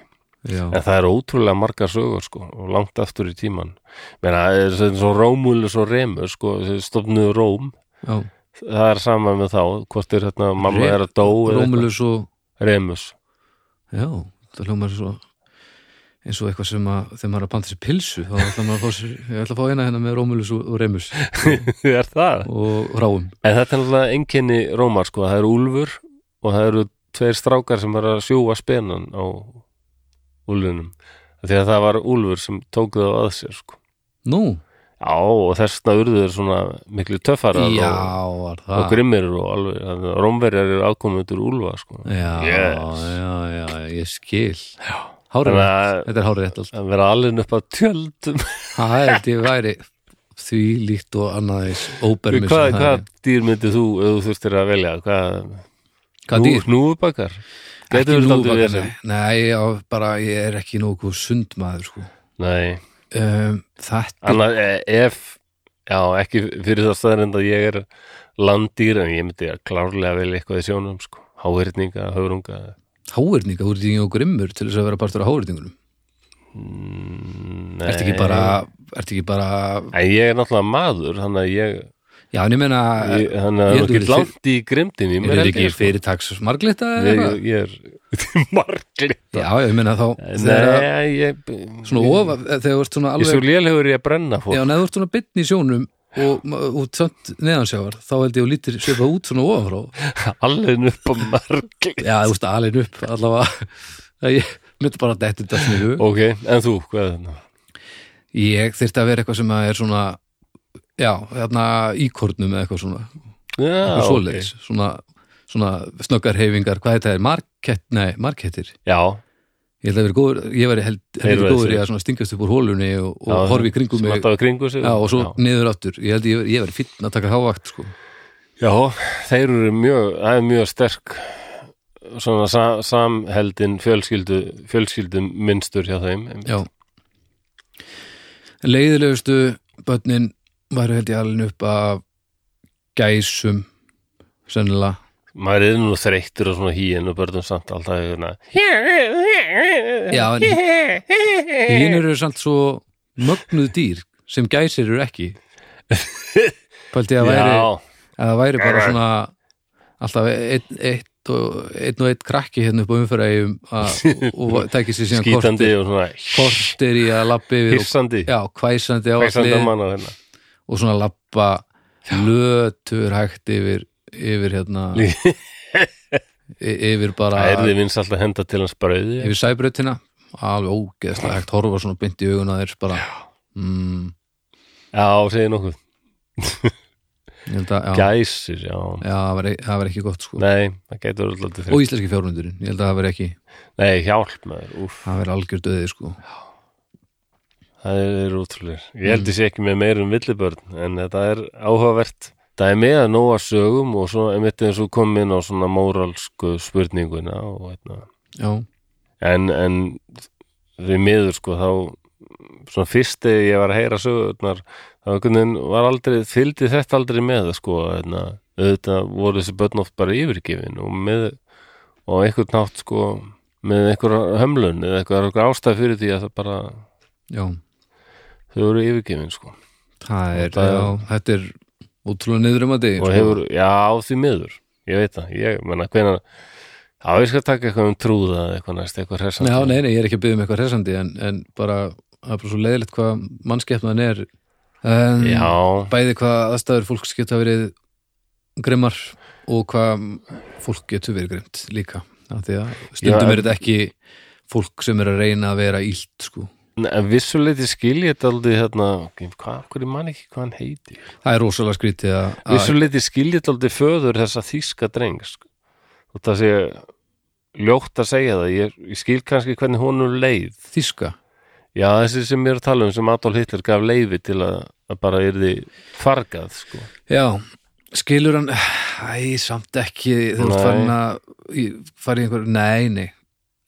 já,
en það er ótrúlega margar sögur sko og langt aftur í tíman menna það er svona svo Rómulus og Remur sko stofnuðu Róm
já.
það er sama með þá hvort er hérna mamma
Re-
er að dó eða eitthvað.
Rómulus og
Remus
já, það hljómar svo eins og eitthvað sem að þegar maður er að panta sér pilsu þá ætla maður að fá sér, ég ætla að fá eina hérna með Rómulus og, og Remus
er það?
og Ráum
En þetta er náttúrulega einkenni rómar sko, það eru úlfur og það eru tveir strákar sem eru að sjúga spenan á úlfunum því að það var úlfur sem tók þau að sér sko.
nú,
Já, og þess vegna urðu þeir svona miklu töffarar
já,
og,
var
og
það
grimmir og alveg, rómverjar eru afkomendur úlfa sko.
já,
Yes.
já, já, ég skil
Já.
hárið,
Þannig að-
þetta er hárið alltaf
Það vera alveg upp að tjöldum
það er þetta ég væri því líkt og annað eins óbermis
Hvað hva dýr myndið þú ef þú þurftir að velja? Hvað,
hvað dýr?
Núfubakar? Gætu
Ekki
verið
nógu
daldið
bara-
verið?
nei, já, bara ég er ekki nógu sundmaður sko.
Nei
um, þetta
Annað, e- ef, já, ekki fyrir það staðarind að ég er landýr en ég myndi að klárlega velja eitthvað í sjónum, sko, háhyrninga, höfrunga
háirninga, þú ert ekki og grimmur til þess að vera partur af háirningunum
mm,
Ertu ekki
nei.
bara, ertu ekki bara
En ég er náttúrulega maður, þannig að ég,
Já, en ég meina
ég þannig
ég
að
held
þú
þú
get
verið
langt í grimdin í
Er
mér
þetta
held
ekki
ég, sko.
fyrirtags marglita?
Ég, ég, ég er marglita
Já, já, ég meina þá þegar að-
Nei, ég
Svona
ég-
ofa, þegar þú ert svona
Ég er svo
alveg
lélegur í að brenna fólk
Já, en ef þú ert svona bytn í sjónum og ma- út samt neðansjávar þá held ég að þú lítir svipa út svona ofanfrá
alveg upp á marglita
Já, þú veist alveg upp allavega Það ég myndi bara að detti þetta sem ég
Ok, en þú, hvað er þetta?
Ég þyrfti að vera eitthvað sem að er svona Já, þarna íkornum eða eitthvað svona
Já,
eitthvað
ok
svoleiðis, svona, svona snöggar hefingar, hvað þetta er, markett, nei, markettir
Já,
ég held að vera góður, ég veri held, held
Heyrðu
góður í
þessi.
að svona stingast upp úr hólunni og, og
Já,
horfi í kringum mig
smattaðu kringu sig
já, og svo
Já.
niður aftur, ég held að ég, veri- ég veri fínn að taka hávakt, sko,
Já, þeir eru mjög, það er mjög sterk svona sa samheldin fjölskyldu, fjölskyldum minnstur hjá þeim.
já leiðilegustu börnin væri held ég alveg upp að gæsum sennilega
Maður er nú þreyttur og svona híin og börnum samt alltaf hérna.
já, en
Eh.
hinn eru samt svo mögnuð dýr sem gæsir eru ekki pælti að væri
Já,
að það væri bara svona alltaf einn ein, og einn og einn krakki hérna upp á umfyrægjum og tækir sér síðan
skítandi
kortir,
og svona
kortir í að lappi við og,
hýrsandi,
já, hvæsandi á
hýrsandi
allir
mann á hérna.
og svona lappa lötur hægt yfir yfir hérna
Lí-
y- yfir bara
Það er þið vins alltaf henda til hans brauði.
yfir sæbrautina alveg ógeðslega hægt horfa svona bynd í augun að þeir bara mm,
Já, segir nokkuð.
ég held að, já,
Gæsir, já.
já það væri- það verði ekki gott sko
Nei, það getur alltaf til
og
þreytt.
íslenski fjármundurinn, ég held að það verði ekki
Nei, hjálp maður, úf.
það verði algjör döðið sko
Það er útrúleir. Ég held ég sé ekki með meir um villibörn en þetta er áhugavert. Það er með að nóa sögum og svo einmitt eins og kom inn á svona móralsku spurninguna og hérna.
já,
En, en við miður sko þá svona fyrst þegar ég var að heyra sögurnar þá einhvern veginn var aldrei, fylgdi þetta aldrei með sko hérna. Auðvitað voru þessi börn oft bara yfirgefin og með og einhvern nátt sko með einhverja hömlun eða eitthvað, eitthvað ástæð fyrir því að það bara
já
þau voru yfirgefin sko.
Það er,
Það er-
já, þetta er útrúlega niðrum að sko. degi
og hefur, já, því miður ég veit það, ég menna hvenær já, ég skal taka eitthvað um trúða eða eitthvað næst, eitthvað hressandi
Já, nei, nei, ég er ekki að byggja um eitthvað hressandi en, en bara, það er bara svo leiðilegt hvað mannskeppnaðan er um,
já,
Bæði hvað aðstæður fólks geta verið grimmar og hvað fólk getur verið grimt líka af því að stundum
Já,
er þetta ekki fólk sem er að reyna að vera ílt sko.
Nei, En vissuleiti skil ég þetta aldrei hérna, ok, hvað, hverju mann ekki hvað hann heiti?
það er rosalega skrítið að, að
Vissuleiti skil ég þetta aldrei föður þessa þýska dreng, sko. Og það sé ljótt að segja það, ég, ég skil kannski hvernig honum leið.
þíska
Já, þessi sem ég er að tala um sem Adolf Hitler gaf leiði til að, að bara yrði fargað, sko.
Já, skilur hann Æ, samt ekki þú ert
Nei.
farin að í- fara í einhver, nei, nei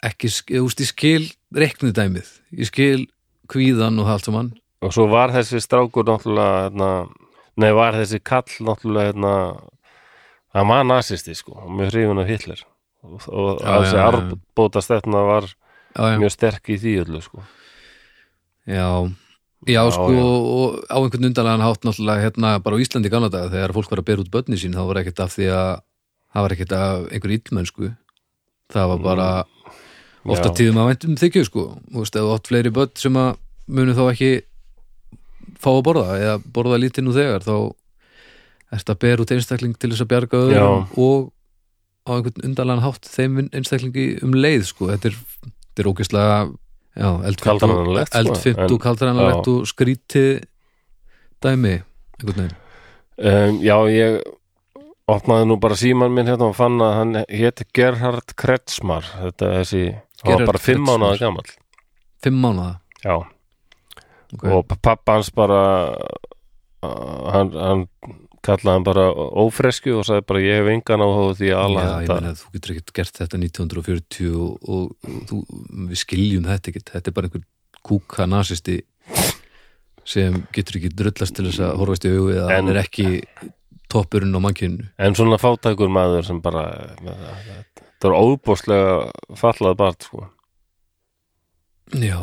ekki, sk- þú veist, ég skil reknudæmið, ég skil kvíðan og það allt saman
Og svo var þessi strákur náttúrulega, hérna, nei, var þessi kall náttúrulega, hérna, hann var nasisti, sko, og mjög hrifun af Hitler. Og, og
Já,
að þessi
já, já.
arbóta stefna var
Já, já,
mjög sterk í því öllu, sko.
já, já
Já,
sko,
já.
og á einhvern undanlegan hátt náttúrulega hérna bara á Íslandi í gamla daga þegar fólk var að bera út börni sín, þá var ekkert af því að það var ekkert af einhver illmennsku það var bara ofta
Já.
tíðum að væntum þykju sko þú veist, eða oft fleiri börn sem að munu þá ekki fá að borða eða borða lítið nú þegar þá ert að bera út einstakling til þess að bjarga öðrum og á einhvern undanlegan hátt þeim einstaklingi um leið sko þetta er, þetta er ógeðslega já, eldfimt og,
Kaldranalegt, sko,
eldfimt
en-
og kaldranalegt og skrítið dæmi einhvern veginn
Um, já, ég opnaði nú bara síman minn hérna og fann að hann hétt Gerhard Kretzmar, þetta er þessi, hann
Gerhard
var bara fimm
Kretschmar.
mánuða gamall.
fimm mánuða
Já.
okay.
og pappa hans bara uh, hann, hann kallaði hann bara ófresku og sagði bara ég hef engan áhuga á því að ala
Já, ég
um þetta
meina þú getur ekkert gert þetta 1940 og, og, og þú, við skiljum þetta ekkert, þetta er bara einhver kúka nasisti sem getur ekki drullast til þess að horfast í augu eða
En-
hann er ekki toppurinn á mannkynnu
en svona fátækur maður sem bara með, þetta er óbúslega fallað bart sko
Já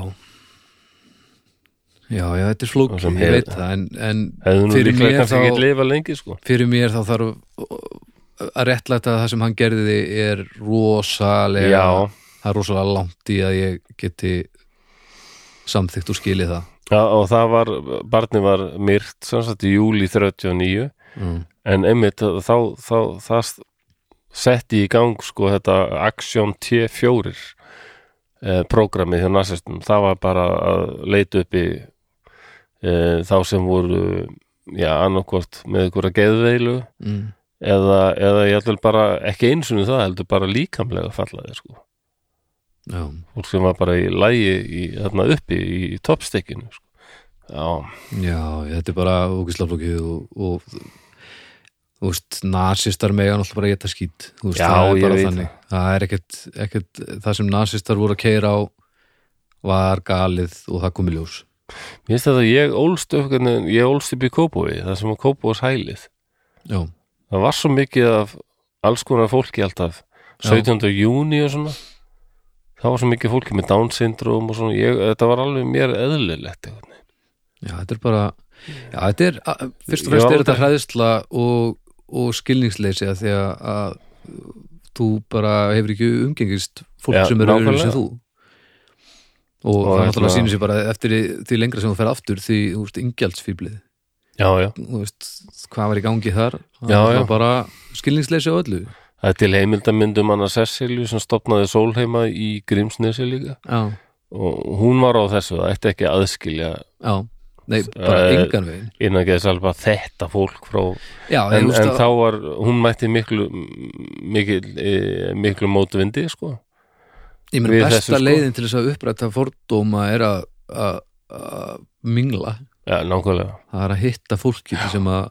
Já, já, þetta er flók
Og
ég
sem hefur-
veit það, en, en
hefði nú
Fyrir mér
líklega kannski
þá-
ekki lifa lengi sko
fyrir mér þá þarf að réttlæta að það sem hann gerði er rosalega
Já.
það er rosalega langt í að ég geti samþykkt og skilið það
ja, og það var, barni var myrt sem sagt í júli 39
mm.
en einmitt þá, þá, þá það setti í gang sko þetta Action T4 eh, programmið hjá nasistum það var bara að leita upp í eh, þá sem voru já, annarkvort með ykkur að geðveilu
Mm.
eða, eða ég ætlum bara ekki einsunni það heldur bara líkamlega fallaði sko
Já,
fólk sem var bara í lægi í, þarna uppi í, í toppstekkinu sko. já,
já, þetta er bara ógislega flókið og, og þú veist, nasistar mega náttúrulega bara geta skýt þú veist,
Já,
það er
ég
bara
veit
þannig það, er ekkert, ekkert, það sem nasistar voru að keira á var galið og það komið ljós
mér finnst þetta að ég ólst upp hvernig- ég ólst upp í Kópói, það sem var Kópóis hælið
Já,
það var svo mikið af alls konar fólki alltaf 17. júni og svona það var svo mikið fólki með Down syndrom og svona, ég, þetta var alveg mér eðlilegt einhvern veginn.
já, þetta er bara já, þetta er, a- fyrst og
Ég
fremst
var
er þetta
aldrei-
hræðisla og, og skilningsleysi að því að, að þú bara hefur ekki umgengist fólk
Já,
sem er öðru
nákvæmlega.
sem þú og,
Og
það náttúrulega
hérna-
sýnir sér bara eftir því- því lengra sem þú fer aftur því, þú veist, ingjaldsfýblið
já, já,
þú veist, hvað var í gangi þar það
Já,
var
já.
bara skilningsleysi á öllu
það er til heimildamyndum hana Cecilju sem stopnaði Sólheima í Grímsnesi líka
já,
og hún var á þessu, það ætti ekki að aðskilja
já, nei, bara
Eh,
engan veginn
innan ekki þess alveg að þetta fólk frá,
já,
en,
þú veist
en
að-
þá var hún mætti miklu miklu, miklu mótvindi sko,
ég meina
við
besta
þessu, sko.
leiðin til þess að uppræta fordóma er að- að að mingla
já, nákvæmlega
það er að hitta fólki sem að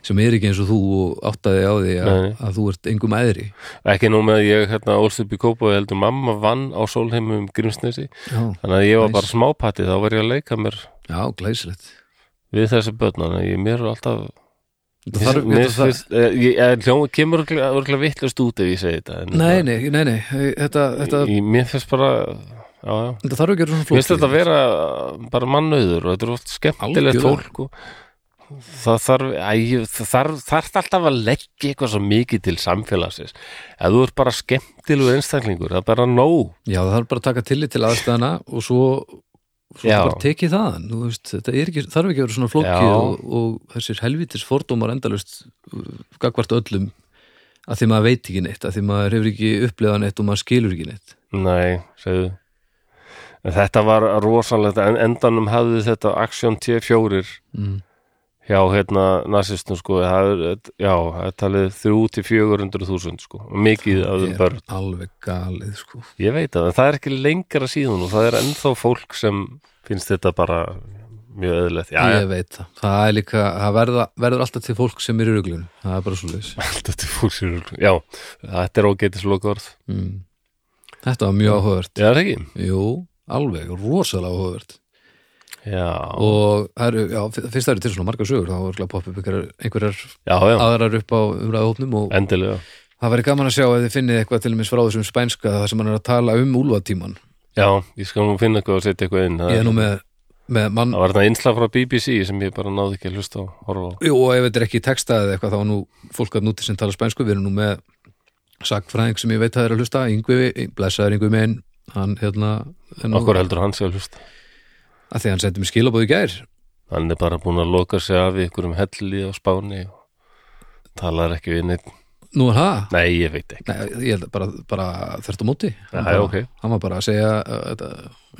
sem er ekki eins og þú og áttaði á því að,
Nei.
að þú ert engum æðri
ekki nú með að ég hérna ólst upp í Kópa og heldur mamma vann á Sólheimum um Grímsnesi
já,
þannig að ég var
Næs.
bara smápatti þá var ég að leika mér
já glæsilegt
við þessi börn þannig að ég mér er alltaf
Þetta þarf-
mér
þetta þarf-
finnst eh, ég- eh, hljóma kemur örgulega vittlust út ef ég segi þetta en
nei, nei, nei, nei þetta, þetta,
ég, mér finnst bara já, já.
þetta þarf ekki að vera svona
mér finnst
flókið
þetta að vera bara mannauður og þetta er oft skemmtilegt
Algjörlega.
fólk og það þarf, æ, ég- það þarf, þarf alltaf að leggja eitthvað svo mikið til samfélagsins ef þú ert bara skemmtilegur einstaklingur það er bara nóg
já, það þarf bara að taka tillit til aðstæðana og svo, svo
Já.
bara tekið það þú veist, þetta er ekki, þarf ekki að vera svona flókið
Já.
og, og þessir helvitis fordómar endalust uh, gagvart öllum að því maður veit ekki neitt, að því maður hefur ekki upplegað neitt og maður skilur ekki neitt
Nei, segðu En þetta var rosalegt en endanum hafði þetta Action T4
mm.
hjá hérna nazistum sko það er, já, það er talið 3-400.000 sko, og mikið af þeim
Ég er
börn
alveg galið sko
Ég veit að það er ekki lengra síðan og það er ennþá fólk sem finnst þetta bara mjög eðlilegt Já,
ég veit það, það er líka það verða, verður alltaf til fólk sem er í ruglun það er bara svo leis
Alltaf til fólk sem eru- Já, þetta er ógetisloka orð
mm. þetta var mjög áhugavert
Já, það er ekki
jú, alveg, rosalega áhugavert
Já,
og það eru, já, fyr- fyrst það eru til svona margar sögur þá er ekki að poppa upp einhverjar, einhverjar
já, já,
aðrar upp á umræðahópnum og
endilega
það væri gaman að sjá ef þið finnið eitthvað til mér frá þessum spænska það sem hann er að tala um úlfatíman
Já, ég skal nú finna eitthvað og setja eitthvað inn
ég er
Það,
nú með, með mann
það var þetta innslag frá BBC sem ég bara náði ekki að hlusta á horfa á
Jú, og ef þetta er ekki textað eða eitthvað þá er nú fólk að núti sem tala spænsku við erum nú með sagfræðing sem ég veit að það er að hlusta yngvi, blessaður yngvi minn hann hérna er nú,
Okkur heldur hann sé að hlusta
að því hann sendi mér skilabóð í gær
Hann er bara búin að loka sig af í einhverjum helli á Spáni og talar ekki við neitt
nú er það
Nei, ég veit ekki
Nei, ég held að bara, bara þvert á móti hann,
Já, já,
bara,
ok.
hann var bara að segja uh, þetta,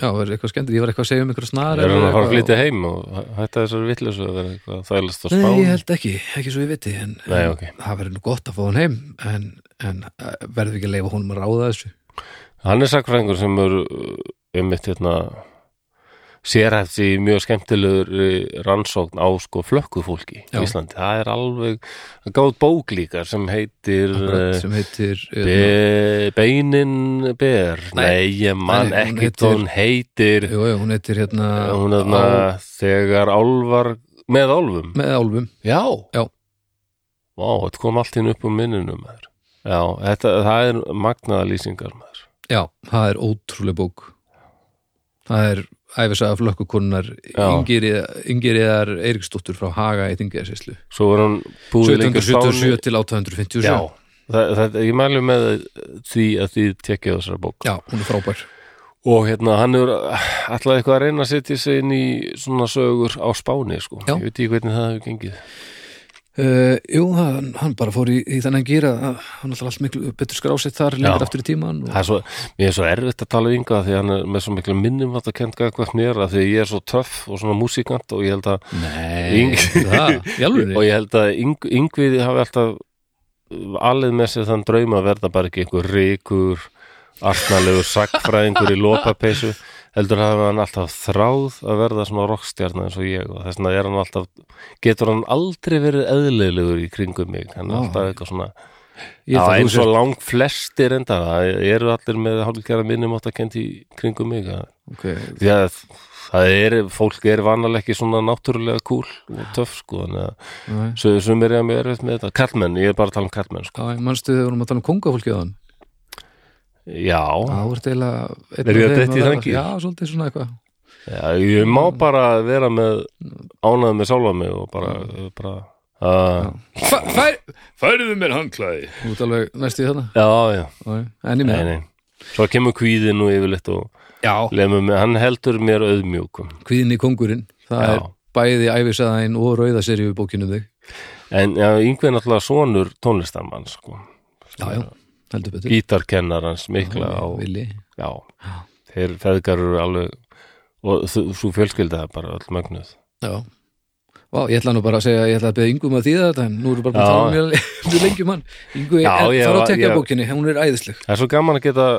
já, er eitthvað skemmt, ég var eitthvað að segja um eitthvað snar
Er hann að fara að flytja heim og hætta þessari vitleysu að vera eitthvað að þælast á
Nei,
Spáni
ég held ekki, ekki svo ég viti en,
Nei,
en
ok.
það verður nú gott að fá hann heim en, en uh, verður við ekki að leifa honum að ráða þessu
Hann er sakfræðingur sem er um mitt hérna sérhæft í mjög skemmtilegur rannsókn á sko flökkufólki
Já.
í Íslandi. Það er alveg það gáð bók líka sem heitir
Akkurat,
eh,
sem heitir hérna,
Be, Beinin ber
Nei.
Nei, ég
Nei,
man
nei, hún
ekki
heitir-
hvað hún heitir
Jú, jú, hún heitir hérna
hún er þarna
Á-
þegar álvar með álfum
með álfum
Já,
Já.
Vá, þetta kom allt inn upp um minnunum maður. Já, þetta, það er magnaða lýsingar maður.
Já, það er ótrúlega bók Það er æfisaga flökkukonunnar
Já.
Ingeriðar Eiríksdóttur frá Haga Eitingarsýslu
Svo er hann búið líka á Spáni
777 til 857
Já, það, það, ég mælu með því að því tekja þessara bók
Já, hún er frábær
og hérna hann er alltaf eitthvað að reyna að setja sig inn í svona sögur á Spáni sko,
Já.
ég veit ekki hvernig það hefur gengið
uh, Jú, hann, hann bara fór í, í þannig að gera hann alltaf allt miklu betur skrásett þar lengur aftur í tíman
það
og,
er svo, mér er svo erfitt að tala ynga því að hann er með svo miklu minnum að það kent gækvægt mér að því að ég er svo töff og svona músikant og ég held að
Nei,
Yng-
það, í
og
alveg
ég held að yng, yngviði hafi alltaf alveg með sér þann draum að verða bara ekki einhver ríkur artnalegur sakfræðingur í lopapeysu heldur hafi hann alltaf þráð að verða svona rockstjarna eins og ég og þess vegna er hann alltaf getur hann aldrei verið eðlilegur í kringum mig hann er
Vá.
alltaf eitthvað svona
Ég
já,
held að þú
eins og
sér
lang flestir enda það eru allir með hálfkjara minnum átt að kendi í kringum mig það-
okay.
því að það er, fólk er vanalega ekki svona náttúrulega kúl og töff sko, þannig að
nei.
Svo sem er ég að mjög erfitt með þetta Kallmenn, ég er bara að tala um kallmenn sko.
Já, manstu þegar við vorum að tala um kongafólkið á hann
Já,
Já, þú ert eiginlega
Er ég að detta í þann gír?
Já, svolítið svona eitthvað
já, ég má bara vera með ánað með sála mig og bara, bara uh,
Fæ, fær,
Færiðu mér handklæði
Þú ert alveg næstu í þarna
Já, já,
Já, En ég
nei,
með
nei Svo kemur kvíðin og yfirleitt og
Já,
lemur mig, hann heldur mér auðmjúkum
kvíðin í kongurinn Það
Já.
er bæði æfisaðin og rauða serið í bókinum þig
En já, yngveð náttúrulega sonur tónlistamann sko.
Já, já, heldur betur
Gítarkennarans mikla á,
Vili
Já, þeir feðgar eru alveg og þú- svo fjölskylda það bara öll mögnuð
Já Vá, ég ætla nú bara að segja, ég ætla að beða Ingu um að þýða þetta en nú eru bara búin að
Já.
tala um mér mjög lengi um hann Ingu, en
Já, ég
það er að
var-
tekja
ég-
bókinni, hún er æðisleg
Það er svo gaman að geta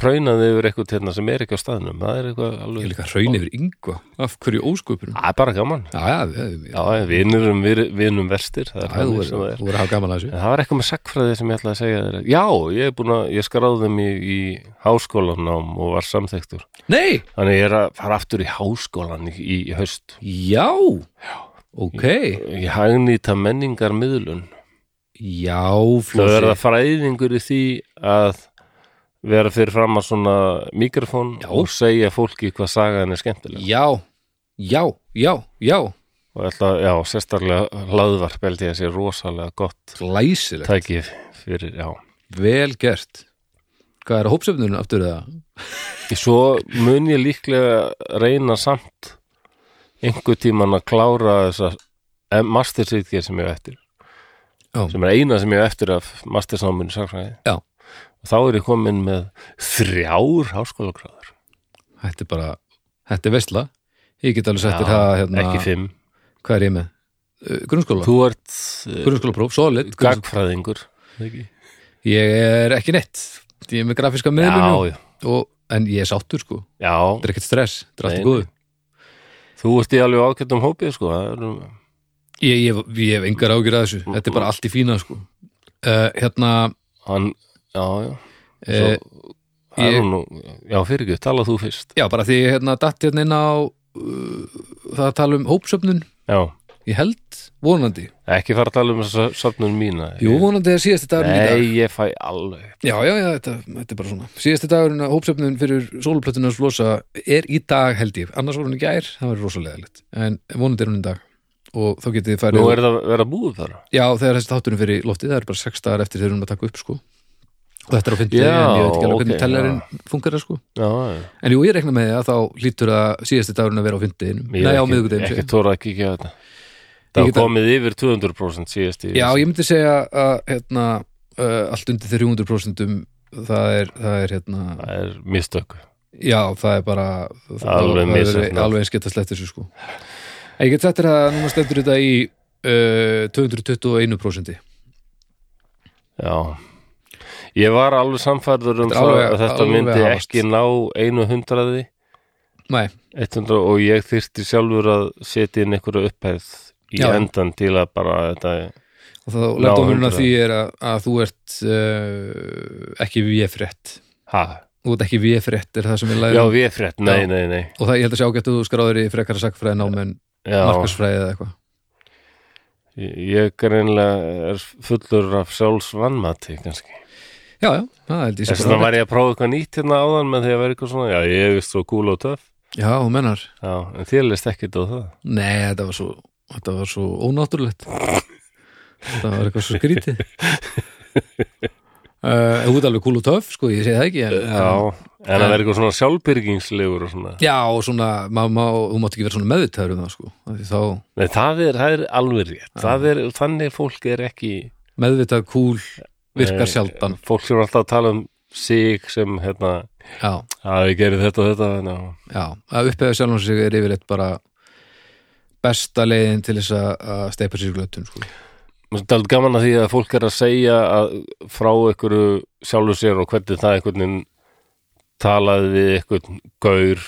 hraunað yfir eitthvað hérna sem er ekki á staðnum það er eitthvað
Ég
alveg,
líka hraun yfir Ingu, af hverju ósköpunum
það er bara gaman
Já, já, við- við-
já, vinur um vinum verstir það er
já, þú
þannig
verður
sem það er
þú verður að hafa gaman að
en það var eitthvað með sagfræði sem ég ætlaði að segja þér já, ég er búin að, ég skráði mig í háskólanám og var samþektur
þessu Nei,
þannig ég er að fara aftur í háskólan í, í, í haust
já Ok,
ég hagnýta menningar miðlun
já,
það
flósi
verða fræðingur í því að vera fyrir fram að svona mikrofón
Já.
og segja fólki hvað sagan er skemmtileg
Já, já, já, já
og ætla, já, sérstaklega hlaðvarp held ég að sé rosalega gott
Glæsilegt,
tæki fyrir, já
vel gert Hvað er að hópsöfnurinn aftur það?
svo mun ég líklega reyna samt eh, einhver tíman að klára þessa mastersýtgeir sem ég á eftir
Já.
sem er eina sem ég á eftir af mastersnáminu sakfræði
Já.
og þá er ég komin með þrjár háskólagráður
Þetta er bara, þetta er veistla Ég get alveg settir
Já,
það hérna,
ekki fimm
Hvað er ég með? Uh, Grunnskóla,
þú ert uh,
grunnskólapróf, solid grunnskóla.
gagfræðingur er það ekki?
Ég er ekki neitt Ég er með grafíska miðlum
já, já,
og, En ég er sáttur sko,
já
þetta er ekkert stress Þetta er allt
Nei,
í góðu
þú ert í alveg ágættum hópið sko það eru
ég, ég, ég hef engar ágjur að þessu Þetta er bara allt í fína sko uh, Hérna
hann, já, já Eh,
uh,
Svo, það
ég-
er nú, já, fyrir ekki, tala þú fyrst
Já, bara því ég hérna datt hérna inn á uh, það að tala um hópsöfnun
já,
Ég held, vonandi
ekki fara að tala um þessa söfnun mína
Jú, vonandi er síðasti dagur í dag
nei, ég fæ alveg
Já, já, já, þetta, þetta er bara svona Síðasti dagurinn að hópsöfnun fyrir sóluplötunars flosa er í dag held ég annars voru hún í gær, það var rosalega leitt en vonandi er hún í dag og þá getið þið
nú
farið
er það að vera búið þar
Já, þegar þessi þátturinn fyrir loftið það er bara sex dagar eftir þegar hún að taka upp sko og þetta er á fyndið
Já,
en ég veit ekki alveg hvernig
ok,
tellarinn funkar það sko
já, já
En jú, ég rekna með því að þá lítur að síðasti dagurinn að vera á fyndið
Ég
Nei, á miðvikudeginu
ekki
segi ég.
tóra að kíkja á þetta
get
það
að-
var komið yfir 200% síðast í
Já, ég myndi segja að hérna, uh, allt undir 300% það er, það er hérna
það er mistök
Já, það er bara það- það
Alveg
er
misjafnt.
Alveg eins geta slett þessu sko En ég get þetta að núna stendur þetta í uh, 221%
já ég var alveg samfærður um
Þetta er
það
alveg-
að þetta
alveg
myndi
hafast.
ekki ná einu hundraði
Nei,
100 og ég þyrfti sjálfur að setja inn einhverju upphæð í
Já.
endan til að bara þetta
og þá lærdomurinn að
100.
því er að, að þú ert uh, ekki véfrétt
ha,
Þú ert ekki véfrétt er það sem ég
já
læri
við er frétt, nei,
Um, Já.
nei, nei
og það ég held að sjá ágætt að þú skráður í frekara sakfræði námen
já,
markarsfræði eða eitthvað
ég ég greinlega er fullur af sjálfsvannmati kannski
Já, já, það held ég
Þess
sem
vegna var ég að prófa eitthvað nýtt hérna áðan með því að vera eitthvað svona, já ég er vist svo cool og töff
Já, þú mennar
Já, en þér leist ekkert á það
Nei, þetta var svo, þetta var svo ónáttúrulegt Þetta var eitthvað svo skrítið uh, Þú ert alveg kúl og töff, sko, ég segi það ekki en,
en að vera eitthvað svona sjálfbyrgingslegur og svona
já og svona, maður má, þú mátt ekki vera svona meðvitaður um það, sko af því Þá
Nei, það er, það er alveg rétt Það er, þannig fólk er ekki
meðvitað kúl virkar sjaldan
Fólk sem er alltaf að tala um sig sem hérna,
Já,
að ég gerir þetta og þetta en, já.
já, að upphefða sjálfum sig er yfirleitt bara besta leiðin til þess að- að steipa sér í glötun, sko
Mér er alveg gaman að því að fólk er að segja að frá einhverju sjálfu sér og hvernig það einhvern veginn talaði við einhvern gaur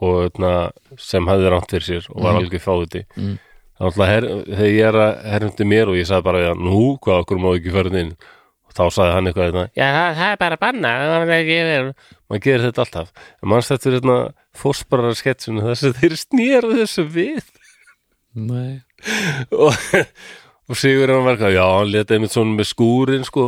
og öðna, sem hafði rámt fyrir sér og
Mhm.
var algjör fáti
Mm.
Þannig að her- þegar ég er að herfndi mér og ég sagði bara, já, nú, hvað okkur má ekki fara inn og þá sagði hann eitthvað þetta, já, það, það er bara að banna það er ekki verið maður gerir þetta alltaf, en hérna, mann stættur þetta fórsparar sketsinu þess að þeir snýru þessu við
Nei
og, og Sigur hann verka já, hann leta einmitt svona með skúrin sko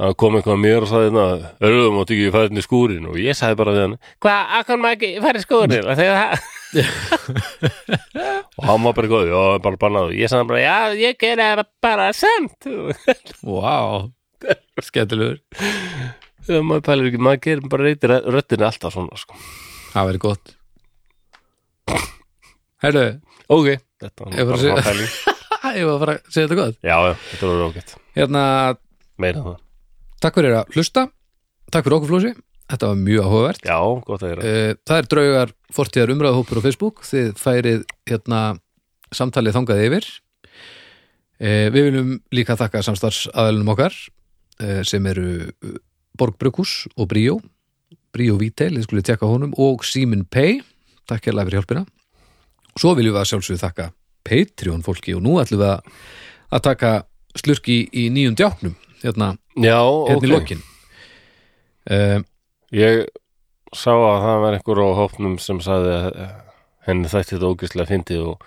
hann kom einhvað mér og sagði hérna örðum átt ekki fæðin í skúrin og ég sagði bara við hann hvað, akkur maður ekki færi skúrin og þegar það og hann var bara góð, já, bara bannað ég sagði bara, já, ég gerði það bara samt
Vá, skemmtilegur
þegar maður pælir ekki, maður gerir bara reytir röddinu alltaf svona sko.
Það verið gott Herru,
ok, þetta
Ég bara
var bara
sé-
svona pæling
ég var að fara að segja þetta gott
já, já, þetta var rákett,
Hérna,
meira um það
takk fyrir að hlusta Takk fyrir okkur flósi, þetta var mjög áhugavert
já, gott að gera,
Eh, Það er draugar fortíðar umræðahópur á Facebook Þið færið hérna samtalið þangað yfir Eh, Við viljum líka þakka samstarfsaðalunum okkar eh, sem eru Borgbrukus og Bríó Bríó Vítel, þið skulið tekka honum og Simin Pay, takk hérlega fyrir hjálpina Svo viljum við að sjálfsögðu þakka Patreon fólki og nú ætlum við að að taka slurki í nýjum djáknum hérna,
já,
hérna
ok
í lokin uh,
Ég sá að það var einhver á hópnum sem sagði að eh, henni þætti þetta ógislega fyndið og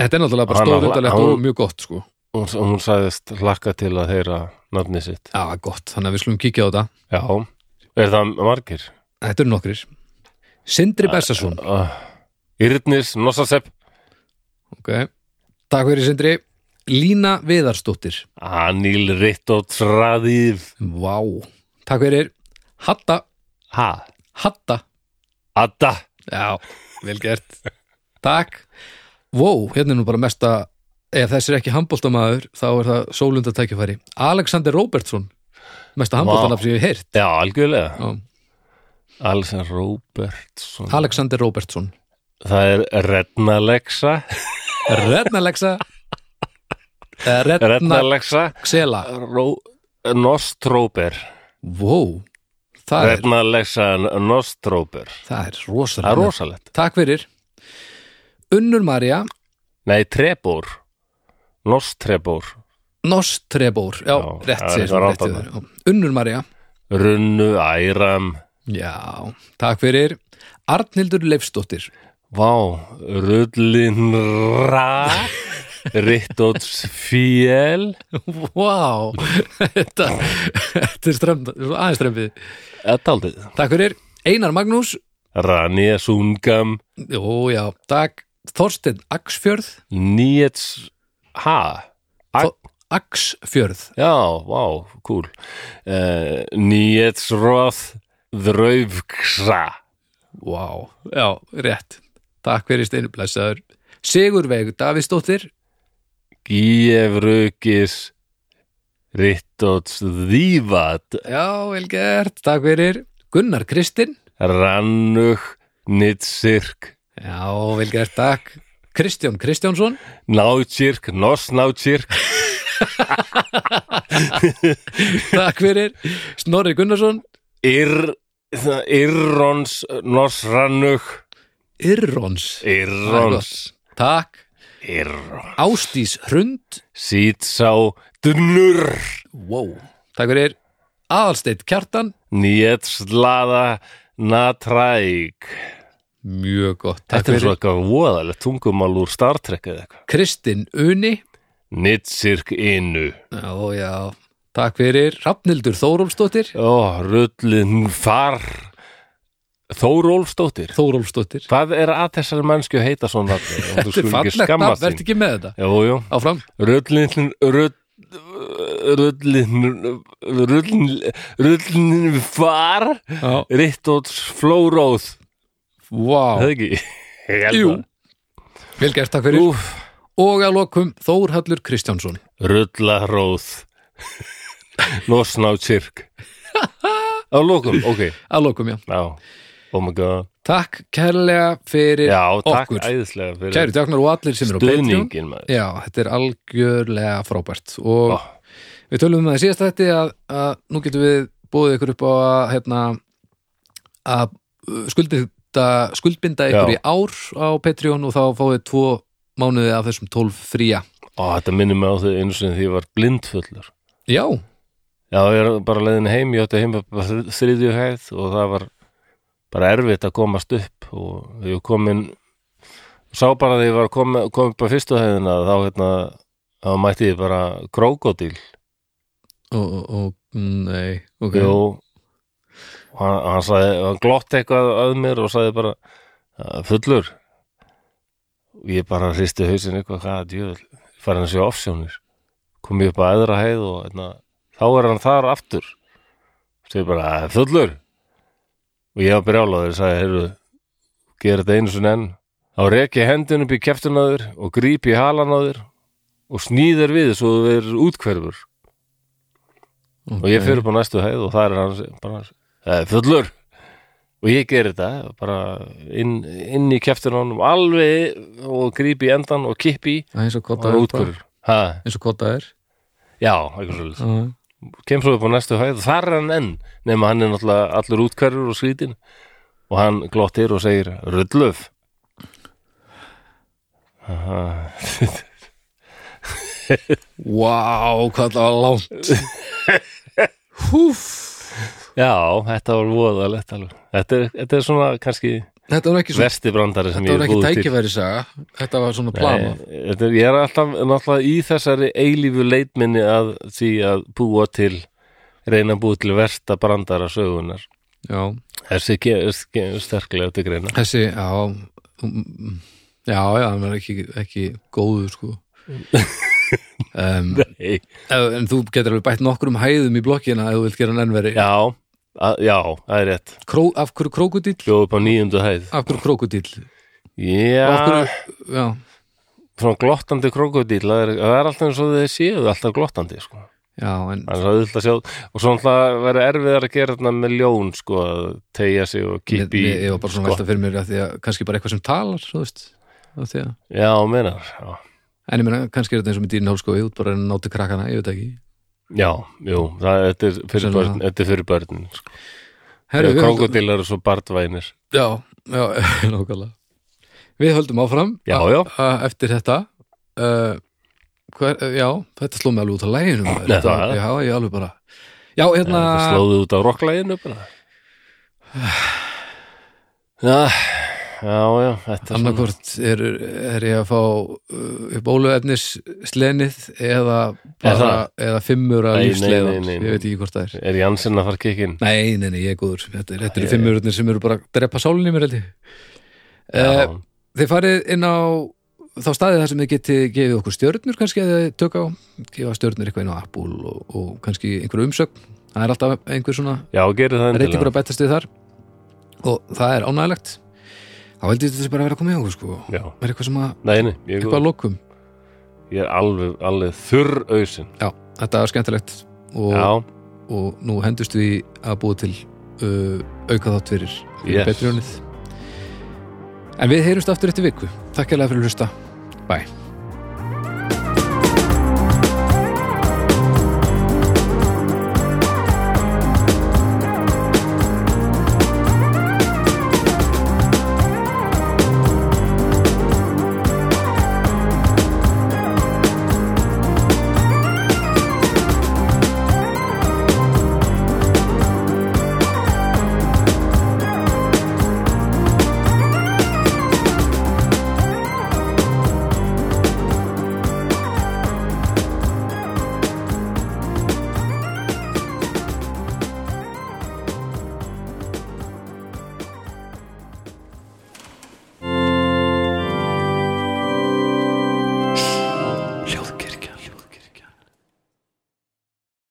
Þetta er náttúrulega bara
Hann-
stórundalegt
hann-
og mjög gott sko
hún, hún sagðist hlakka til að heyra nafni sitt.
Já, gott, þannig að við slum kíkja á þetta
Já, er það margir?
Þetta eru nokkrir Sindri Bessason
Uh, Yrnis, Nossasepp,
okay. Takk fyrir Sindri Lína Viðarsdóttir
Anil Rittotradíf,
Vá, takk fyrir Hatta,
Ha,
Hatta
Adda,
Já, vel gert Takk Vó, hérna er nú bara mesta ef þessi er ekki handbóltamaður þá er það sólundatækjafæri Alexander Robertson mesta handbóltanafn sem ég hef heyrt
Já, algjörlega.
Já,
Alexander Robertson.
Alexander Robertson
Það er Rednalexa.
Redna Lexa Redna
Rednalexa.
Xela
Ró... Nostróper.
Wow, það er,
Rednalexa Nostróper.
það er
Það er
rosalega
rosalegt.
Takk fyrir Unnur Marja
Nei, Trebor. Nostrebor.
Nostrebor Já,
Já,
rétt
það er
sér
eitthvað rátt
rétt sér. Unnur Marja
Runnu Æram.
Já, takk fyrir Arnhildur Leifsdóttir
Vá, Rullinra Rittóts Fjell
Vá, þetta, þetta er strömmt, aðeins strömmið.
Þetta aldrei
Takk fyrir, Einar Magnús,
Rania Sungam
jú já, takk, Þorsteinn Axfjörð,
Níets Ha? Ag-
Axfjörð,
Já, vá, kúl uh, Níets Roth Draufksa
vá, já, rétt, takk fyrir Steinu Blessaður, Sigurveig Davíðsdóttir,
Gíefrukis Rittóts Þývat
já, vel gert, takk fyrir, Gunnar Kristinn,
Rannug Nitsirk
já, vel gert, takk, Kristján Kristjánsson,
Nátsirk, Nosnátsirk
takk fyrir, Snorri Gunnarsson,
Irr, það- Irrons Nosrannug
Irrons,
Irrons
takk,
Irrons
Ástís Hrund,
Sítsá Dunur
Wow. Takk fyrir aðalsteitt kjartan
Nýetslaða Natræk
Mjög gott Takk
Þetta er
fyrir
svo eitthvað voðalegt tungumál úr Star Trek eða eitthvað
Kristinn Uni
Nitsirk innu
Ó já Takk fyrir Rafnildur Þórólfsdóttir
Ó, rullin far Þórólfsdóttir
Þórólfsdóttir
Hvað er að þessari mannsku heita svona Þetta
Þetta er fallegt nafn, verð ekki með þetta
Jú, jú
Áfram
Rullin Rullin Rullin Rullin Rullin Far
Já
Rittóts Flóróð Það
Vá
er ekki Ég held
Jú
það.
Vel gert takk fyrir
Úff,
Og að lokum Þórhallur Kristjánsson
Rullaróð Nosnátt sirk Á lokum, ok
Að lokum já
Já, oh my god
Takk kærlega fyrir
Já, takk
okkur
æðislega fyrir
Kæri djáknar og allir sem eru á Patreon
stuðningin maður
Já, þetta er algjörlega frábært og
Ó.
við tölum um það í síðasta þetta að, að nú getum við búið ykkur upp á að, hérna, að uh, skuldbinda, skuldbinda ykkur
Já.
í ár á Patreon og þá fáið tvo mánuði af þessum tólf fría
Ó, þetta minnir mig á þau einu sinni því ég var blindfullur
Já,
Já, ég er bara leiðin heim, ég átti heim upp á þri- þriðju hæð og það var bara erfitt að komast upp og ég komin sá bara þegar ég var kom, kom upp á fyrstu hæðina þá hérna þá mætti ég bara krókódíl
og, og, og nei, ok
Jú, og hann, hann, sagði, hann glott eitthvað að mér og sagði bara "Ah, fullur og ég bara hristi hausinn eitthvað hvað djöðl, farin að sjá ofsjónir kom ég upp að aðra heið og einna, þá er hann þar aftur segir bara "Ah, fullur og ég var brjálaður og sagði heyrðu, gera þetta einu sinni enn þá reki hendin upp í kjæftun á þér og gríp í halan á þér og snýðir við svo þú verður útkverfur
okay.
og ég fyrir på næstu hæð og það er hann bara, eh, fullur og ég gerir þetta bara inn, inn í kjæftin honum alveg og gríp í endan og kippi í
Það er eins og
og
kota er
það er
bara-
útkvörur ha,
eins og kota er
já, eitthvað svolítið
Já.
kem svo upp á næstu hæð og það er hann enn nema hann er náttúrulega allur útkvörur og skrítin og hann glottir og segir rulluf Aha.
Vá, hvað það var langt Húf
já, þetta var voðalegt alveg þetta er, þetta er svona kannski
Þetta var ekki, svo,
versti brandari sem
þetta
ég
var
er
ekki
búið til
tækifæri saga Þetta var svona plama
Nei, Eh, þetta er, ég er alltaf náttúrulega í þessari eilífu leitminni að því að búa til reyna að búa til versta brandara sögunar
Já
þessi kemur sterklega til greina
Þessi, já mm, Já, já, hann var ekki, ekki góður sko um,
Nei.
En þú getur alveg bætt nokkrum hæðum í blokkina ef þú vilt gera hann ennveri
já, að, já, það er rétt
Kró, Af hverju krókudíll?
bjóð upp á nýjundu hæð
Af hverju krókudíll?
já,
Af hverju, já,
svona glottandi krokodíl það er, það er alltaf eins og þeir séu alltaf glottandi sko.
já, en
Það er svo auðvitað að sjá og svo náttúrulega verður erfiðar að gera þarna með ljón sko að tegja sig og
Mér-
kippi
mér- ég var bara
sko.
svona velta fyrir mér að því að kannski bara eitthvað sem talar þú veist af því að,
Já, meinar, já
en ég meina kannski er þetta eins og með dýrin hálskói út bara að náti krakkana, ég veit ekki
Já, jú, það, þetta, er fyrir
Sem
börn,
að-
þetta er fyrir börn sko.
Herru, við höldum-
Krokodílar og svo barnvænir
já, já, nákvæmlega við höldum áfram
Já,
a-
já.
a- eftir þetta uh, hver, uh, já, þetta sló mig alveg út af læginu maður.
Nei,
Þetta
það
var-
er-
já, ég alveg bara já, hérna
Það slóðu út á rocklæginu bara Já, já, já Þetta er svona
annarkvort er, er ég að fá uh, bóluefnis slenið eða, bara,
það?
eða fimmur að
Nei, nei, nei,
lífsleiðan
nei,
ég
nei.
veit ekki hvort það er
Er Jansson að fara kikinn?
Nei, nei, nei, ég er góður Þetta, er- þetta eru fimmurutnir sem eru bara að drepa sálinni mér held ég
Já,
Eh, Þið farið inn á þá staðið þar sem þið geti gefið okkur stjörnur kannski eða tök á, gefa stjörnur eitthvað inn á Apple og, og kannski einhverju umsögn það er alltaf einhver svona
já gerir það
reytingur
endilega
að betast við þar og það er ánægilegt þá held ég þessi bara að vera að koma í okkur sko
Já,
er eitthvað sem að,
nei, nei, ég er,
eitthvað að
góð.
lokum
ég er alveg, alveg þurr ausinn
Já, þetta er skemmtilegt og,
Já,
og nú hendust við að búa til uh, auka þátt fyrir, fyrir
Yes.
yes. Patreonið en við heyrumst aftur eftir viku takk hérlega fyrir að hlusta, bye